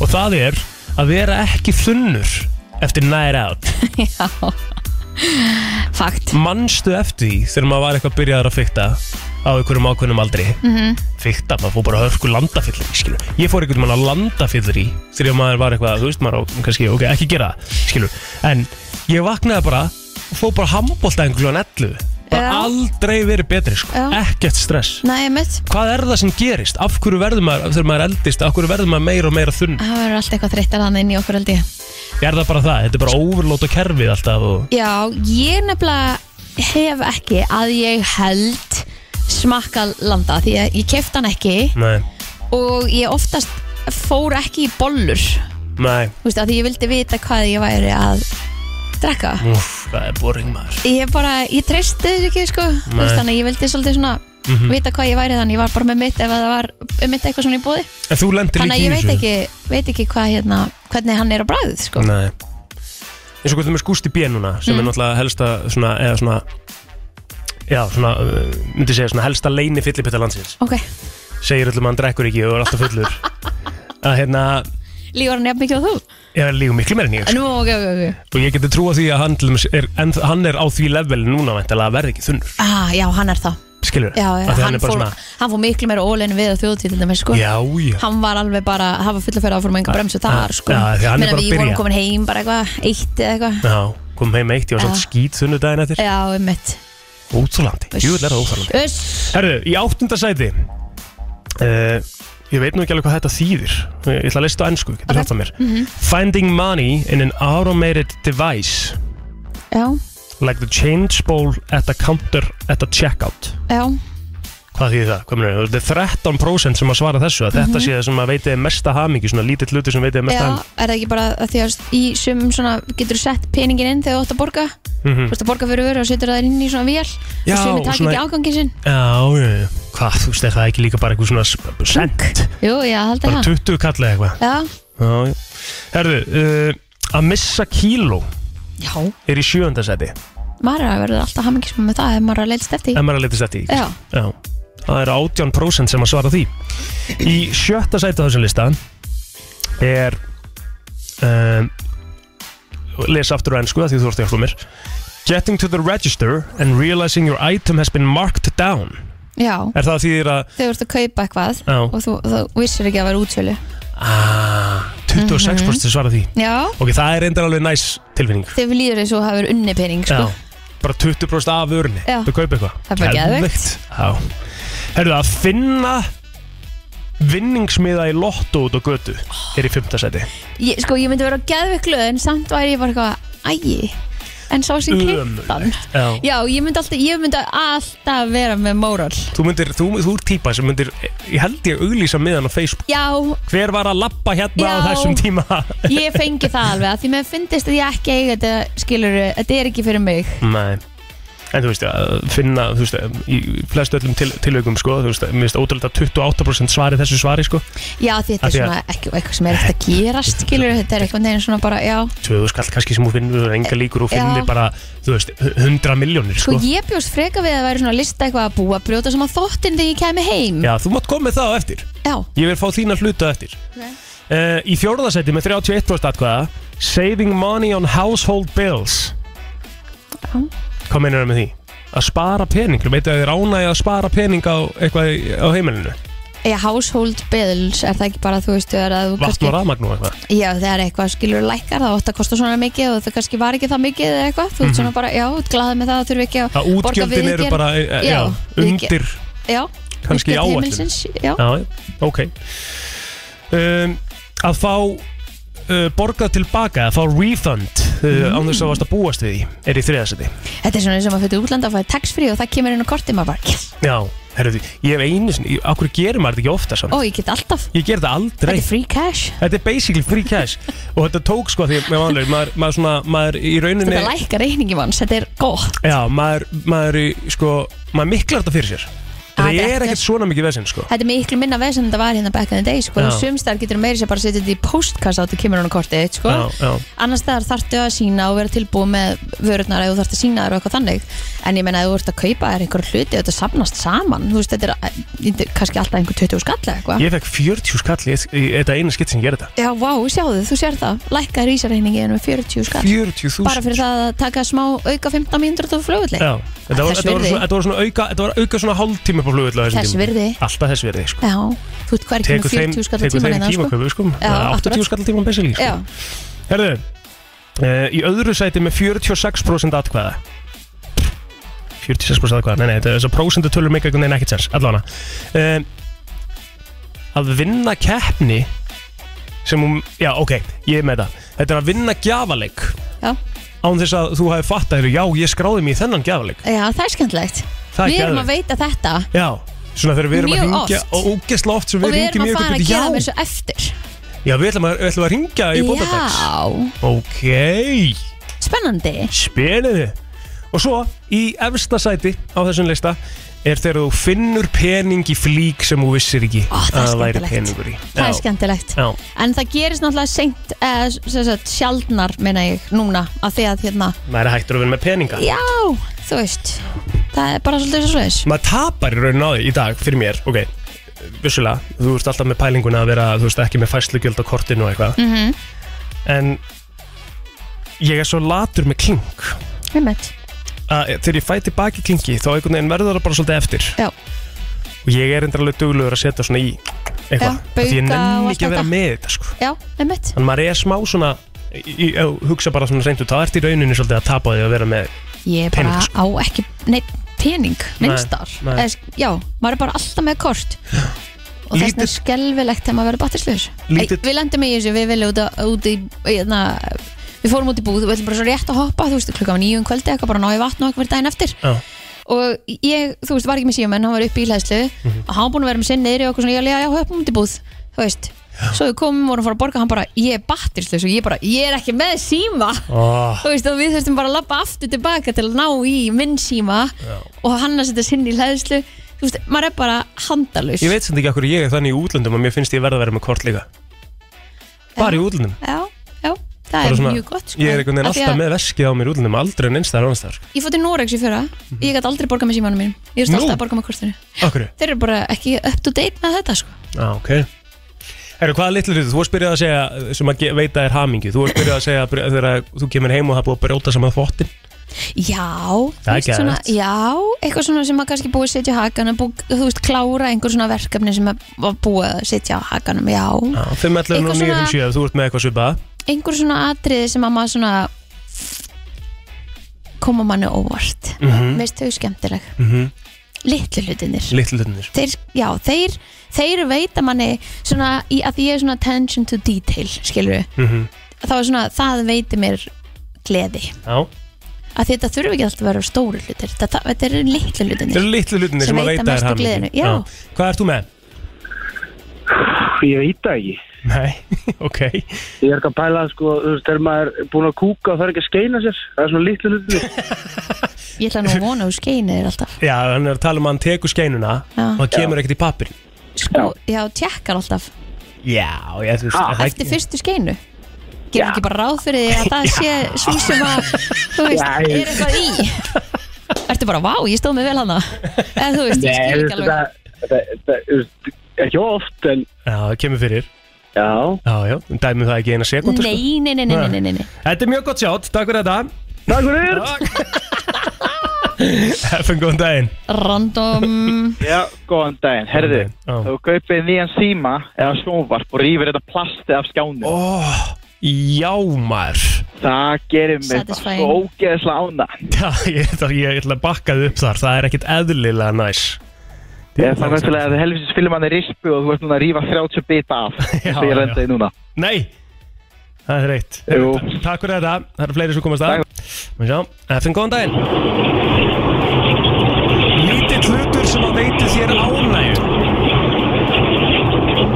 [SPEAKER 3] og það er að vera ekki þunnur eftir night out
[SPEAKER 2] já Fakt
[SPEAKER 3] manstu eftir því þegar maður var eitthvað byrjaður að fykta á einhverjum ákveðnum aldri mm
[SPEAKER 2] Mhm.
[SPEAKER 3] -hmm. fykta, maður fór bara hörku landafyllir skilu. ég fór einhvern veginn að landafyllir í þegar maður var eitthvað, þú veist maður á, kannski, ok, ekki gera það, skilu en ég vaknaði bara og fór bara handbólta einhvern veginn 11 bara
[SPEAKER 2] Já.
[SPEAKER 3] aldrei verið betri, sko.
[SPEAKER 2] Já.
[SPEAKER 3] ekkert stress
[SPEAKER 2] Nei, mitt,
[SPEAKER 3] hvað er það sem gerist, af hverju verður maður þegar maður eldist, af hverju verður maður meira og meira þunn
[SPEAKER 2] það verður allt eitthvað þreyttar hann inn í okkur held ég
[SPEAKER 3] er það bara það, þetta er bara overlóta kerfið alltaf og
[SPEAKER 2] Já, ég nefnilega hef ekki að ég held smakka landa því að ég kefti hann ekki
[SPEAKER 3] nei,
[SPEAKER 2] og ég oftast fór ekki í bollur þú
[SPEAKER 3] nei,
[SPEAKER 2] veist, af því ég vildi vita hvað ég væri að drekka
[SPEAKER 3] úf, það er boring maður
[SPEAKER 2] ég bara, ég treysti þessu ekki sko Þú veist, þannig að ég vildi svolítið svona
[SPEAKER 3] Mhm.
[SPEAKER 2] vita hvað ég væri þannig, ég var bara með mitt ef að það var um mitt eitthvað svona í bóði
[SPEAKER 3] en þú lendir
[SPEAKER 2] þannig
[SPEAKER 3] líka
[SPEAKER 2] að
[SPEAKER 3] í
[SPEAKER 2] ég veit
[SPEAKER 3] þessu.
[SPEAKER 2] ekki, veit ekki hvað hérna, hvernig hann er á bræðið sko
[SPEAKER 3] Nei eins og hvernig með Gústi B núna sem
[SPEAKER 2] Mm.
[SPEAKER 3] er náttúrulega helsta svona, eða svona já, svona, uh, myndi segja svona helsta leini fyllipitta landsins
[SPEAKER 2] ok,
[SPEAKER 3] segir öllum að hann drekkur ekki og er alltaf fullur að hérna,
[SPEAKER 2] lífur hann jafn mikið og þú
[SPEAKER 3] ég er líka miklu meira en ég sko.
[SPEAKER 2] nú, ok, ok, ok
[SPEAKER 3] og ég geti trúa því að hann, til dæmis er, en, hann er á því level núna væntanlega að verði ekki þunnur
[SPEAKER 2] ah, já, hann er það
[SPEAKER 3] skilur,
[SPEAKER 2] já, já,
[SPEAKER 3] hann,
[SPEAKER 2] hann,
[SPEAKER 3] er bara
[SPEAKER 2] fór,
[SPEAKER 3] svona
[SPEAKER 2] hann fór miklu meira ólein við á þjóðtíð til dæmis sko
[SPEAKER 3] já, já,
[SPEAKER 2] hann var alveg bara, hann var full að fyrir áfram enga bremsu þar sko,
[SPEAKER 3] ah, já, því hann er
[SPEAKER 2] Meðan
[SPEAKER 3] bara að
[SPEAKER 2] við vorum
[SPEAKER 3] byrja.
[SPEAKER 2] komin heim bara eitthvað, eitt eða eitthvað
[SPEAKER 3] já, kom heim eitt, ég var svona
[SPEAKER 2] Já.
[SPEAKER 3] skýt þunnu daginn eftir
[SPEAKER 2] já, um mitt
[SPEAKER 3] óþólandi, jú, er það óþólandi Herðu, í áttunda sæti uh, Ég veit nú ekki alveg hvað þetta þýðir Ég ætla að lista á ennsku, getur okay. haft það mér
[SPEAKER 2] Mhm.
[SPEAKER 3] Finding money in an automated device
[SPEAKER 2] já,
[SPEAKER 3] Like the change bowl at the counter at the checkout
[SPEAKER 2] já,
[SPEAKER 3] Hvað þýðir það? Hvað meinarðu? Þú veist, Það er 13% sem að svara þessu að Þetta sé það sem að veitið er mesta hamingi Svona lítill hluti sem veitið er
[SPEAKER 2] Mhm. já
[SPEAKER 3] mesta
[SPEAKER 2] er
[SPEAKER 3] hamingi
[SPEAKER 2] það ekki bara að því að í sumum svona getur þú sett peningin inn þegar þú ætti að borga
[SPEAKER 3] mm
[SPEAKER 2] þú ætti að borga fyrir vöru og setur það inn í svona vél
[SPEAKER 3] Já,
[SPEAKER 2] og sumi
[SPEAKER 3] og
[SPEAKER 2] takk
[SPEAKER 3] svona-
[SPEAKER 2] ekki ágangin sinn
[SPEAKER 3] Já, já, já. hvað, þú veist, er það ekki líka bara eitthvað svona sp- sent
[SPEAKER 2] jú, já, haldið
[SPEAKER 3] Bara
[SPEAKER 2] það
[SPEAKER 3] 20 kallið eitthvað
[SPEAKER 2] já,
[SPEAKER 3] Já, já. Herðu, uh, að missa kíló
[SPEAKER 2] já,
[SPEAKER 3] er í sjöunda sæti
[SPEAKER 2] maður er að verða alltaf hamingismum með það ef maður er að leilst eftir því.
[SPEAKER 3] En maður er að litast eftir því
[SPEAKER 2] Já.
[SPEAKER 3] Já. Það eru 18% sem að svara því Í sjötta sæti á þessum lista er um, lesa aftur á ennsku af því þú ert að hjálpa mér Getting to the register and realizing your item has been marked down
[SPEAKER 2] já,
[SPEAKER 3] Er það því þér að
[SPEAKER 2] þegar þú ert að kaupa eitthvað
[SPEAKER 3] Já.
[SPEAKER 2] og þú, þú vissir ekki að vera útsölu
[SPEAKER 3] ah, 26% svara því
[SPEAKER 2] já,
[SPEAKER 3] Ok, það er reyndar alveg næs tilfinning
[SPEAKER 2] þegar við líður eins og hafa verið unni pening sko.
[SPEAKER 3] Já, bara 20% af vörunni
[SPEAKER 2] Já.
[SPEAKER 3] Þú kaupir eitthvað
[SPEAKER 2] Það er bara geðveikt.
[SPEAKER 3] Geðveikt. Já Herðu að finna vinningsmiða í lotto út á götu er í fymta seti
[SPEAKER 2] ég, sko, ég myndi vera geðveik glöð en samt væri ég bara eitthvað ægi, en sá sem kittan
[SPEAKER 3] Já.
[SPEAKER 2] já, ég myndi alltaf, ég myndi alltaf vera með móral
[SPEAKER 3] Þú myndir, þú, þú er típa sem myndir ég held ég auglýsa miðan á Facebook
[SPEAKER 2] já,
[SPEAKER 3] Hver var að lappa hérna á
[SPEAKER 2] Já.
[SPEAKER 3] þessum tíma?
[SPEAKER 2] ég fengi það alveg að því mér finnist að ég ekki eiga þetta skilur, þetta er ekki fyrir mig
[SPEAKER 3] Nei En þú veist, að finna, þú veist, í flest öllum til, tilaukum, sko, þú veist, mér veist ótrúlega 28% svari þessu svari, sko.
[SPEAKER 2] já, því þetta
[SPEAKER 3] Af
[SPEAKER 2] er
[SPEAKER 3] því að-
[SPEAKER 2] svona ekki, eitthvað sem er ekkert að gerast skilur, þetta er eitthvað neginn svona bara, já
[SPEAKER 3] Tvöðu skall kannski sem þú finnur, þú enga líkur og finnir
[SPEAKER 2] Já.
[SPEAKER 3] bara, þú veist, 100 miljónir,
[SPEAKER 2] Sko
[SPEAKER 3] sko.
[SPEAKER 2] ég bjóst freka við að það væri svona lista eitthvað að búa brjóta sem að þóttin þegar ég kemi heim
[SPEAKER 3] Já, þú mátt koma með það á eftir.
[SPEAKER 2] Já.
[SPEAKER 3] Ég vil fá þína hluta á eftir. Uh, í fjórðasæti með 31% atkvæða, saving money on household bills.
[SPEAKER 2] Já.
[SPEAKER 3] Hvað meinar það með því? Að spara pening, þú veit að þið er ánægja að spara pening á eitthvað í- á heimilinu.
[SPEAKER 2] Já, household bills, er það ekki bara þú veistu er að þú
[SPEAKER 3] Vatn og rafmagn og eitthvað.
[SPEAKER 2] Já, það er eitthvað skilur lækkar, það ótt að kosta svona mikið og það kannski var ekki það mikið eða eitthvað Þú ert
[SPEAKER 3] Mhm.
[SPEAKER 2] svona bara, já, þú ert glaðið með það, það þurfi ekki að
[SPEAKER 3] Að
[SPEAKER 2] borga
[SPEAKER 3] útgjöldin eru
[SPEAKER 2] viðgerð.
[SPEAKER 3] bara, eh, eh, já, undir
[SPEAKER 2] Já,
[SPEAKER 3] kannski í
[SPEAKER 2] útgjöld
[SPEAKER 3] áætlun.
[SPEAKER 2] heimilisins, Já,
[SPEAKER 3] Já, já, ok um, Að fá uh, borgað tilbaka, að fá refund uh, án þess að varst að búast við því er í þriðasæti
[SPEAKER 2] þetta er svona eins og maður fyrir útlanda og fæði tax free og það kemur inn á korti maður bara, yes,
[SPEAKER 3] Já, herru því, ég hef einu sinni, ég- á hverju gerir maður þetta ekki ofta samt?
[SPEAKER 2] ó, ég get alltaf
[SPEAKER 3] Ég ger þetta aldrei
[SPEAKER 2] Þetta er free cash
[SPEAKER 3] Þetta er basically free cash og þetta tók sko því með vanlega, maður, maður svona, maður í rauninni
[SPEAKER 2] Þetta lækkar reyningi manns, þetta er gott
[SPEAKER 3] Já, maður, maður í, sko, maður miklar þetta fyrir sér
[SPEAKER 2] Ah,
[SPEAKER 3] Þetta
[SPEAKER 2] þetta
[SPEAKER 3] er
[SPEAKER 2] er-
[SPEAKER 3] ekkert svona mikið vesinn sko
[SPEAKER 2] Þetta er miklu minna veð sem þetta var hérna back in the day sko.
[SPEAKER 3] Já.
[SPEAKER 2] Sumstar getur meiri sér bara að setja þetta í postkassa og þetta kemur hann á kortið þitt, sko.
[SPEAKER 3] Já, já.
[SPEAKER 2] Annars þegar þarftu að sína og vera tilbúið með vörurnar eða þú þarftu að sína þér og eitthvað þannig En ég meina að þú ert að kaupa þér einhverja hluti og þetta sapnast saman Þú veist, þetta er þetta er kannski alltaf einhver 20 skall eða eitthvað
[SPEAKER 3] Ég fekk 40 skall í, í, í þetta eina skitt sem ég ger þetta
[SPEAKER 2] Já, vá, sjáðu, þú sér það Lækkar ísarreyningin með 40 skall
[SPEAKER 3] 40.000.
[SPEAKER 2] Bara fyrir það að taka smá auka 15 mínútur og flugulli
[SPEAKER 3] Já, þetta var,
[SPEAKER 2] Þess
[SPEAKER 3] þetta var,
[SPEAKER 2] virði.
[SPEAKER 3] svona, þetta var svona auka, þetta var auka svona hálftími upp á flugvöldu
[SPEAKER 2] Þess virði.
[SPEAKER 3] Alltaf þess virði, sko
[SPEAKER 2] Já, þú ert hverjum
[SPEAKER 3] Tekur
[SPEAKER 2] með
[SPEAKER 3] þeim,
[SPEAKER 2] 40 skall
[SPEAKER 3] tekur þeim
[SPEAKER 2] tíman
[SPEAKER 3] tímaköfu, sko
[SPEAKER 2] Já,
[SPEAKER 3] Það er 80
[SPEAKER 2] akkurat.
[SPEAKER 3] skall tíma basically, sko
[SPEAKER 2] Já,
[SPEAKER 3] Herðu, uh, í öðru sæti með 46% atkvæða 46% atkvæða, nei, nei, þetta er þess að prósendu tölur meika einhvern veginn ekkert sens, allavega uh, Að vinna keppni sem um, já, ok, ég er með þetta Þetta er að vinna gjafaleik
[SPEAKER 2] já,
[SPEAKER 3] án þess að þú hafi fatt að já, ég skráði mig í þennan gjafaleik
[SPEAKER 2] já, það er skemmtlegt
[SPEAKER 3] Það er
[SPEAKER 2] Við erum að
[SPEAKER 3] geðveikt.
[SPEAKER 2] veita þetta
[SPEAKER 3] Já, svona þegar við erum að
[SPEAKER 2] Mjög
[SPEAKER 3] ringja
[SPEAKER 2] oft.
[SPEAKER 3] og ógesla oft sem
[SPEAKER 2] og
[SPEAKER 3] við
[SPEAKER 2] við erum að
[SPEAKER 3] ringjum í ykkur
[SPEAKER 2] fara að
[SPEAKER 3] byrju,
[SPEAKER 2] gera þessu
[SPEAKER 3] já,
[SPEAKER 2] eftir
[SPEAKER 3] já, við ætlum að, við ætlum að ringja í bóndadags
[SPEAKER 2] Já,
[SPEAKER 3] Ok,
[SPEAKER 2] spennandi
[SPEAKER 3] spennið Og svo í efsta sæti á þessum lista er þegar þú finnur pening í flík sem þú vissir ekki
[SPEAKER 2] Ó, það er
[SPEAKER 3] að væri
[SPEAKER 2] skemmtilegt.
[SPEAKER 3] peningur í
[SPEAKER 2] Það er skemmtilegt
[SPEAKER 3] Já,
[SPEAKER 2] En það gerist náttúrulega seint eh, sem sagt, sjaldnar, meina ég, núna af því að hérna,
[SPEAKER 3] maður er hættur að vinna með peninga
[SPEAKER 2] já, þú veist það er bara svolítið svo svoleiðis
[SPEAKER 3] maður tapar í raunin á því í dag fyrir mér ok, vissulega, þú ert alltaf með pælinguna að vera, þú veist, ekki með fæslugjöld á kortinu og eitthvað
[SPEAKER 2] Mhm.
[SPEAKER 3] en ég er svo latur með klink
[SPEAKER 2] Einmitt.
[SPEAKER 3] að þegar ég fæ tilbaki klingi þá einhvern veginn verður það bara svolítið eftir
[SPEAKER 2] Já.
[SPEAKER 3] og ég er endur alveg duglegur að setja svona í
[SPEAKER 2] Já,
[SPEAKER 3] eitthvað, af því
[SPEAKER 2] bauka
[SPEAKER 3] ég
[SPEAKER 2] og
[SPEAKER 3] nenni
[SPEAKER 2] allt
[SPEAKER 3] ekki að vera
[SPEAKER 2] þetta.
[SPEAKER 3] með þetta sko.
[SPEAKER 2] Já, einmitt
[SPEAKER 3] þannig maður er smá svona í- í- ef þú hugsa bara svona reyndu, þá ert í rauninni svolítið að tapa á því að vera með
[SPEAKER 2] Ég bara
[SPEAKER 3] Pening,
[SPEAKER 2] á ekki, neitt pening
[SPEAKER 3] Nei,
[SPEAKER 2] minnstar,
[SPEAKER 3] nei.
[SPEAKER 2] já, maður er bara alltaf með kort og þess vegna er
[SPEAKER 3] Lítið-
[SPEAKER 2] skelvilegt þegar maður verður battisluður
[SPEAKER 3] Lítið-
[SPEAKER 2] við lendum í þessu, við viljum út, á- út í hérna, við fórum út í búð við ætlum bara svo rétt að hoppa, þú veist, klukka var nýjum kvöldi eitthvað bara ná í vatn og eitthvað daginn eftir
[SPEAKER 3] Já.
[SPEAKER 2] og ég, þú veist, var ekki með síðan menn hann var upp í hlæðslu
[SPEAKER 3] Mhm.
[SPEAKER 2] og hann var búin að vera með sinn niðri og okkur svona, ég lega, já, hoppum út í búð þú veist, svo við komum, vorum að fara að borga hann bara, ég er battisluður og ég bara, ég er ekki með síma
[SPEAKER 3] oh,
[SPEAKER 2] Þú veist, og við þurftum bara að lappa aftur tilbaka til að ná í minn síma og hann að setja sinn í hlæðslu Þú veist, maður er bara handalaus
[SPEAKER 3] ég veit sem ekki okkur ég er þannig í útlöndum að mér finnst ég verða að vera með kort líka bara í útlöndum
[SPEAKER 2] Já, já, það
[SPEAKER 3] Bara
[SPEAKER 2] er
[SPEAKER 3] svona-
[SPEAKER 2] mjög gott sko.
[SPEAKER 3] Ég er einhvern veginn
[SPEAKER 2] Af því
[SPEAKER 3] alltaf
[SPEAKER 2] að
[SPEAKER 3] með veskið á mér útlunum Aldrei en einstæðar ánstæðar
[SPEAKER 2] Ég fótti Noregs í fyrra, ég gæti aldrei borgað með símanum mínum Ég veist
[SPEAKER 3] Mhm. Nú?
[SPEAKER 2] alltaf að borga með kortinu
[SPEAKER 3] Okkur
[SPEAKER 2] Þeir eru bara ekki up to date með þetta sko.
[SPEAKER 3] Já, ok Herru, hvaða litlu hlutu? Þú varst byrjað að segja uh, sem að ge- veita er hamingju Þú varst byrjað að segja byrja- þegar að þú kemur heim og það er búið að brjóta saman þvottin
[SPEAKER 2] Já,
[SPEAKER 3] Það
[SPEAKER 2] þú
[SPEAKER 3] er
[SPEAKER 2] veist, svona,
[SPEAKER 3] geðveikt.
[SPEAKER 2] já, eitthvað svona sem maður kannski búið að setja á hakanum búið, Þú veist, klára einhver svona verkefni sem maður búið að setja á hakanum Já,
[SPEAKER 3] Já, 511 og
[SPEAKER 2] Ah. Eitthvað
[SPEAKER 3] 957 ef Þú ert með eitthvað svipað
[SPEAKER 2] einhver svona atriði sem að maður svona koma manni óvart
[SPEAKER 3] Mhm.
[SPEAKER 2] Mér finnst þau skemmtileg
[SPEAKER 3] mm -hmm.
[SPEAKER 2] litlu hlutinir
[SPEAKER 3] litlu hlutinir
[SPEAKER 2] þeir, já, þeir, þeir veita manni svona, í, að því ég er svona attention to detail skilur við,
[SPEAKER 3] Mhm.
[SPEAKER 2] þá er svona það veiti mér gleði
[SPEAKER 3] Já,
[SPEAKER 2] að því þetta þurfi ekki alltaf að vera stóru hlutir þetta, þetta eru litlu hlutinir
[SPEAKER 3] þeir eru litlu hlutinir sem,
[SPEAKER 2] Sem
[SPEAKER 3] að
[SPEAKER 2] veita
[SPEAKER 3] veita þér
[SPEAKER 2] mestu
[SPEAKER 3] hamingju.
[SPEAKER 2] gleðinu, já.
[SPEAKER 3] Hvað ert þú með?
[SPEAKER 10] Ég veit það ekki.
[SPEAKER 3] Nei, ok
[SPEAKER 10] Ég er ekki að pæla sko, þú veist, er maður búin að kúka og það er ekki að skeina sér. Það er svona litlu hlutinni.
[SPEAKER 2] ég ætla nú að vona úr skeinu þér alltaf
[SPEAKER 3] Já, hann er að tala um að hann tekur skeinuna
[SPEAKER 2] Já.
[SPEAKER 3] og það kemur ekkert í pappir
[SPEAKER 2] sko, já, tjekkar alltaf
[SPEAKER 3] Já, ég þú veist er það
[SPEAKER 2] eftir
[SPEAKER 3] ekki-
[SPEAKER 2] fyrstu skeinu gerum ekki bara ráð fyrir því að það sé svo sem að, þú veist,
[SPEAKER 10] Já, ég-
[SPEAKER 2] er eitthvað í ertu bara, vá, ég stóð mig vel hana en þú veist, ég skil ekki alveg
[SPEAKER 10] alveg. Ekki oft, en
[SPEAKER 3] Já, það kemur fyrir
[SPEAKER 10] já.
[SPEAKER 3] Já, já, dæmum það ekki í eina sekundu
[SPEAKER 2] nei, nei, nei, nei, nei, nei, nei.
[SPEAKER 3] Þetta er mjög gott sjátt, takk fyrir þetta
[SPEAKER 10] Takk fyrir!
[SPEAKER 3] Hefum góðan daginn
[SPEAKER 2] random
[SPEAKER 11] Já, góðan daginn. Herðu,
[SPEAKER 3] Já.
[SPEAKER 11] þú kaupið nýjan síma eða sjónvarp og rýfur þetta plastið af skjánum.
[SPEAKER 3] oh, Já, maður
[SPEAKER 11] Það gerir mig bara
[SPEAKER 2] Satisfying.
[SPEAKER 11] svo ógeðslega ána.
[SPEAKER 3] Já, ég, það, ég ætla að bakka þið upp þar Það er ekkert eðlilega næs
[SPEAKER 11] Ég fann náttúrulega að helfisins filmann er rispu og þú ert núna að rýfa 30 bita af.
[SPEAKER 3] Já,
[SPEAKER 11] Það ég lenda í núna.
[SPEAKER 3] Nei, það er reitt
[SPEAKER 11] Jú.
[SPEAKER 3] Takk fyrir þetta, það eru fleiri sem komast að Má sjá, FN góðan daginn Lítill hlutur sem að veiti þér ánægju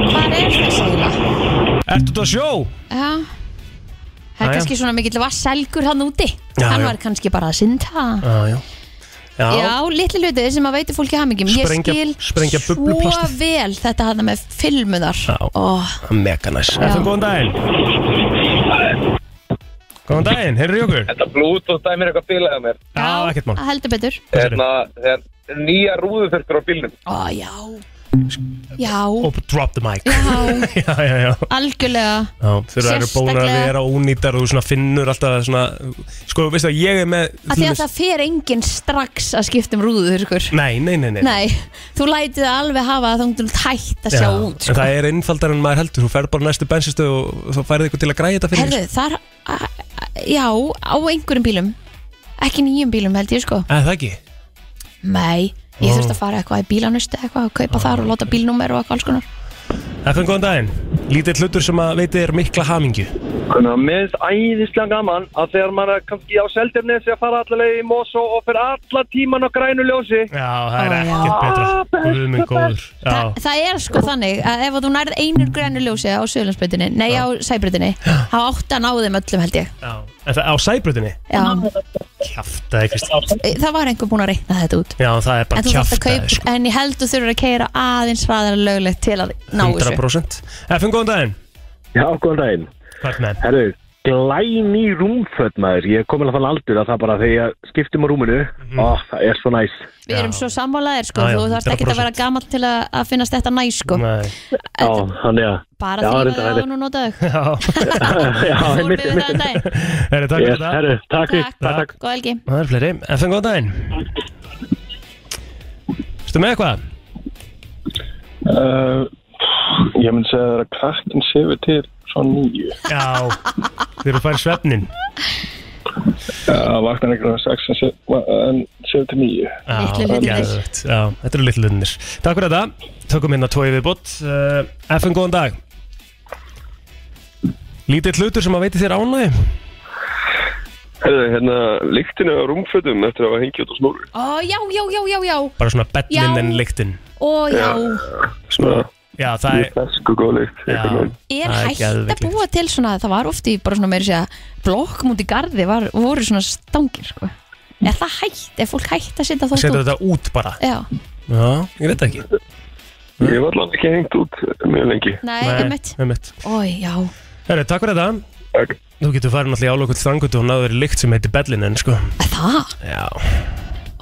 [SPEAKER 2] hvað er þess eiginlega?
[SPEAKER 3] Ertu þetta sjó?
[SPEAKER 2] Já. það
[SPEAKER 3] Jæja.
[SPEAKER 2] er kannski svona mikill vasselgur hann úti
[SPEAKER 3] Já,
[SPEAKER 2] hann
[SPEAKER 3] já.
[SPEAKER 2] var kannski bara að synda
[SPEAKER 3] Ah, já, já
[SPEAKER 2] já, litli hluti sem að veiti fólki hamingjum ég
[SPEAKER 3] Sprengja-
[SPEAKER 2] skil
[SPEAKER 3] sprengja
[SPEAKER 2] svo
[SPEAKER 3] bubluplastið.
[SPEAKER 2] vel þetta hann með filmuðar
[SPEAKER 3] Já.
[SPEAKER 2] oh,
[SPEAKER 3] Mega næs FN góðan daginn Góðan daginn, heyrðu í okkur
[SPEAKER 7] Þetta Bluetooth dæmir eitthvað bílaðið mér
[SPEAKER 3] Já, ekkert mál
[SPEAKER 2] heldur betur
[SPEAKER 3] Hérna,
[SPEAKER 7] þegar nýja rúðu þurftur á bílnum
[SPEAKER 2] ó, já já,
[SPEAKER 3] Og Oh, drop the mic
[SPEAKER 2] já
[SPEAKER 3] Já, já, já
[SPEAKER 2] algjörlega
[SPEAKER 3] Já, þegar það eru búin að
[SPEAKER 2] Sérstaklega-
[SPEAKER 3] vera ónýtar og þú svona finnur alltaf svona Sko, veistu að ég er með
[SPEAKER 2] að því að það fer enginn strax að skipta um rúður skur.
[SPEAKER 3] Nei, nei, nei, nei
[SPEAKER 2] nei, þú lætið það alveg hafa að þú ert hægt að sjá
[SPEAKER 3] Já,
[SPEAKER 2] út
[SPEAKER 3] En
[SPEAKER 2] sko.
[SPEAKER 3] það er einfaldar en maður heldur Þú ferð bara á næstu bensinstöð og þú færið eitthvað til að græja þetta fyrir
[SPEAKER 2] herðu,
[SPEAKER 3] þig,
[SPEAKER 2] þar a- a- já, á einhverjum bílum ekki nýjum bílum held ég sko
[SPEAKER 3] sko. Eða það ekki?
[SPEAKER 2] nei, ég
[SPEAKER 3] Ó.
[SPEAKER 2] þurfti að fara eitthvað í bílanustu eitthvað að kaupa þar og láta bílnúmer og eitthvað alls konar
[SPEAKER 3] FN, góðan daginn Lítið hlutur sem að veitir þér mikla hamingju
[SPEAKER 4] Þannig að mér finnst æðislega gaman að þegar maður er kannski á seldefnesi að fara allavega í Mosó og fyrir alla tíman á grænu ljósi.
[SPEAKER 3] Já, það
[SPEAKER 2] Ó,
[SPEAKER 3] er
[SPEAKER 2] já.
[SPEAKER 3] ekkert betra Guð minn góður Já,
[SPEAKER 2] Þa, það er sko þannig að ef að þú nærð einur grænu ljósi á Suðurlandsbreytinni, nei á Sæbreytinni þá átt að ná þeim öllum held ég
[SPEAKER 3] já En það á sæbrutinni?
[SPEAKER 2] já.
[SPEAKER 3] Kjaftaði, Kristi
[SPEAKER 2] það var einhver búin að reyna þetta út
[SPEAKER 3] Já, það er
[SPEAKER 2] en
[SPEAKER 3] bara
[SPEAKER 2] þú þarft að
[SPEAKER 3] kjaftaði,
[SPEAKER 2] kaupa,
[SPEAKER 3] sko
[SPEAKER 2] en ég held þú þurfur að keira aðeins hraðar löglegt til að ná þessu
[SPEAKER 3] 100% FN, góðan daginn
[SPEAKER 10] Já, góðan daginn.
[SPEAKER 3] Hvað er með?
[SPEAKER 10] Herru, glæni rúmföt maður. Ég er komin að þann aldur að það bara þegar ég skiptum á rúminu, ó, það er svo næs.
[SPEAKER 2] við erum
[SPEAKER 3] Já.
[SPEAKER 2] svo sammálaðir sko,
[SPEAKER 3] Já, já,
[SPEAKER 2] þú þarft ekki að
[SPEAKER 3] 100%.
[SPEAKER 2] vera gammal til að, að finnast þetta næ sko,
[SPEAKER 3] Nei
[SPEAKER 10] Já, þannig að,
[SPEAKER 2] bara
[SPEAKER 10] Já,
[SPEAKER 2] því að
[SPEAKER 10] reyndar,
[SPEAKER 2] það
[SPEAKER 10] reyndar.
[SPEAKER 2] á nú notaðu
[SPEAKER 3] Já
[SPEAKER 10] já,
[SPEAKER 2] fór
[SPEAKER 10] einmitt,
[SPEAKER 2] með þetta
[SPEAKER 10] einmitt.
[SPEAKER 2] dag
[SPEAKER 3] Herri, takk fyrir
[SPEAKER 10] Yes,
[SPEAKER 3] það
[SPEAKER 10] herru, takk fyrir.
[SPEAKER 2] takk, takk, góð helgi
[SPEAKER 3] Það er fleiri FN, góðan daginn Ertu með eitthvað?
[SPEAKER 4] Uh, ég myndi segja það að krakkin sefur til svo nýju.
[SPEAKER 3] Já Þeir eru að fara í svefnin
[SPEAKER 4] Það vaknar einhverjum sex en sef- en sefur til nýju.
[SPEAKER 3] Já,
[SPEAKER 2] Litlu hlutirnir.
[SPEAKER 3] geðveikt. Já, þetta eru litlu hlutinir Takk fyrir þetta, tökum hérna tói viðbútt uh, FN, góðan dag Lítill hlutur sem að veiti þér ánægi
[SPEAKER 4] Herðu, hérna, lyktinu á rúmfötum eftir að hafa hengið út á snúru.
[SPEAKER 2] ó já, já, já, já, já,
[SPEAKER 3] Bara svona bellin
[SPEAKER 2] Já.
[SPEAKER 3] en lyktin
[SPEAKER 2] ó já
[SPEAKER 4] Svona,
[SPEAKER 3] Já, það
[SPEAKER 4] ég
[SPEAKER 3] er
[SPEAKER 4] fesku góð lykt.
[SPEAKER 3] Já,
[SPEAKER 4] einhvern veginn.
[SPEAKER 2] er
[SPEAKER 3] það
[SPEAKER 2] hægt að
[SPEAKER 3] geðveikt lykt.
[SPEAKER 2] búa til svona það var ofti bara svona meiri segja blokkum út í garði var, voru svona stangir sko. er það hægt, er fólk hægt að setja þótt
[SPEAKER 3] Setja
[SPEAKER 2] út
[SPEAKER 3] þetta út bara
[SPEAKER 2] já,
[SPEAKER 3] Já, ég veit það ekki
[SPEAKER 4] Ég var allavega ekki hengt út mjög lengi.
[SPEAKER 2] nei, einmitt
[SPEAKER 3] einmitt.
[SPEAKER 2] ó já,
[SPEAKER 3] Herri, takk fyrir þetta
[SPEAKER 4] Takk.
[SPEAKER 3] Þú getur farin alltaf í álokull strangutu og náður lykt sem heitir bellin en sko
[SPEAKER 2] það
[SPEAKER 3] Já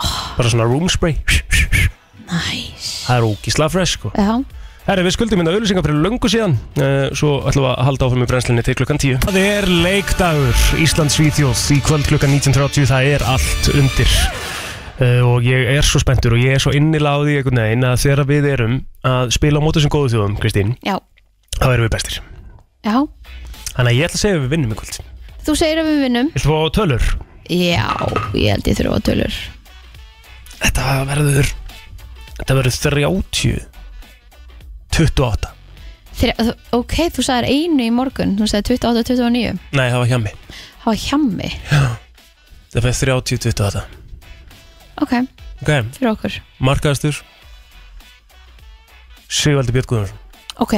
[SPEAKER 2] Oh.
[SPEAKER 3] Bara svona room spray
[SPEAKER 2] næs,
[SPEAKER 3] Það er ógísla fresh sko
[SPEAKER 2] já
[SPEAKER 3] Herri, við skuldum hérna auðlýsingar fyrir löngu síðan uh, Svo ætlum við að halda áfram í brennslinni til klukkan 10 Það er leikdagur Íslands Víþjóð í kvöld klukkan 19.30 Það er allt undir uh, Og ég er svo spenntur og ég er svo innilega á því einhvern veginn að þegar við erum að spila á móti sem góðu þjóðum, Kristín
[SPEAKER 2] Já,
[SPEAKER 3] Þá erum við bestir
[SPEAKER 2] já,
[SPEAKER 3] Þannig að ég ætla að segja að við vinnum í kvöld
[SPEAKER 2] þú segir að við vinnum
[SPEAKER 3] Viltu fá tölur?
[SPEAKER 2] Já, ég held ég þurfa tölur
[SPEAKER 3] Þetta verður Það verður 30 28
[SPEAKER 2] Þeir, ok, þú sagðir einu í morgun þú sagðir 28, 29
[SPEAKER 3] Nei, það var hjá mig
[SPEAKER 2] það var hjammi,
[SPEAKER 3] Það verður 30 28
[SPEAKER 2] ok,
[SPEAKER 3] Ok,
[SPEAKER 2] fyrir okkur
[SPEAKER 3] markaðastur Sigvaldi Björn Guðjónsson
[SPEAKER 2] ok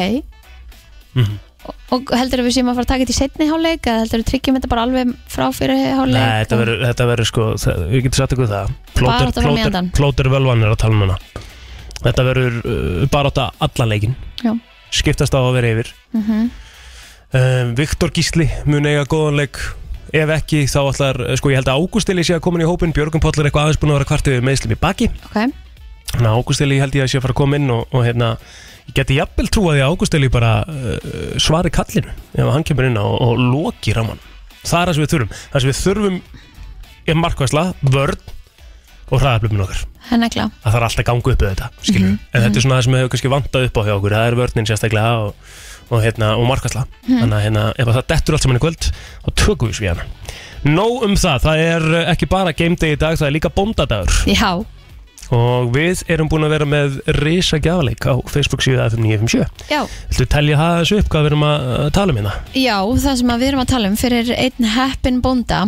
[SPEAKER 3] Mhm.
[SPEAKER 2] og, og heldur að við séum að fara að taka þetta í setni háleik eða heldur að tryggjum þetta bara alveg frá fyrir háleik
[SPEAKER 3] Nei, þetta verður, þetta verður sko, það, við getum sagt ykkur það
[SPEAKER 2] Barátta fram í
[SPEAKER 3] plóter,
[SPEAKER 2] endan.
[SPEAKER 3] plóter völvan er að tala um hana Þetta verður uh, bara átta allan leikin
[SPEAKER 2] Já.
[SPEAKER 3] Skiptast á að vera yfir
[SPEAKER 2] Mhm.
[SPEAKER 3] um, Viktor Gísli mun eiga góðan leik Ef ekki, þá ætlar, eh, sko ég held að Ágústili sé að komin í hópin Björgum Páll er eitthvað aðeins búin að vera kvartið við meðslum í baki
[SPEAKER 2] Ok.
[SPEAKER 3] Þannig að Ágústili held ég að sé að fara að koma inn og, og hérna, ég geti jafnvel trúa því að Ágústili bara uh, svari kallinu ef hann kemur inn á og, og loki raman Það er það sem við þurfum Það sem við þurfum er markvæsla, vörn og hraðaflöfum okkar
[SPEAKER 2] henni ekki
[SPEAKER 3] að það er alltaf gangu upp við þetta skilur.
[SPEAKER 2] Mhm,
[SPEAKER 3] en þetta er svona það sem hefur kannski vantað upp á hjá okkur það er vörninn sérstaklega og, og, hérna, og markasla
[SPEAKER 12] Mhm.
[SPEAKER 3] þannig að hérna, ef að það dettur allt saman í kvöld þá tökum við svíðana Nóg um það, það er eh, ekki bara game day í dag það er líka bóndadagur
[SPEAKER 2] já,
[SPEAKER 3] og við erum búin að vera með risa gjafleik á Facebook síðu FM957
[SPEAKER 2] já,
[SPEAKER 3] Viltu telja það þessu upp hvað við erum að eh, tala um hérna?
[SPEAKER 2] já, það sem að við erum að tala um fyrir einn heppin bónda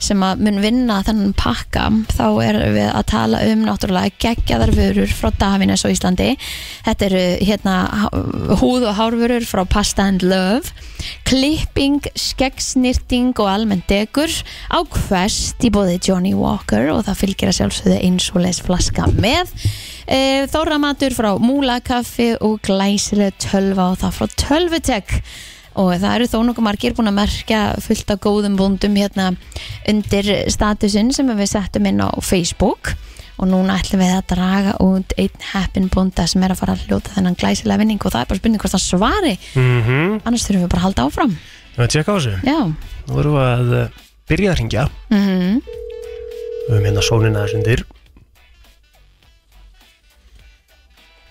[SPEAKER 2] sem að mun vinna þennan pakka þá erum við að tala um náttúrulega geggjaðar vörur frá Davines á Íslandi þetta eru hérna há- húð og hárvörur frá Pasta and Love klipping, skeggsnýrting og almennt degur á quest í bóði Johnny Walker og það fylgir að sjálfsögðu eins og leis flaska með Eh, Þóramatur frá Múlakaffi og glæsileg tölva og það frá Tölvutek og það eru þó nokkuð margir búin að merkja fullt af góðum búndum hérna undir statusinn sem við settum inn á Facebook og núna ætlum við að draga út einn heppin búnda sem er að fara að hljóta þennan glæsilega vinning og það er bara spurning hvort það svari
[SPEAKER 3] Mm -hmm.
[SPEAKER 2] annars þurfum við bara að halda áfram
[SPEAKER 3] Við að tjekka á þessu
[SPEAKER 2] Já,
[SPEAKER 3] Nú erum við að eh, byrja að ringja
[SPEAKER 2] mm
[SPEAKER 3] Við höfum hérna sónina þess undir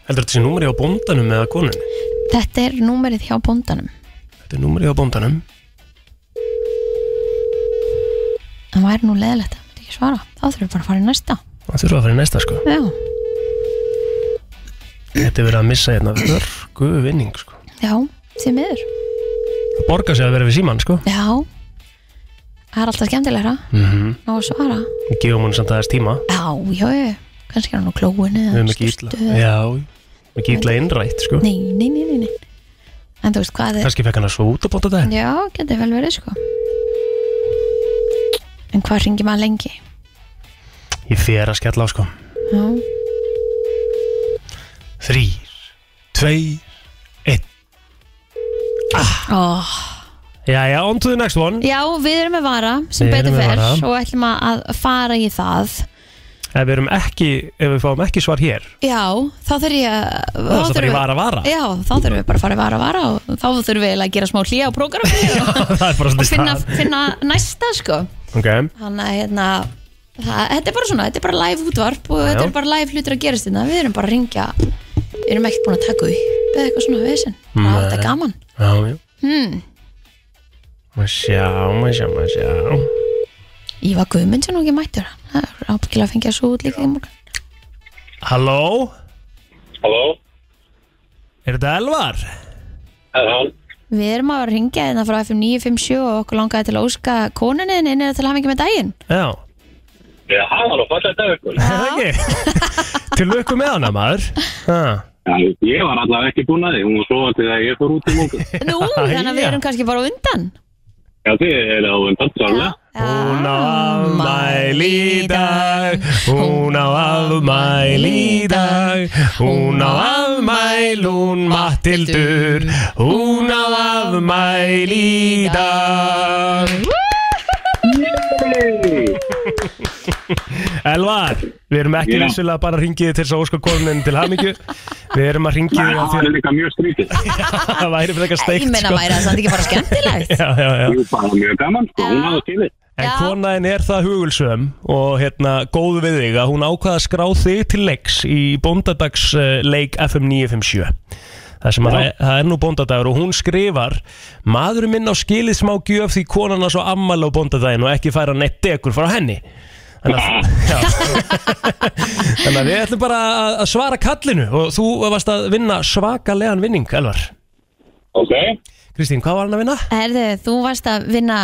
[SPEAKER 3] Heldur þetta sé númeri á bóndanum eða konunni?
[SPEAKER 2] þetta er númerið hjá búndanum
[SPEAKER 3] Þetta er númeri á bóndanum
[SPEAKER 2] það væri nú leðilegt að myndi ekki svara þá þurfum við bara að fara í næsta
[SPEAKER 3] Það þurfa að fara í næsta sko
[SPEAKER 2] Já,
[SPEAKER 3] Þetta er verið að missa hérna örgu vinning sko
[SPEAKER 2] já, því miður
[SPEAKER 3] Það borgar sig að vera við símann sko
[SPEAKER 2] Já, það er alltaf skemmtilegra
[SPEAKER 3] mm
[SPEAKER 2] Ná að svara
[SPEAKER 3] Við gefum hún samt aðeins tíma
[SPEAKER 2] Já, já, já, kannski er hann á klóinu
[SPEAKER 3] Við höfum ekki ítla Já, við höfum ekki ítla innrætt sko
[SPEAKER 2] Nei, nei, nei, nei, nei En þú veist hvað er
[SPEAKER 3] Kanski fekk hann að svo út að bónda þetta
[SPEAKER 2] Já, getur vel verið sko En hvað ringir maður lengi?
[SPEAKER 3] Ég fer að skella á sko
[SPEAKER 2] Já,
[SPEAKER 3] Þrýr, tvei, einn
[SPEAKER 2] oh.
[SPEAKER 3] Jæja, on to the next one
[SPEAKER 2] já við erum með vara sem
[SPEAKER 3] Við erum
[SPEAKER 2] betur
[SPEAKER 3] með
[SPEAKER 2] fer
[SPEAKER 3] vara.
[SPEAKER 2] og ætlum að að fara í það
[SPEAKER 3] Ef við erum ekki, ef við fáum ekki svar hér
[SPEAKER 2] Já, þá þurfum ég að þá
[SPEAKER 3] Það er það bara
[SPEAKER 2] þurfum
[SPEAKER 3] í
[SPEAKER 2] við-
[SPEAKER 3] vara vara
[SPEAKER 2] Já, þá þurfum við bara að fara í vara vara og þá þurfum við eiginlega að gera smá hlýja á prógraminu og
[SPEAKER 3] Það er bara
[SPEAKER 2] og
[SPEAKER 3] svolítið
[SPEAKER 2] finna,
[SPEAKER 3] það
[SPEAKER 2] finna næsta sko
[SPEAKER 3] Ok
[SPEAKER 2] Þannig að hérna það, Þetta er bara svona, þetta er bara live útvarp og
[SPEAKER 3] Já,
[SPEAKER 2] þetta
[SPEAKER 3] já.
[SPEAKER 2] er bara live hlutir að gerast hérna Við erum bara að ringja Við erum ekkert búin að taka upp eða eitthvað svona vesen Það er
[SPEAKER 3] Nei.
[SPEAKER 2] þetta gaman
[SPEAKER 3] Já, já
[SPEAKER 2] hmm.
[SPEAKER 3] Maður sjá, maður sjá, maður sjá
[SPEAKER 2] Ívar Guðmundsson og ekki mættur Það er ábyggilega að fengja svo út líka í morgun
[SPEAKER 3] Halló,
[SPEAKER 13] Halló,
[SPEAKER 3] er þetta Elvar?
[SPEAKER 13] það er hann.
[SPEAKER 2] Við erum að ringja hérna frá FM 957 og okkur langaði til að óska konunin inn eða til að hafa ekki með daginn
[SPEAKER 3] Já
[SPEAKER 13] Já, hann var nú fallið dagur.
[SPEAKER 3] Það ekki Til lukku með hana maður ha.
[SPEAKER 13] Já, ég var allavega ekki búin að því. Hún var svovandi þegar ég fór út í mungu.
[SPEAKER 2] Nú, þannig að við erum kannski bara á undan
[SPEAKER 13] Já, þið er á undan, sannlega.
[SPEAKER 3] Hún á afmæli í dag Hún á afmæli í dag Hún á afmæl, hún Matildur Hún á afmæli í dag Elvar, við erum ekki
[SPEAKER 13] Já.
[SPEAKER 3] vissulega bara að ringið til þess að óska konunin til hamingju Við erum að ringið
[SPEAKER 13] Það var líka mjög skrítið.
[SPEAKER 3] Það væri fyrir eitthvað steikt sko.
[SPEAKER 2] Ég meina væri það samt ekki bara skemmtilegt
[SPEAKER 3] Já, já, já
[SPEAKER 13] Jú, bara mjög gaman, sko. Hún hafði skilið.
[SPEAKER 3] En konaðin er það hugulsum og hérna góð við þig að hún ákvaða að skrá þig til leiks í eh, bóndadagsleik FM 957 Það sem
[SPEAKER 13] Já.
[SPEAKER 3] að það það er nú bóndadagur og hún skrifar Maðurinn minn á skilið smá gjöf því konan á svo ammal á bóndadaginn og ekki færa neitt degur frá henni Þannig að, já. Þannig að við ætlum bara að, að svara kallinu og þú varst að vinna svakalegan vinning, Elvar.
[SPEAKER 13] Ok.
[SPEAKER 3] Kristín, hvað var hann að vinna?
[SPEAKER 2] Herðu, þú varst að vinna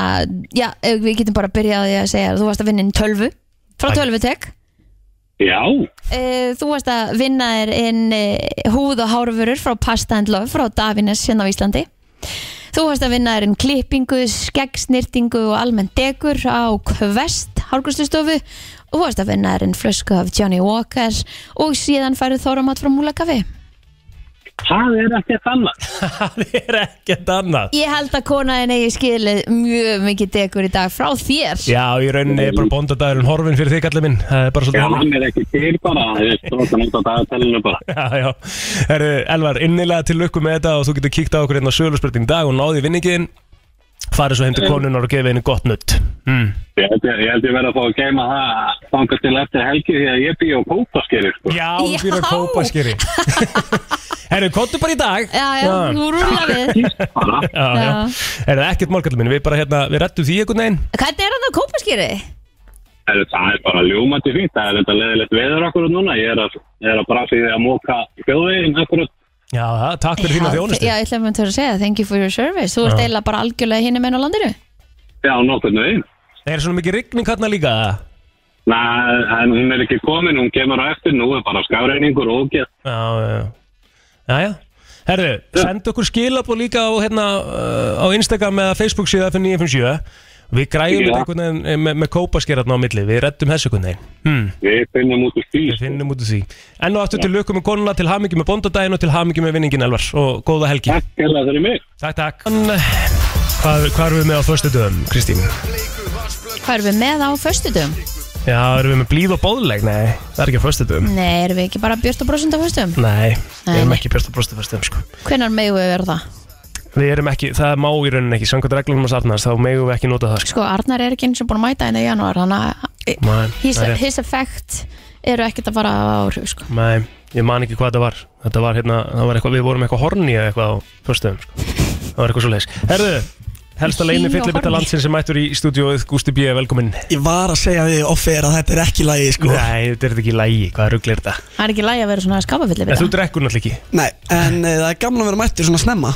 [SPEAKER 2] Já, ef við getum bara að byrja á því að segja Þú varst að vinna inn tölvu Frá
[SPEAKER 3] Æ.
[SPEAKER 2] tölvutek
[SPEAKER 13] Já.
[SPEAKER 2] Eh, Þú varst að vinna þér inn eh, húð og hárvörur frá Pasta and Love frá Davines hérna á Íslandi Þú varst að vinna þér inn klippingu, skeggsnýrtingu og almenn degur á Kvest hárgrustustofu og þú varst að vinna þér inn flösku af Johnny Walker og síðan færðu þóramat frá Múlakafi
[SPEAKER 13] Það er ekkert annað.
[SPEAKER 3] Það er ekkert annað.
[SPEAKER 2] Ég held að konaðin eigi skilið mjög mikið degur í dag frá þér
[SPEAKER 3] Já, í rauninni er bara bóndadagurinn horfinn fyrir þig, allir minn. Það er bara
[SPEAKER 13] Já,
[SPEAKER 3] svolítið
[SPEAKER 13] hann er ekki til bara, þú veist, þú veist, hann út á dagatælinu bara.
[SPEAKER 3] Já, já. Herru, Elvar, innilega til lukku með þetta og þú getur kíkt á okkur hérna á sögurspurning dag og náði vinningin. Farið svo heim til konunar og gefið henni gott nutt. Mm.
[SPEAKER 13] Eh. Ég held ég, ég, held ég verði að fá að geima það þangað til eftir helgi því að ég býð á kópaskerir, sko.
[SPEAKER 3] Já, þú býr að kópa skeri Herru, kontu bara í dag
[SPEAKER 2] Já, já, þú rúlar við
[SPEAKER 3] já, já. Er það ekkert málkallum minn, við bara hérna, við rettum því einhvern veginn
[SPEAKER 2] Hvernig er hann á kópaskýri?
[SPEAKER 13] Það er- það er bara ljómandi fínt, það er þetta leðilegt veður akkurat núna. Ég er að, ég er að brasa í því að móka þjóðveginn akkurat.
[SPEAKER 3] Já, það, takk fyrir þína þjónustu
[SPEAKER 2] Já, ég ætla að mynda að segja, thank you for your service Þú ert
[SPEAKER 3] Já.
[SPEAKER 2] eiginlega bara algjörlega hinum enn á landinu
[SPEAKER 13] Já, nokkurnu veginn.
[SPEAKER 3] Er svona mikið rigning hérna líka?
[SPEAKER 13] Nei, en hún er ekki komin, hún kemur á eftir, nú er bara skafreiningur og ógeð.
[SPEAKER 3] Já, já, já, já. Herru, sendu okkur skilabó líka á, hérna, uh, á Instagram eða Facebook síða F957 Við græjum
[SPEAKER 13] Já.
[SPEAKER 3] þetta einhvern veginn eh, með, með kópa skerarna á milli Við rettum þessu einhvern veginn hmm.
[SPEAKER 13] Við finnum út úr því.
[SPEAKER 3] Við finnum út úr því. Enn og aftur til lukku með konuna, til hamingi með bondadaginn og til hamingi með vinningin Elvar og góða helgi
[SPEAKER 13] Takk hérlega fyrir mig
[SPEAKER 3] Takk, takk Hvað, hvað erum við með á förstu dögum, Kristín?
[SPEAKER 2] Hvað erum við með á föstudum?
[SPEAKER 3] Já, erum við með blíð og bóðleg? Nei, það er ekki á förstu dögum
[SPEAKER 2] Nei, erum við ekki bara björt og brosund á föstudum?
[SPEAKER 3] Nei, við
[SPEAKER 2] Nei,
[SPEAKER 3] erum
[SPEAKER 2] nei.
[SPEAKER 3] ekki björst og brostu fyrst sko.
[SPEAKER 2] Hvenær megum við vera það?
[SPEAKER 3] Við erum ekki, það má í rauninni ekki Samkvæmt reglum hans Arnars, þá megum við ekki nota það sko.
[SPEAKER 2] Sko, Arnar er ekki eins og búin að mæta henni í janúar Þannig að eh,
[SPEAKER 3] Nei,
[SPEAKER 2] his,
[SPEAKER 3] það er rétt.
[SPEAKER 2] his effect eru ekkert að fara á áhrif sko.
[SPEAKER 3] Nei, ég man ekki hvað það var Þetta var hérna, það var eitthvað, við vorum eitthvað horni eða eitthvað á förstu dögum sko. Það var eitthvað svo leis Herðu, helsta leini
[SPEAKER 1] Hlý og
[SPEAKER 3] fyllibita
[SPEAKER 1] horny.
[SPEAKER 3] landsins sem mættur í stúdíóið Gústi B. velkominn
[SPEAKER 1] Ég var að segja við off-air að þetta er ekki lægi sko
[SPEAKER 3] Nei, þetta er ekki lægi, hvað ruglir þetta?
[SPEAKER 2] Það er ekki lægi að vera svona skapafillir
[SPEAKER 3] En
[SPEAKER 2] við
[SPEAKER 3] þú
[SPEAKER 2] það
[SPEAKER 3] drekkur náttúrulega ekki
[SPEAKER 1] Nei, en uh, það er gaman að vera mættur svona snemma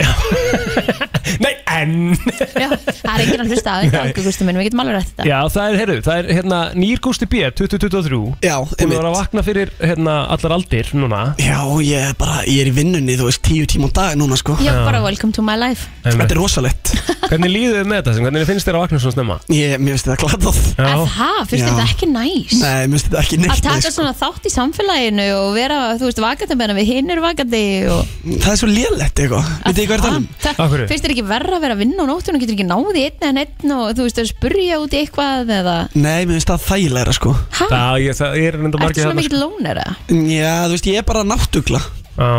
[SPEAKER 3] Nei, en
[SPEAKER 2] Það er enginn að hlusta á þetta,
[SPEAKER 3] Nei.
[SPEAKER 2] okkur gústum minn, við getum alveg rætt þetta
[SPEAKER 3] Já, það er, heyrðu, það er hérna nýr Gústi B 2023
[SPEAKER 1] Já,
[SPEAKER 3] Hún var að vakna fyrir hérna allar aldir núna
[SPEAKER 1] Já, ég er bara, ég er í vinnunni, þú veist, tíu tíma á dag núna sko
[SPEAKER 2] Já, bara welcome to my life
[SPEAKER 1] Þetta er rosalegt
[SPEAKER 3] Hvernig líður þið með þetta sem, hvernig finnst þér að vakna svona snemma?
[SPEAKER 1] Ég, mér finnst þetta glatað
[SPEAKER 3] Já,
[SPEAKER 2] Ha, finnst
[SPEAKER 1] Já.
[SPEAKER 2] þetta ekki næs?
[SPEAKER 1] Nei, mér finnst þetta ekki
[SPEAKER 2] Að
[SPEAKER 1] neitt sko.
[SPEAKER 2] taka svona þátt í samfélaginu og vera, þú veist, vakandi meðan við hinn eru vakandi og
[SPEAKER 1] Það er svo lélegt eitthvað, veit ég hvað er það um?
[SPEAKER 2] það finnst þér ekki verra að vera að vinna á nóttunum, getur ekki náði einn en einn og þú veist, að spurja út í eitthvað eða
[SPEAKER 1] Nei, mér finnst það þægilegra sko
[SPEAKER 3] Já, ég, það ég er enda
[SPEAKER 2] Ertu
[SPEAKER 3] margir
[SPEAKER 2] svona
[SPEAKER 3] hérna sko.
[SPEAKER 2] mikill lónera?
[SPEAKER 1] Já, þú veist, ég er bara náttugla
[SPEAKER 3] Já,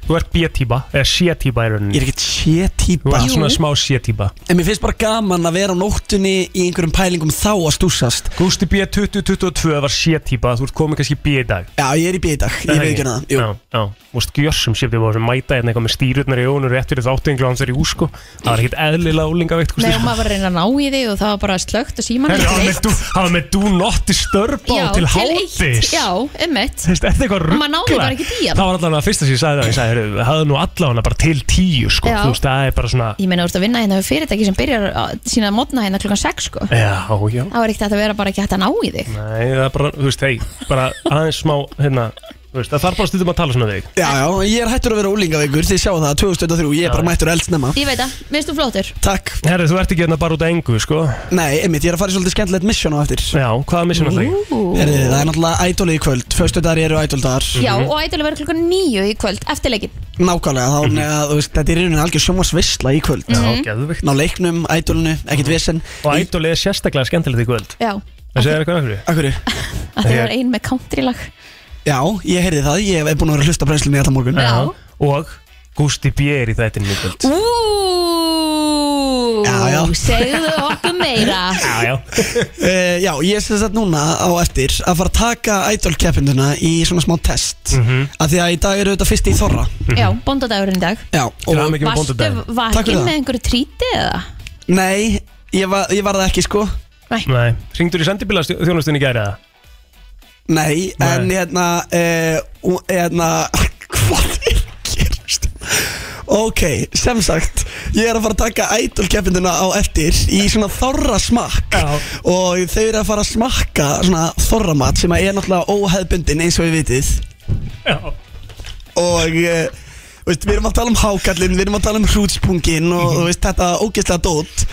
[SPEAKER 3] þú ert B-típa, eða C-típa í rauninni
[SPEAKER 1] Ég er ekkert C-típa
[SPEAKER 3] Þú ert
[SPEAKER 1] Jú.
[SPEAKER 3] svona smá C-típa
[SPEAKER 1] En mér finnst bara gaman að vera á nóttunni í einhverjum pælingum þá að stúsast
[SPEAKER 3] Gústi B 2022 var C-típa, þú ert komið kannski B í dag
[SPEAKER 1] Já, ég er í B í dag, ég veit ekki um hana
[SPEAKER 3] Já, já, þú veist gjörsum sér því að mæta hérna eitthvað með stýrutnar í ónur rétt fyrir þáttinglu hans er í úr sko Það var ekkert eðlilega úlingaveikt
[SPEAKER 2] Nei,
[SPEAKER 3] Gústi
[SPEAKER 2] og maður var að reyna að ná í þig og það var bara slögt og síman
[SPEAKER 3] Herra, hann er do- hann er með do not disturb á til hátis
[SPEAKER 2] Já, einmitt
[SPEAKER 3] Þú veist, er það eitthvað
[SPEAKER 2] Og maður náði bara
[SPEAKER 3] ruggla?
[SPEAKER 2] ekkert í hana.
[SPEAKER 3] Það var allavega fyrsta sem ég sagði það, ég sagði, heyrðu, hafðu nú allavega bara til tíu, sko,
[SPEAKER 2] Já.
[SPEAKER 3] þú veist, það er bara svona,
[SPEAKER 2] Ég meina, þú ert að vinna hérna við fyrirtæki sem byrjar að sína að mótna hérna klukkan 6 sko
[SPEAKER 3] já, já,
[SPEAKER 2] Það var ekkert að það vera bara ekki hægt að ná í þig
[SPEAKER 3] nei, það er bara, þú veist, hei, bara aðeins smá, hérna, þú veist, það þarf bara stundum að tala svona við þig.
[SPEAKER 1] Já, já, ég er hættur að vera úlingaveikur, þið sjáu það, 2023, ég er bara mættur eldsnemma
[SPEAKER 2] Ég veit að, minnst þú flottur?
[SPEAKER 1] Takk
[SPEAKER 3] Herru, þú ert ekki hérna bara út af engu, sko.
[SPEAKER 1] Nei, einmitt, ég er að fara í svolítið skemmtilegt mission á eftir
[SPEAKER 3] Já, hvaða mission á eftir?
[SPEAKER 1] Herri, það er náttúrulega ædoli í kvöld, föstudagar eru ædoldagar
[SPEAKER 2] Já, og ætla að vera klukkan 9 í kvöld, eftirleikin
[SPEAKER 1] Nákvæmlega, þá mm -hmm. veist, þetta er í rauninni algjör sjómasvisla í kvöld
[SPEAKER 3] Já, Mhm. geðveikt.
[SPEAKER 1] Ná leiknum, ædolinu, ekkert vesen
[SPEAKER 3] Og ædoli er sérstaklega skemmtilegt í kvöld.
[SPEAKER 2] Já,
[SPEAKER 3] Þessi er eitthvað af
[SPEAKER 1] Akkurri?
[SPEAKER 2] að það var ein með countrylag
[SPEAKER 1] Já, ég heyrði það, ég hef búin að vera að hlusta á brennslunni í allan morgun
[SPEAKER 3] Já. Og Gusti B er í þættinu í kvöld.
[SPEAKER 2] Ú,
[SPEAKER 1] Já, já.
[SPEAKER 2] segðu okkur meira
[SPEAKER 3] Já, já.
[SPEAKER 1] Uh, já, ég er sem sagt núna á eftir að fara að taka ædolkeppinduna í svona smá test mm
[SPEAKER 3] Mhm.
[SPEAKER 1] Af því að í dag eru þetta fyrst í þorra
[SPEAKER 2] Já, bóndadagurinn í dag
[SPEAKER 1] Já,
[SPEAKER 3] hamingju með
[SPEAKER 2] Varstu
[SPEAKER 3] bóndadaginn.
[SPEAKER 1] Takk
[SPEAKER 2] vakin
[SPEAKER 1] fyrir
[SPEAKER 2] með
[SPEAKER 1] það.
[SPEAKER 2] einhverju tríti eða?
[SPEAKER 1] Nei, ég var, ég var það ekki sko
[SPEAKER 2] Nei.
[SPEAKER 3] Nei. Ringdur í sendibíla þjónustunni gæri eða?
[SPEAKER 1] Nei, en hérna eh, og- Hérna Hvað er gerst? Ok, sem sagt Ég er að fara að taka idol keppinduna á eftir Í svona þorra smakk Já. Og þau eru að fara að smakka Svona þorramat sem er náttúrulega óheðbundin Eins og við vitið
[SPEAKER 3] Já.
[SPEAKER 1] Og eh, Veist, við erum að tala um hákallin, við erum að tala um hrútspungin og mm veist, þetta ógeðslega dót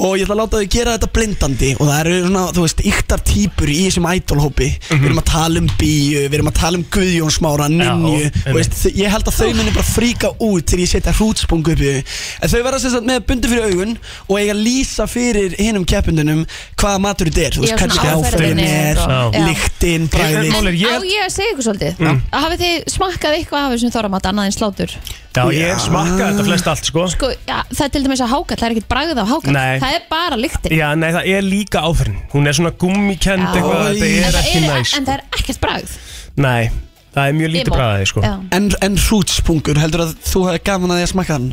[SPEAKER 1] og ég ætla að láta þau gera þetta blindandi og það eru svona, þú veist, yktar típur í þessum idolhópi við erum að tala um bíu, við erum að tala um Guðjón Smára, Ninju og veist, þau- ég held að þau munir bara fríka út þegar ég setja hrútspungu upp í þau en þau verða sem sagt með bundu fyrir augun og eiga að lýsa fyrir hinnum keppundunum hvaða matur þetta er, þú
[SPEAKER 2] Já,
[SPEAKER 1] veist,
[SPEAKER 2] svona
[SPEAKER 1] hvernig
[SPEAKER 2] áferðin
[SPEAKER 1] áferðin
[SPEAKER 2] er
[SPEAKER 1] er
[SPEAKER 2] og- Já.
[SPEAKER 1] lyktin,
[SPEAKER 2] En
[SPEAKER 1] bræðin
[SPEAKER 2] á ég að segja ykkur svolítið
[SPEAKER 3] Mm.
[SPEAKER 2] Hafið þið smakkað eitthvað af þessum þorramat annað en slátur?
[SPEAKER 3] Já, ég hef smakkað þetta flest allt, sko.
[SPEAKER 2] Sko, já, það er til dæmis að hákall, það er ekkert bragð á hákall
[SPEAKER 3] Nei.
[SPEAKER 2] Það er bara lyktin
[SPEAKER 3] Já, nei, það er líka áferðin. Hún er svona gummikend
[SPEAKER 2] Já.
[SPEAKER 3] eitthvað, þetta
[SPEAKER 2] En
[SPEAKER 3] er
[SPEAKER 2] það
[SPEAKER 3] ekki næs.
[SPEAKER 2] En það er ekkert bragð
[SPEAKER 3] Nei, það er mjög lítið
[SPEAKER 2] Emo.
[SPEAKER 3] bræðið, sko.
[SPEAKER 2] Já.
[SPEAKER 1] En, en hrútspungur, heldur að þú hefði gaman að því að smakka hann?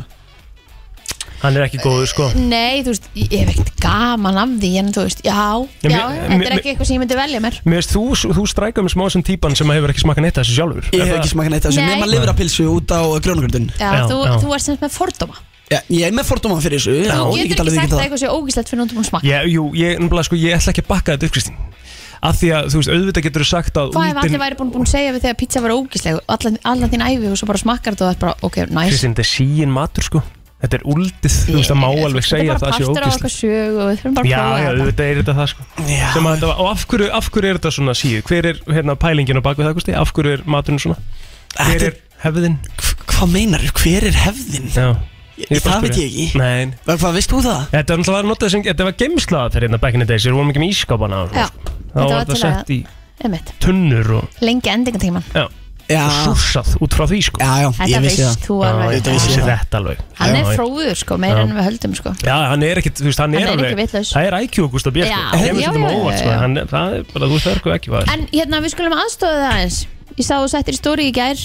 [SPEAKER 3] Hann er ekki góður, sko.
[SPEAKER 2] Nei, þú veist, ég hef ekkert gaman af því En þú veist, já,
[SPEAKER 3] Já,
[SPEAKER 2] já,
[SPEAKER 3] mér-
[SPEAKER 2] þetta
[SPEAKER 3] mér-
[SPEAKER 2] er ekki eitthvað sem ég myndi velja mér
[SPEAKER 3] Mér veist, þú, þú strækar mig smá sem típan sem hefur ekki smakkað neitt af þessu sjálfur.
[SPEAKER 1] Ég hef ekki smakkað neitt af þessu,
[SPEAKER 2] Nei.
[SPEAKER 1] nema livrapilsu út á grjónagröndun
[SPEAKER 2] Já, þú, þú er semst með fordóma
[SPEAKER 1] Já, ég er með fordóma fyrir þessu já,
[SPEAKER 2] Þú
[SPEAKER 1] ég
[SPEAKER 2] getur ekki sagt
[SPEAKER 1] get alveg vikið
[SPEAKER 2] að
[SPEAKER 1] það
[SPEAKER 2] eitthvað sé ógíslegt fyrir um nútum að smakka
[SPEAKER 3] Já, jú, ég, nefnilega, sko, ég ætla ekki að bakka þetta upp, Kristín. Af því að, þú veist, auðvitað getur þú sagt að
[SPEAKER 2] Hvað ef allir væri búin búin að segja við þegar pizza var ógísleg allan, allan þín æfi og svo bara smakkar þetta og það er bara, ok, næs nice.
[SPEAKER 3] Kristín, þetta er síin matur, sko. Þetta er úldið, þú veist, það má alveg
[SPEAKER 2] Þetta er
[SPEAKER 3] segja að
[SPEAKER 2] bara
[SPEAKER 3] það sé
[SPEAKER 2] partur á
[SPEAKER 3] ógist.
[SPEAKER 2] okkar sög og við þurfum bara
[SPEAKER 3] Já,
[SPEAKER 2] að
[SPEAKER 3] já,
[SPEAKER 2] prófa þetta
[SPEAKER 3] auðvitað er þetta það, sko. Sem að þetta var- Og af hverju, af hverju er þetta svona síu? Hver er, hérna, pælingin á bakvið það, Kristi? Af hverju er maturinn svona? Hver er hefðin?
[SPEAKER 1] Hvað meinar þú, hver er hefðin?
[SPEAKER 3] Já
[SPEAKER 1] Ég, það veit ég ekki
[SPEAKER 3] Nein.
[SPEAKER 1] Hvað veist þú það?
[SPEAKER 3] Þetta var náttúrulega notað sem, þetta var geimslað fyrir hérna back in the days, þegar við vorum ekki með ískapana
[SPEAKER 2] Já,
[SPEAKER 3] Þá
[SPEAKER 2] þetta
[SPEAKER 3] var
[SPEAKER 2] var
[SPEAKER 3] þetta
[SPEAKER 2] til að-
[SPEAKER 3] sett í
[SPEAKER 2] Einmitt.
[SPEAKER 3] tunnur og,
[SPEAKER 2] Lengi endingatíman
[SPEAKER 3] já,
[SPEAKER 1] já.
[SPEAKER 3] og súsað út frá því sko
[SPEAKER 1] Já, já,
[SPEAKER 2] Þetta ég vissi veist það. þú alveg.
[SPEAKER 3] Þetta vissi
[SPEAKER 2] Já.
[SPEAKER 3] þetta alveg
[SPEAKER 2] Hann
[SPEAKER 3] Já,
[SPEAKER 2] er
[SPEAKER 3] já.
[SPEAKER 2] fróður sko, meira
[SPEAKER 3] Já.
[SPEAKER 2] en við höldum sko
[SPEAKER 3] Já, hann er ekkit, þú veist, hann,
[SPEAKER 2] Hann er
[SPEAKER 3] er
[SPEAKER 2] ekki
[SPEAKER 3] alveg
[SPEAKER 2] vitlaus.
[SPEAKER 3] Það er IQ og Gustaf Björn
[SPEAKER 2] Já,
[SPEAKER 3] sko. Það kemur
[SPEAKER 2] já,
[SPEAKER 3] svolítið
[SPEAKER 2] já,
[SPEAKER 3] með óvart
[SPEAKER 2] já,
[SPEAKER 3] sko
[SPEAKER 2] já.
[SPEAKER 3] hann, er- Það er bara, þú veist, örgu ekki var
[SPEAKER 2] En hérna, við skulum aðstofa það aðeins Ég sá þú settir í stóri í gær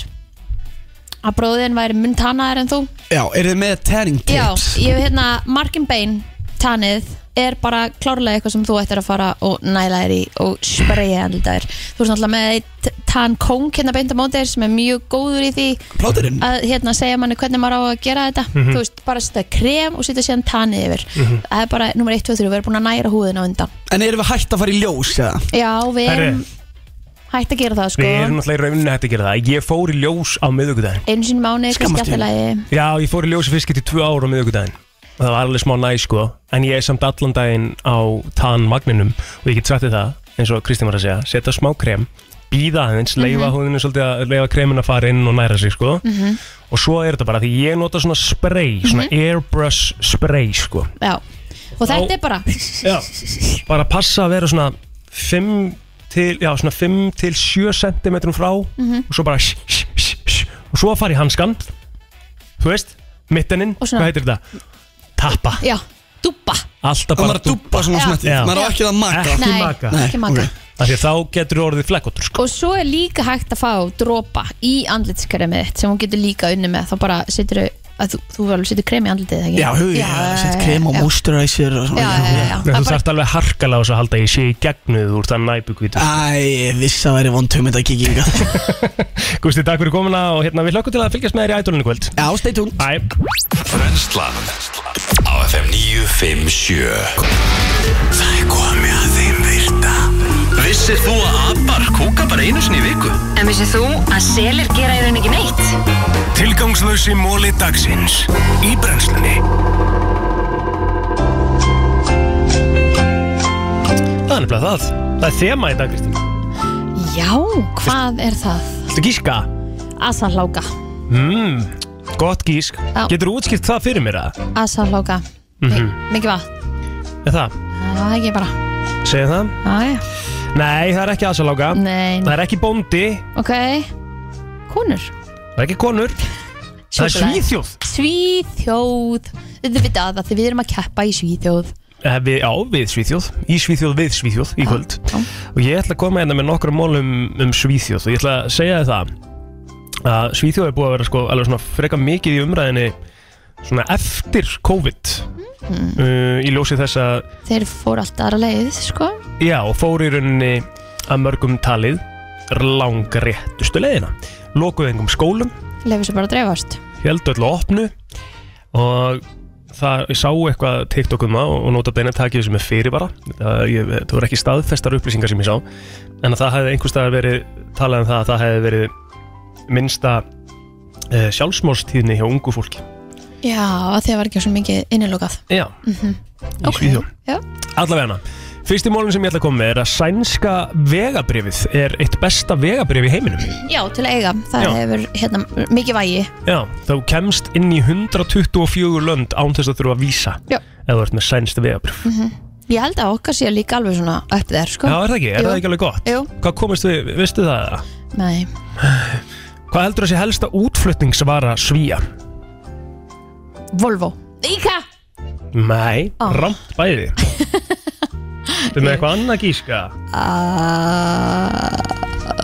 [SPEAKER 2] að bróðin væri mun tannaðar en þú
[SPEAKER 1] Já, eru þið með tanning tips?
[SPEAKER 2] Já, ég hef hérna, Markin Bain tannið er bara klárlega eitthvað sem þú ættir að fara og næla þér í og spreja þér Þú ert náttúrulega með tann kong hérna beint á móti þér sem er mjög góður í því
[SPEAKER 1] Plóterinn?
[SPEAKER 2] að hérna segja manni hvernig maður á að gera þetta
[SPEAKER 1] Mhm.
[SPEAKER 2] þú veist, bara setja krem og setja síðan tanið yfir
[SPEAKER 1] Mhm.
[SPEAKER 2] það er bara nummer 1, 2, 3, við erum búin að næra húðin á undan
[SPEAKER 1] En eru við hægt að fara í ljós, eða?
[SPEAKER 2] já, við erum hægt að gera það sko
[SPEAKER 3] Við erum náttúrulega í rauninni hægt að gera það Ég fór í ljós á miðugudaginn
[SPEAKER 2] einu sinni í mánuði, kannski
[SPEAKER 3] Skammast
[SPEAKER 2] allt í
[SPEAKER 3] þín.
[SPEAKER 2] lagi
[SPEAKER 3] Já, ég fór í ljósi fyrst getið tvö ár á miðugudaginn og það var alveg smá næ sko en ég er samt allan daginn á tann magninum og ég get sagt þér það eins og Kristín var að segja, setja smá krem býða aðeins, leifa mm
[SPEAKER 12] Mhm.
[SPEAKER 3] svolítið að leifa kremin að fara inn og næra sig sko
[SPEAKER 12] Mhm.
[SPEAKER 3] og svo er þetta bara því ég nota svona spray, svona airbrush spray sko
[SPEAKER 2] já. og þetta er bara
[SPEAKER 3] já. bara passa að vera svona 5 til, já, svona 5 til 7 cm frá
[SPEAKER 2] Mhm.
[SPEAKER 3] og svo bara sh, sh, sh, sh, og svo að fara í hanskan þú veist, mitteninn
[SPEAKER 2] Og svona-
[SPEAKER 3] hvað heitir þetta? Tappa
[SPEAKER 2] já, dúbba
[SPEAKER 3] Alltaf
[SPEAKER 1] Og
[SPEAKER 3] bara
[SPEAKER 1] maður dúbba svona
[SPEAKER 2] Já.
[SPEAKER 1] smettið.
[SPEAKER 3] Já.
[SPEAKER 1] Maður á ekki að maka.
[SPEAKER 3] Ekki
[SPEAKER 2] Nei,
[SPEAKER 3] maka,
[SPEAKER 2] ekki maka.
[SPEAKER 3] ok. Af því að þá getur þú orðið sko. flekkotur
[SPEAKER 2] og svo er líka hægt að fá dropa í andlitskremið þitt sem hún getur líka unni með þá bara setur þú, þú alveg setur krem í andlitið eða ekki?
[SPEAKER 1] Já, hug, já, sett krem og
[SPEAKER 2] já.
[SPEAKER 1] moisturizer og svona
[SPEAKER 2] Já, já, já, já.
[SPEAKER 3] Þú þarft alveg harkala á þess að halda ég sé í gegnuð úr það næbukvítur
[SPEAKER 1] Ah. Æ, ég vissi að það væri vond hugmynd að kíkja yngar
[SPEAKER 3] Gústi, takk fyrir komuna og hérna við hlökkum til að fylgjast með þér í ædolinu kvöld
[SPEAKER 1] Já, stay tuned
[SPEAKER 3] Æ,
[SPEAKER 6] Brennslan á FM 957 Það er komið að þeim virta Vissir þú að abar kúka bara einu sinni í viku?
[SPEAKER 9] En vissið þú að selir gera í raun ekki neitt?
[SPEAKER 6] Tilgangslösi móli dagsins í brennslunni
[SPEAKER 3] það er nefnilega það Það er þema í dag, Kristín
[SPEAKER 2] já, hvað er það?
[SPEAKER 3] Þetta gíska
[SPEAKER 2] Asaláka
[SPEAKER 3] mm, Gott gísk
[SPEAKER 2] Já.
[SPEAKER 3] Getur þú útskilt það fyrir mér að?
[SPEAKER 2] Asaláka,
[SPEAKER 3] Mm
[SPEAKER 2] mikið vatn
[SPEAKER 3] Er það?
[SPEAKER 2] það er ekki bara
[SPEAKER 3] Segir það?
[SPEAKER 2] Æ.
[SPEAKER 3] Nei, það er ekki aðsaláka
[SPEAKER 2] Nei.
[SPEAKER 3] Það er ekki bóndi
[SPEAKER 2] ok, konur
[SPEAKER 3] Það er ekki konur Það er
[SPEAKER 2] Súkkulaði.
[SPEAKER 3] svíþjóð
[SPEAKER 2] Svíþjóð Þið veit að því við erum að keppa í Svíþjóð
[SPEAKER 3] Eh, við, Já, við svíþjóð Í svíþjóð við svíþjóð í kvöld Og ég ætla að koma hérna með nokkra mól um, um svíþjóð Og ég ætla að segja þér það að Svíþjóð er búið að vera sko alveg svona freka mikið í umræðinni svona eftir COVID
[SPEAKER 2] Mhm.
[SPEAKER 3] uh, í ljósi þess að
[SPEAKER 2] Þeir fóru allt aðra leið, sko
[SPEAKER 3] já, fóru í rauninni að mörgum talið langréttustu leiðina lokuðu engum skólum
[SPEAKER 2] Leifir sér bara að dreifast
[SPEAKER 3] held öll og opnu og það, ég sá eitthvað TikTok um það og, og nota beina takið þessu með fyrir bara það, ég, það voru ekki staðfestar upplýsingar sem ég sá en að það hefði einhvers staðar verið talað um það að það hefði verið minnsta uh, sjálfsmórstíðni hjá ungu fólki
[SPEAKER 2] Já, að því að var ekki svo mikið innilokað
[SPEAKER 3] Já,
[SPEAKER 2] mm
[SPEAKER 3] í okay. Svíþjóð
[SPEAKER 2] Já,
[SPEAKER 3] Allavega hana Fyrsti málum sem ég ætla að koma með er að sænska vegabrifið er eitt besta vegabrif í heiminum.
[SPEAKER 2] Já til að eiga, það
[SPEAKER 3] Já.
[SPEAKER 2] hefur hérna, mikið vægi
[SPEAKER 3] Já, þá kemst inn í 124 lönd án þess að þurfa að vísa
[SPEAKER 2] Já.
[SPEAKER 3] eða þú ert með sænst vegabrif.
[SPEAKER 2] mm Ég held að okkar sé líka alveg svona upp þér, sko
[SPEAKER 3] Já, er það ekki? Er
[SPEAKER 2] Jú.
[SPEAKER 3] það ekki alveg gott?
[SPEAKER 2] Jú,
[SPEAKER 3] Hvað komist við, veistu það? eða?
[SPEAKER 2] nei
[SPEAKER 3] Hvað heldur þessi helsta útflutningsvara svíja?
[SPEAKER 2] Volvo Íka
[SPEAKER 3] Nei,
[SPEAKER 2] Ó.
[SPEAKER 3] oh. ramt bæði. Þú með eitthvað annað gíska?
[SPEAKER 2] Ah,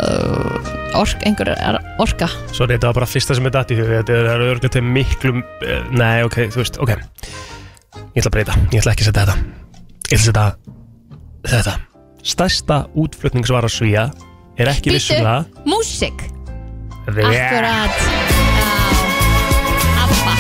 [SPEAKER 2] uh, Ork, einhver er orka
[SPEAKER 3] Sorry, þetta var bara fyrsta sem er datt í hug Þetta er- það eru örgulega til miklu eh, Nei, ok, þú veist, ok Ég ætla að breyta, ég ætla ekki að setja þetta Ég ætla að setja þetta Stærsta útflutningsvara svíja Er ekki vissum það
[SPEAKER 2] músik
[SPEAKER 3] Rétt.
[SPEAKER 2] Akkurat Já, Abba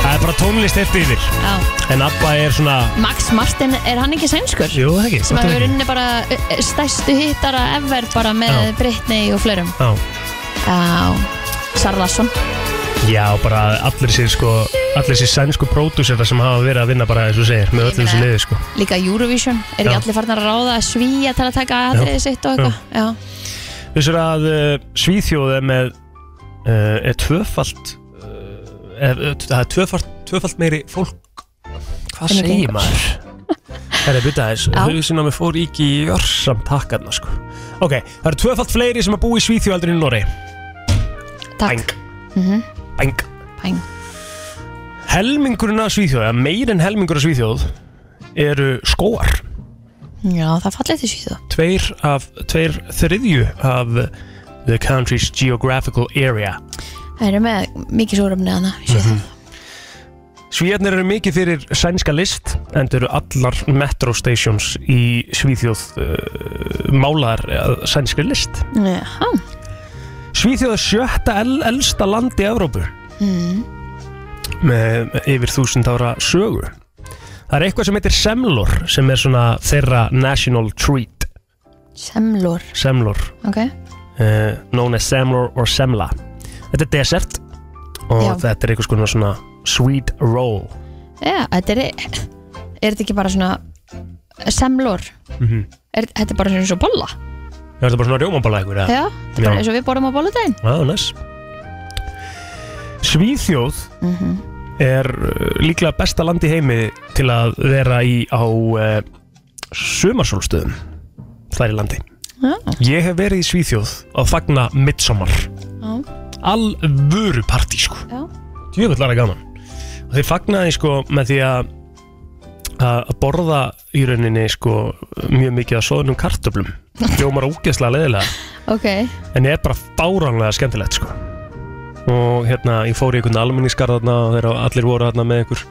[SPEAKER 3] Það er bara tónlist eftir yfir
[SPEAKER 2] Já.
[SPEAKER 3] En Abba er svona
[SPEAKER 2] Max Martin, er hann ekki sænskur?
[SPEAKER 3] Jú, það ekki
[SPEAKER 2] Sem
[SPEAKER 3] þetta er
[SPEAKER 2] hefur
[SPEAKER 3] ekki.
[SPEAKER 2] unni bara ö, ö, stærstu hittara ever bara með
[SPEAKER 3] Já.
[SPEAKER 2] Britney og flerum
[SPEAKER 3] Já,
[SPEAKER 2] Já, Sarlasson
[SPEAKER 3] já, bara allir sér sko Allir sér sænsku pródúsera sem hafa verið að vinna bara eins og þú segir Með öllu þessu liði sko
[SPEAKER 2] Líka Eurovision, er ekki
[SPEAKER 3] Já.
[SPEAKER 2] allir farnar að ráða að svíja til að taka
[SPEAKER 3] Já.
[SPEAKER 2] aðriðið sitt og eitthvað Já,
[SPEAKER 3] Vissur að uh, Svíþjóð er með uh, er tvöfalt uh, er, er, það er tvöfalt, tvöfalt meiri fólk hvað
[SPEAKER 6] Hvernig
[SPEAKER 3] segir
[SPEAKER 6] gengur?
[SPEAKER 3] maður? Það er byrjað þess,
[SPEAKER 6] Já.
[SPEAKER 3] hausinn á mig fór ekki í jörsam takkarna sko Ok, það eru tvöfalt fleiri sem að búa í Svíþjóð heldur en í Noregi
[SPEAKER 2] Takk
[SPEAKER 3] Bang,
[SPEAKER 2] mm -hmm.
[SPEAKER 3] bang
[SPEAKER 2] Bang.
[SPEAKER 3] Helmingurinn af Svíþjóð, eða meir en helmingur af Svíþjóð eru skóar
[SPEAKER 2] Já það fallið til svíðu
[SPEAKER 3] Tveir af, tveir þriðju af the country's geographical area
[SPEAKER 2] Það eru með mikið súröfni hana
[SPEAKER 3] Svíjarnir eru mikið fyrir sænska list en þau eru allar metro stations í Svíþjóð uh, málar uh, sænskri list
[SPEAKER 2] Já,
[SPEAKER 3] Svíþjóð er sjötta el elsta land í Evrópu
[SPEAKER 2] mm.
[SPEAKER 3] með, með yfir þúsund ára sögu Það er eitthvað sem heitir semlor sem er svona þeirra national treat
[SPEAKER 2] semlur
[SPEAKER 3] semlor
[SPEAKER 2] Ok,
[SPEAKER 3] uh, known as semlor or semla Þetta er desert og
[SPEAKER 2] Já.
[SPEAKER 3] þetta er eitthvað svona sweet roll
[SPEAKER 2] já, þetta er Er þetta ekki bara svona semlur?
[SPEAKER 3] mm -hmm.
[SPEAKER 2] Er, þetta er bara eins og bolla
[SPEAKER 3] Er þetta bara svona rjómabala eitthvað?
[SPEAKER 2] Já, þetta er bara eins og við borðum á bolladaginn
[SPEAKER 3] Já, næs Ah, Svíþjóð
[SPEAKER 2] Mhm.
[SPEAKER 3] er uh, líklega besta land í heimi til að vera í á uh, sumarsólstöðum þar í landi
[SPEAKER 2] Já.
[SPEAKER 3] Ég hef verið í Svíþjóð að fagna midsommar
[SPEAKER 2] Já.
[SPEAKER 3] alvöru partí sko
[SPEAKER 2] Já.
[SPEAKER 3] Djöfull var það gaman og þeir fagnaði sko með því að að að borða í rauninni sko mjög mikið að soðnum kartöflum Hljómar ógeðslega leðilega
[SPEAKER 2] Ok,
[SPEAKER 3] en er bara fáránlega skemmtilegt sko. og hérna ég fór í einhvern almenningskarðarna og þeir allir voru hérna með einhver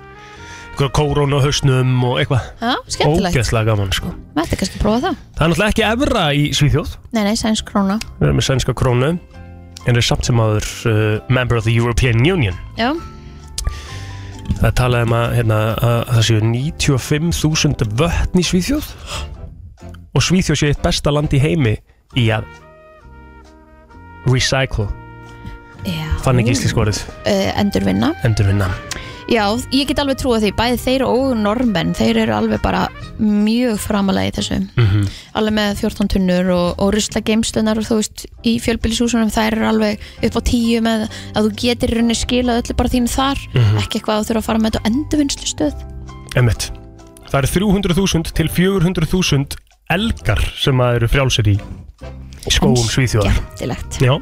[SPEAKER 3] einhver kórón á hausnum og eitthvað
[SPEAKER 2] já, skemmtilegt
[SPEAKER 3] ógeðslega gaman sko.
[SPEAKER 2] Mætti kannski prófa það
[SPEAKER 3] það er náttúrulega ekki evra í Svíþjóð
[SPEAKER 2] Nei, nei, sæns króna
[SPEAKER 3] við erum með sænska krónu en er samt sem aður uh, member of the European Union
[SPEAKER 2] Já,
[SPEAKER 3] það talaði um að, hérna, að það séu 95.000 vötn í Svíþjóð og Svíþjóð sé eitt besta land í heimi í að recycle
[SPEAKER 2] já
[SPEAKER 3] fann ekki íslensk orðið
[SPEAKER 2] uh, Endurvinna
[SPEAKER 3] endurvinna
[SPEAKER 2] Já, ég get alveg trúið því, bæði þeir og normenn, þeir eru alveg bara mjög framalega í þessu
[SPEAKER 3] Mhm.
[SPEAKER 2] alveg með 14 tunnur og, og rusla geimstunar og þú veist, í fjölbýlishúsunum þær eru alveg upp á 10 með að þú getir í rauninni skilað öllu bara þínu þar
[SPEAKER 3] Mhm.
[SPEAKER 2] ekki eitthvað að þú þurfa að fara með þetta á endurvinnslu stöð
[SPEAKER 3] Emmett Það eru 300.000 til 400.000 elgar sem að eru frjálsir í í skóum Svíþjóðar
[SPEAKER 2] Skemmtilegt
[SPEAKER 3] Já,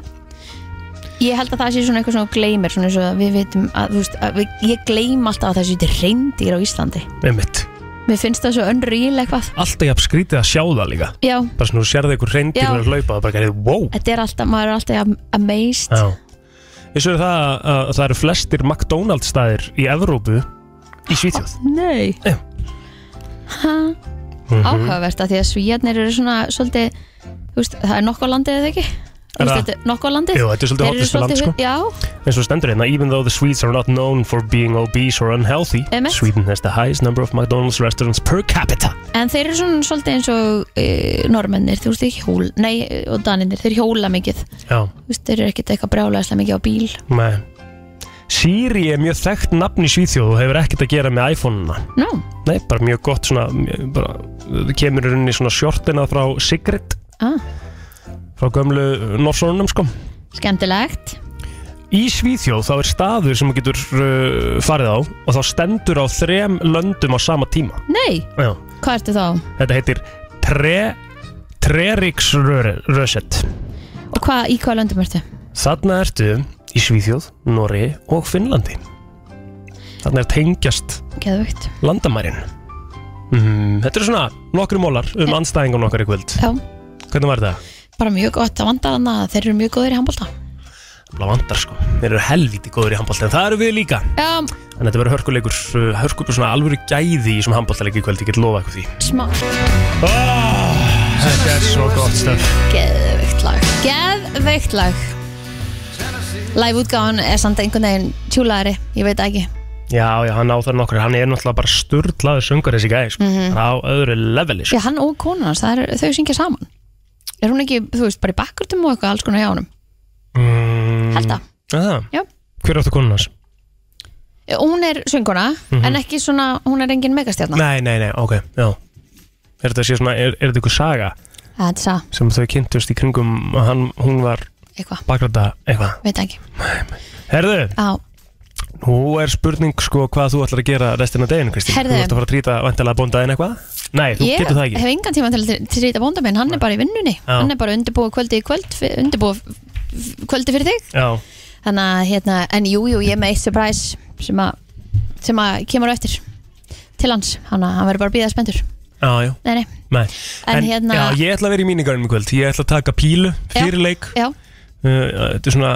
[SPEAKER 2] Ég held að það sé svona eitthvað sem þú gleymir svona eins og að við vitum að, þú veist, að við, ég gleym alltaf að það sé reyndir á Íslandi
[SPEAKER 3] Emmett
[SPEAKER 2] Mér finnst það svo önrýl eitthvað
[SPEAKER 3] Alltaf jafn skrítið að sjá það líka
[SPEAKER 2] Já,
[SPEAKER 3] Bara svona þú sérði einhver reyndir
[SPEAKER 2] Já.
[SPEAKER 3] og hlaupa og bara gerðið wow
[SPEAKER 2] þetta er alltaf, maður er alltaf jafn amazed
[SPEAKER 3] Já Þessu er það að- að það eru flestir McDonalds staðir í Evrópu í Svíþjóð
[SPEAKER 2] Nei Ha,
[SPEAKER 3] Mhm.
[SPEAKER 2] Áhugavert að því að svíjarnir eru svona svolítið, þú veist, það er nokkuð á landið eða ekki? Þú veist,
[SPEAKER 3] það?
[SPEAKER 2] þetta er nokkuð á landið?
[SPEAKER 3] Jú, þetta er svolítið
[SPEAKER 2] Þeir eru
[SPEAKER 3] hollasta land,
[SPEAKER 2] svolítið-
[SPEAKER 3] sko.
[SPEAKER 2] Já,
[SPEAKER 3] eins og stendur hérna even though the Swedes are not known for being obese or unhealthy
[SPEAKER 2] Einmitt.
[SPEAKER 3] Sweden has the highest number of McDonald's restaurants per capita
[SPEAKER 2] en þeir eru svona svolítið eins og e, normennir, þú veist, þeir hjól, nei, eh, og daninir, þeir hjóla mikið.
[SPEAKER 3] Já,
[SPEAKER 2] Þú veist, þeir eru ekkit eitthvað brjálæðislega mikið á bíl.
[SPEAKER 3] með Siri er mjög þekkt nafn í Svíþjóð og hefur ekkert að gera með iPhone-una
[SPEAKER 2] No.
[SPEAKER 3] Nei, bara mjög gott svona mjög- bara, það kemur í rauninni svona sjortina frá Sigrid
[SPEAKER 2] Ah.
[SPEAKER 3] frá gömlu Norsonunum sko
[SPEAKER 2] Skemmtilegt.
[SPEAKER 3] Í Svíþjóð þá er staður sem þú getur uh, farið á og þá stendur á þrem löndum á sama tíma
[SPEAKER 2] Nei,
[SPEAKER 3] Já,
[SPEAKER 2] hvað ertu þá?
[SPEAKER 3] þetta heitir Tre Treriksröset
[SPEAKER 2] Og hvað, í hvað löndum ertu?
[SPEAKER 3] Þarna ertu í Svíþjóð, Nóri og Finnlandi Þarna er tengjast
[SPEAKER 2] Geðvögt.
[SPEAKER 3] landamærin mm, Þetta eru svona nokkru mólar um anstæðingun okkar í kvöld
[SPEAKER 2] Já,
[SPEAKER 3] Hvernig var þetta?
[SPEAKER 2] bara mjög gott að vandar hann að þeir eru mjög góðir í handbólta.
[SPEAKER 3] Blá vandar sko, þeir eru helviti góður í handbólt en það eru við líka
[SPEAKER 2] Já,
[SPEAKER 3] En þetta verður hörkuleikur, uh, hörkuleikur svona alvöru gæði í svona handbóltaleik í kvöld, ég get lofa eitthvað því
[SPEAKER 2] smá.
[SPEAKER 3] Þetta er svo gott stöf
[SPEAKER 2] Geðveikt lag Geðveikt lag Live útgáðan er samt einhvern veginn tjúlaðari, ég veit það ekki
[SPEAKER 3] Já, já, hann á það nokkur, hann er náttúrulega bara sturlaður söngur þessi gæði, sko
[SPEAKER 2] Mhm.
[SPEAKER 3] Hann á öðru leveli,
[SPEAKER 2] Já,
[SPEAKER 3] sko
[SPEAKER 2] hann og konan hans, það er, þau syngja saman Er hún ekki, þú veist, bara í bakkurtum og eitthvað alls konar hjá honum
[SPEAKER 3] mm,
[SPEAKER 2] Held það.
[SPEAKER 3] Það,
[SPEAKER 2] Já.
[SPEAKER 3] hver áttu konun hans?
[SPEAKER 2] Hún er sönguna,
[SPEAKER 3] Mhm.
[SPEAKER 2] en ekki svona, hún er engin megastjarnar
[SPEAKER 3] Nei, nei, nei, ok, já Er þetta sé svona, er, er þetta ykkur saga
[SPEAKER 2] Það er það,
[SPEAKER 3] sem þau kynntust í kringum að hann, hún var
[SPEAKER 2] Eitthvað.
[SPEAKER 3] Bakræta, eitthvað
[SPEAKER 2] veit það ekki
[SPEAKER 3] Herðu,
[SPEAKER 2] Já,
[SPEAKER 3] nú er spurning, sko, hvað þú ætlar að gera restina af deginu, Kristín
[SPEAKER 2] Herðu.
[SPEAKER 3] Þú ert að fara að trýta vantilega bóndaðin eitthvað? Nei, þú
[SPEAKER 2] ég
[SPEAKER 3] getur það ekki
[SPEAKER 2] hef engan tíma til að trýta bónda minn, hann er bara í vinnunni
[SPEAKER 3] Já.
[SPEAKER 2] Hann er bara að undirbúa kvöldi í kvöld, undirbúa kvöldi fyrir þig
[SPEAKER 3] Já,
[SPEAKER 2] Þannig að, hérna, en jú, jú, ég er með eitt surprise sem að, sem að kemur á eftir til hans, hann, hann verður bara að býða spendur.
[SPEAKER 3] já, já
[SPEAKER 2] Nei, nei,
[SPEAKER 3] Nei.
[SPEAKER 2] En hérna-
[SPEAKER 3] Já, ég ætla að vera í mínigarnum í kvöld Ég ætla að taka pílu fyrir leik
[SPEAKER 2] já,
[SPEAKER 3] Uh, Þetta er svona,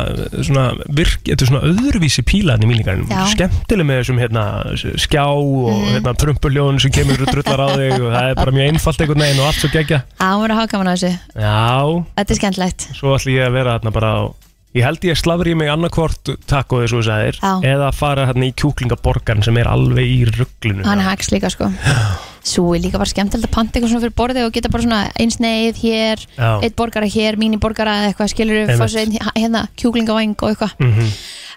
[SPEAKER 3] svona, virk, þetta er svona öðruvísi pílan í mínigarnum
[SPEAKER 2] Já. Mhm.
[SPEAKER 3] Skemmtileg með þessum hérna, skjá og hérna, trumpuljónu sem kemur og drullar á þig og það er bara mjög einfalt einhvern veginn og allt svo gegja
[SPEAKER 2] að hann verður að hafa gaman á þessu.
[SPEAKER 3] Já,
[SPEAKER 2] Þetta er skemmtilegt.
[SPEAKER 3] svo ætla ég að vera hérna bara á Ég held ég slafri mig annarkvort takk og þessu þessir
[SPEAKER 2] Já.
[SPEAKER 3] eða fara hérna í kjúklingaborgarn sem er alveg í rugglinu
[SPEAKER 2] Hann er haks líka, sko. Svo er líka bara skemmtilegt að panta eitthvað svona fyrir borðið og geta bara svona eins neið hér,
[SPEAKER 3] Já.
[SPEAKER 2] eitt borgara hér, míniborgara eða eitthvað, skilur við,
[SPEAKER 3] Einmitt. Mhm.
[SPEAKER 2] fá sér einn h- hérna, kjúklingavæng og eitthvað.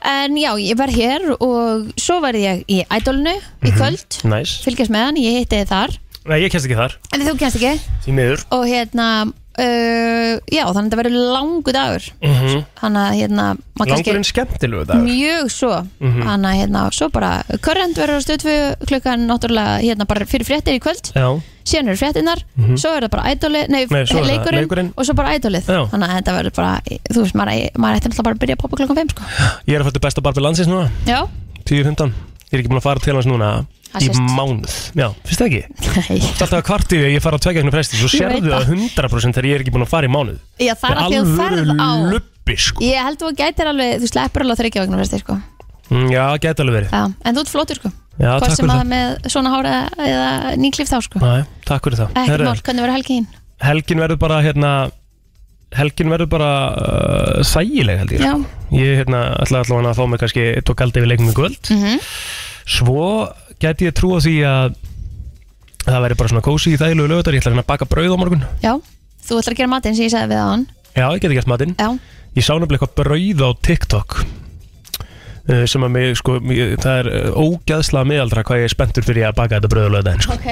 [SPEAKER 2] En já, ég verð hér og svo verð ég í ædolinu í
[SPEAKER 3] Mhm.
[SPEAKER 2] kvöld,
[SPEAKER 3] Næs,
[SPEAKER 2] fylgjast með hann, ég hitti þið þar.
[SPEAKER 3] Nei, ég kemst ekki þar,
[SPEAKER 2] En þú kennst ekki?
[SPEAKER 3] því miður
[SPEAKER 2] og hérna uh, já þannig að þetta verður langu dagur
[SPEAKER 3] mm
[SPEAKER 2] hann að hérna maður
[SPEAKER 3] Langur en skemmtilegu dagur
[SPEAKER 2] mjög svo
[SPEAKER 3] Mhm.
[SPEAKER 2] hann að hérna svo bara Current verður á stöðfu klukkan náttúrulega hérna bara fyrir fréttir í kvöld
[SPEAKER 3] Já,
[SPEAKER 2] síðan eru fréttinnar,
[SPEAKER 3] Mhm.
[SPEAKER 2] svo er það bara ædoli, nei,
[SPEAKER 3] Nei, svo er það
[SPEAKER 2] leikurinn,
[SPEAKER 3] leikurinn.
[SPEAKER 2] og svo bara ædolið
[SPEAKER 3] Já.
[SPEAKER 2] þannig að þetta verður bara, þú veist, maður, maður ætti náttúrulega bara að byrja að poppa klukkan 5 sko.
[SPEAKER 3] ég er að fættu besta barbi landsins núna
[SPEAKER 2] já,
[SPEAKER 3] 10-15 Ég er ekki búin að fara til hans núna
[SPEAKER 2] Það
[SPEAKER 3] í
[SPEAKER 2] sést.
[SPEAKER 3] mánuð Já, finnst það ekki?
[SPEAKER 2] Nei
[SPEAKER 3] Það er alltaf að kvart yfir að ég fara á tvekja hennum fresti Svo
[SPEAKER 2] Ég veit
[SPEAKER 3] sérðu það 100% þegar ég er ekki búin að fara í mánuð
[SPEAKER 2] já það er að því að þú ferð á
[SPEAKER 3] alvöru lubbi sko
[SPEAKER 2] ég held þú að gætir alveg, þú sleppur alveg þryggja vegna fyrst sko.
[SPEAKER 3] Mm, Já, gæti alveg verið
[SPEAKER 2] Já, en þú ert flottur sko
[SPEAKER 3] Já,
[SPEAKER 2] hvort
[SPEAKER 3] takk
[SPEAKER 2] sem
[SPEAKER 3] fyrir
[SPEAKER 2] að
[SPEAKER 3] það
[SPEAKER 2] með svona hára eða nýklif þá sko
[SPEAKER 3] Næ, takk fyrir það
[SPEAKER 2] Ekkert
[SPEAKER 3] Herra,
[SPEAKER 2] mál, hvernig verður helgin?
[SPEAKER 3] Helgin verður bara hérna Helgin verður bara uh, þægileg held ég
[SPEAKER 2] Já.
[SPEAKER 3] sko. Ég hérna, ætla allavega að fá mig kannski eitt og kaldi við leikum í kvöld
[SPEAKER 2] Mm -hmm.
[SPEAKER 3] Svo gæti ég trúa því að það væri bara svona kósi í þægilegu lögutar Ég ætla að hérna að baka brauð á morgun
[SPEAKER 2] Já, þú ætlar að gera matinn sem ég sagði við á hann
[SPEAKER 3] Já, ég geti gert matinn
[SPEAKER 2] Já.
[SPEAKER 3] Ég sá nefnilega eitthvað brauð á TikTok uh, sem að mig, sko, mig, það er uh, ógæðslega miðaldra hvað ég er spenntur fyrir að baka þetta brauð á lögðaðin sko.
[SPEAKER 2] Ok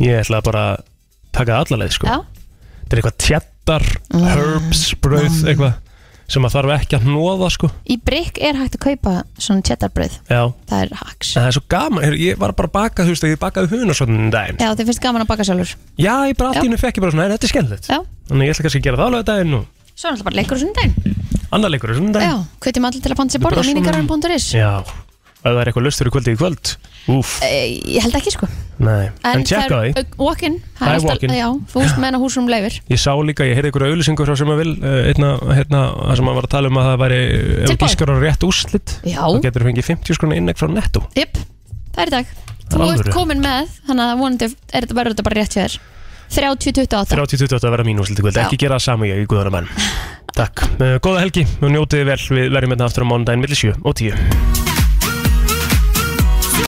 [SPEAKER 3] Ég ætla bara að taka það allarleið sko.
[SPEAKER 2] Já.
[SPEAKER 3] Þetta er eitthvað tjattar,
[SPEAKER 2] Ah,
[SPEAKER 3] herbs, brauð eitthvað sem að þarf ekki að hnoða sko.
[SPEAKER 2] Í brygg er hægt að kaupa svona tjettarbröð
[SPEAKER 3] Já,
[SPEAKER 2] Það er haks
[SPEAKER 3] en það er svo gaman Heyrðu, Ég var bara að baka, þú veist, ég bakaði hunarsvöndin daginn
[SPEAKER 2] Já, þið finnst gaman að baka sjálfur
[SPEAKER 3] Já, ég bara allt í hennu fekk ég bara svona, "Nei, þetta er skemmtilegt
[SPEAKER 2] Já.
[SPEAKER 3] Þannig ég ætla kannski að gera það á lögðaðin og
[SPEAKER 2] Svo er alltaf bara leikur og sunnudaginn
[SPEAKER 3] annar leikur er svona
[SPEAKER 2] Já, hvetjum allir til að panta sér borða
[SPEAKER 3] Brössunum.
[SPEAKER 2] míningarun.is
[SPEAKER 3] Já, Ef það er eitthvað laust fyrir kvöldið í kvöld Úf,
[SPEAKER 2] Eh, Ég held ekki sko
[SPEAKER 3] nei En tjekka
[SPEAKER 2] það
[SPEAKER 3] því
[SPEAKER 2] er Walk-in
[SPEAKER 3] Það er
[SPEAKER 2] alltaf-
[SPEAKER 3] walk-in.
[SPEAKER 2] Já, þú veist meðan að húsum leifir
[SPEAKER 3] Ég sá líka, ég heyrði einhverja auðlýsingu frá sem að vil einna, hérna, það sem að var að tala um að það væri ef þú
[SPEAKER 2] Tilboð.
[SPEAKER 3] gískar á rétt úrslit
[SPEAKER 2] Já.
[SPEAKER 3] þá getur þú fengið 50 skrona innegg frá netto
[SPEAKER 2] Jep, það er í dag
[SPEAKER 3] Það er
[SPEAKER 2] Þú ert
[SPEAKER 3] alvöru.
[SPEAKER 2] komin með, þannig að vonandi er þetta verður þetta bara rétt hjá þér 30-28
[SPEAKER 3] 30-28 að vera mín úrslit í kvöld,
[SPEAKER 2] Já.
[SPEAKER 3] ekki gera það sama ég í Uh, guðanamenn Takk, Eh, góða helgi og njótið vel, við verjum hérna aftur á mánudaginn millir 7 og 10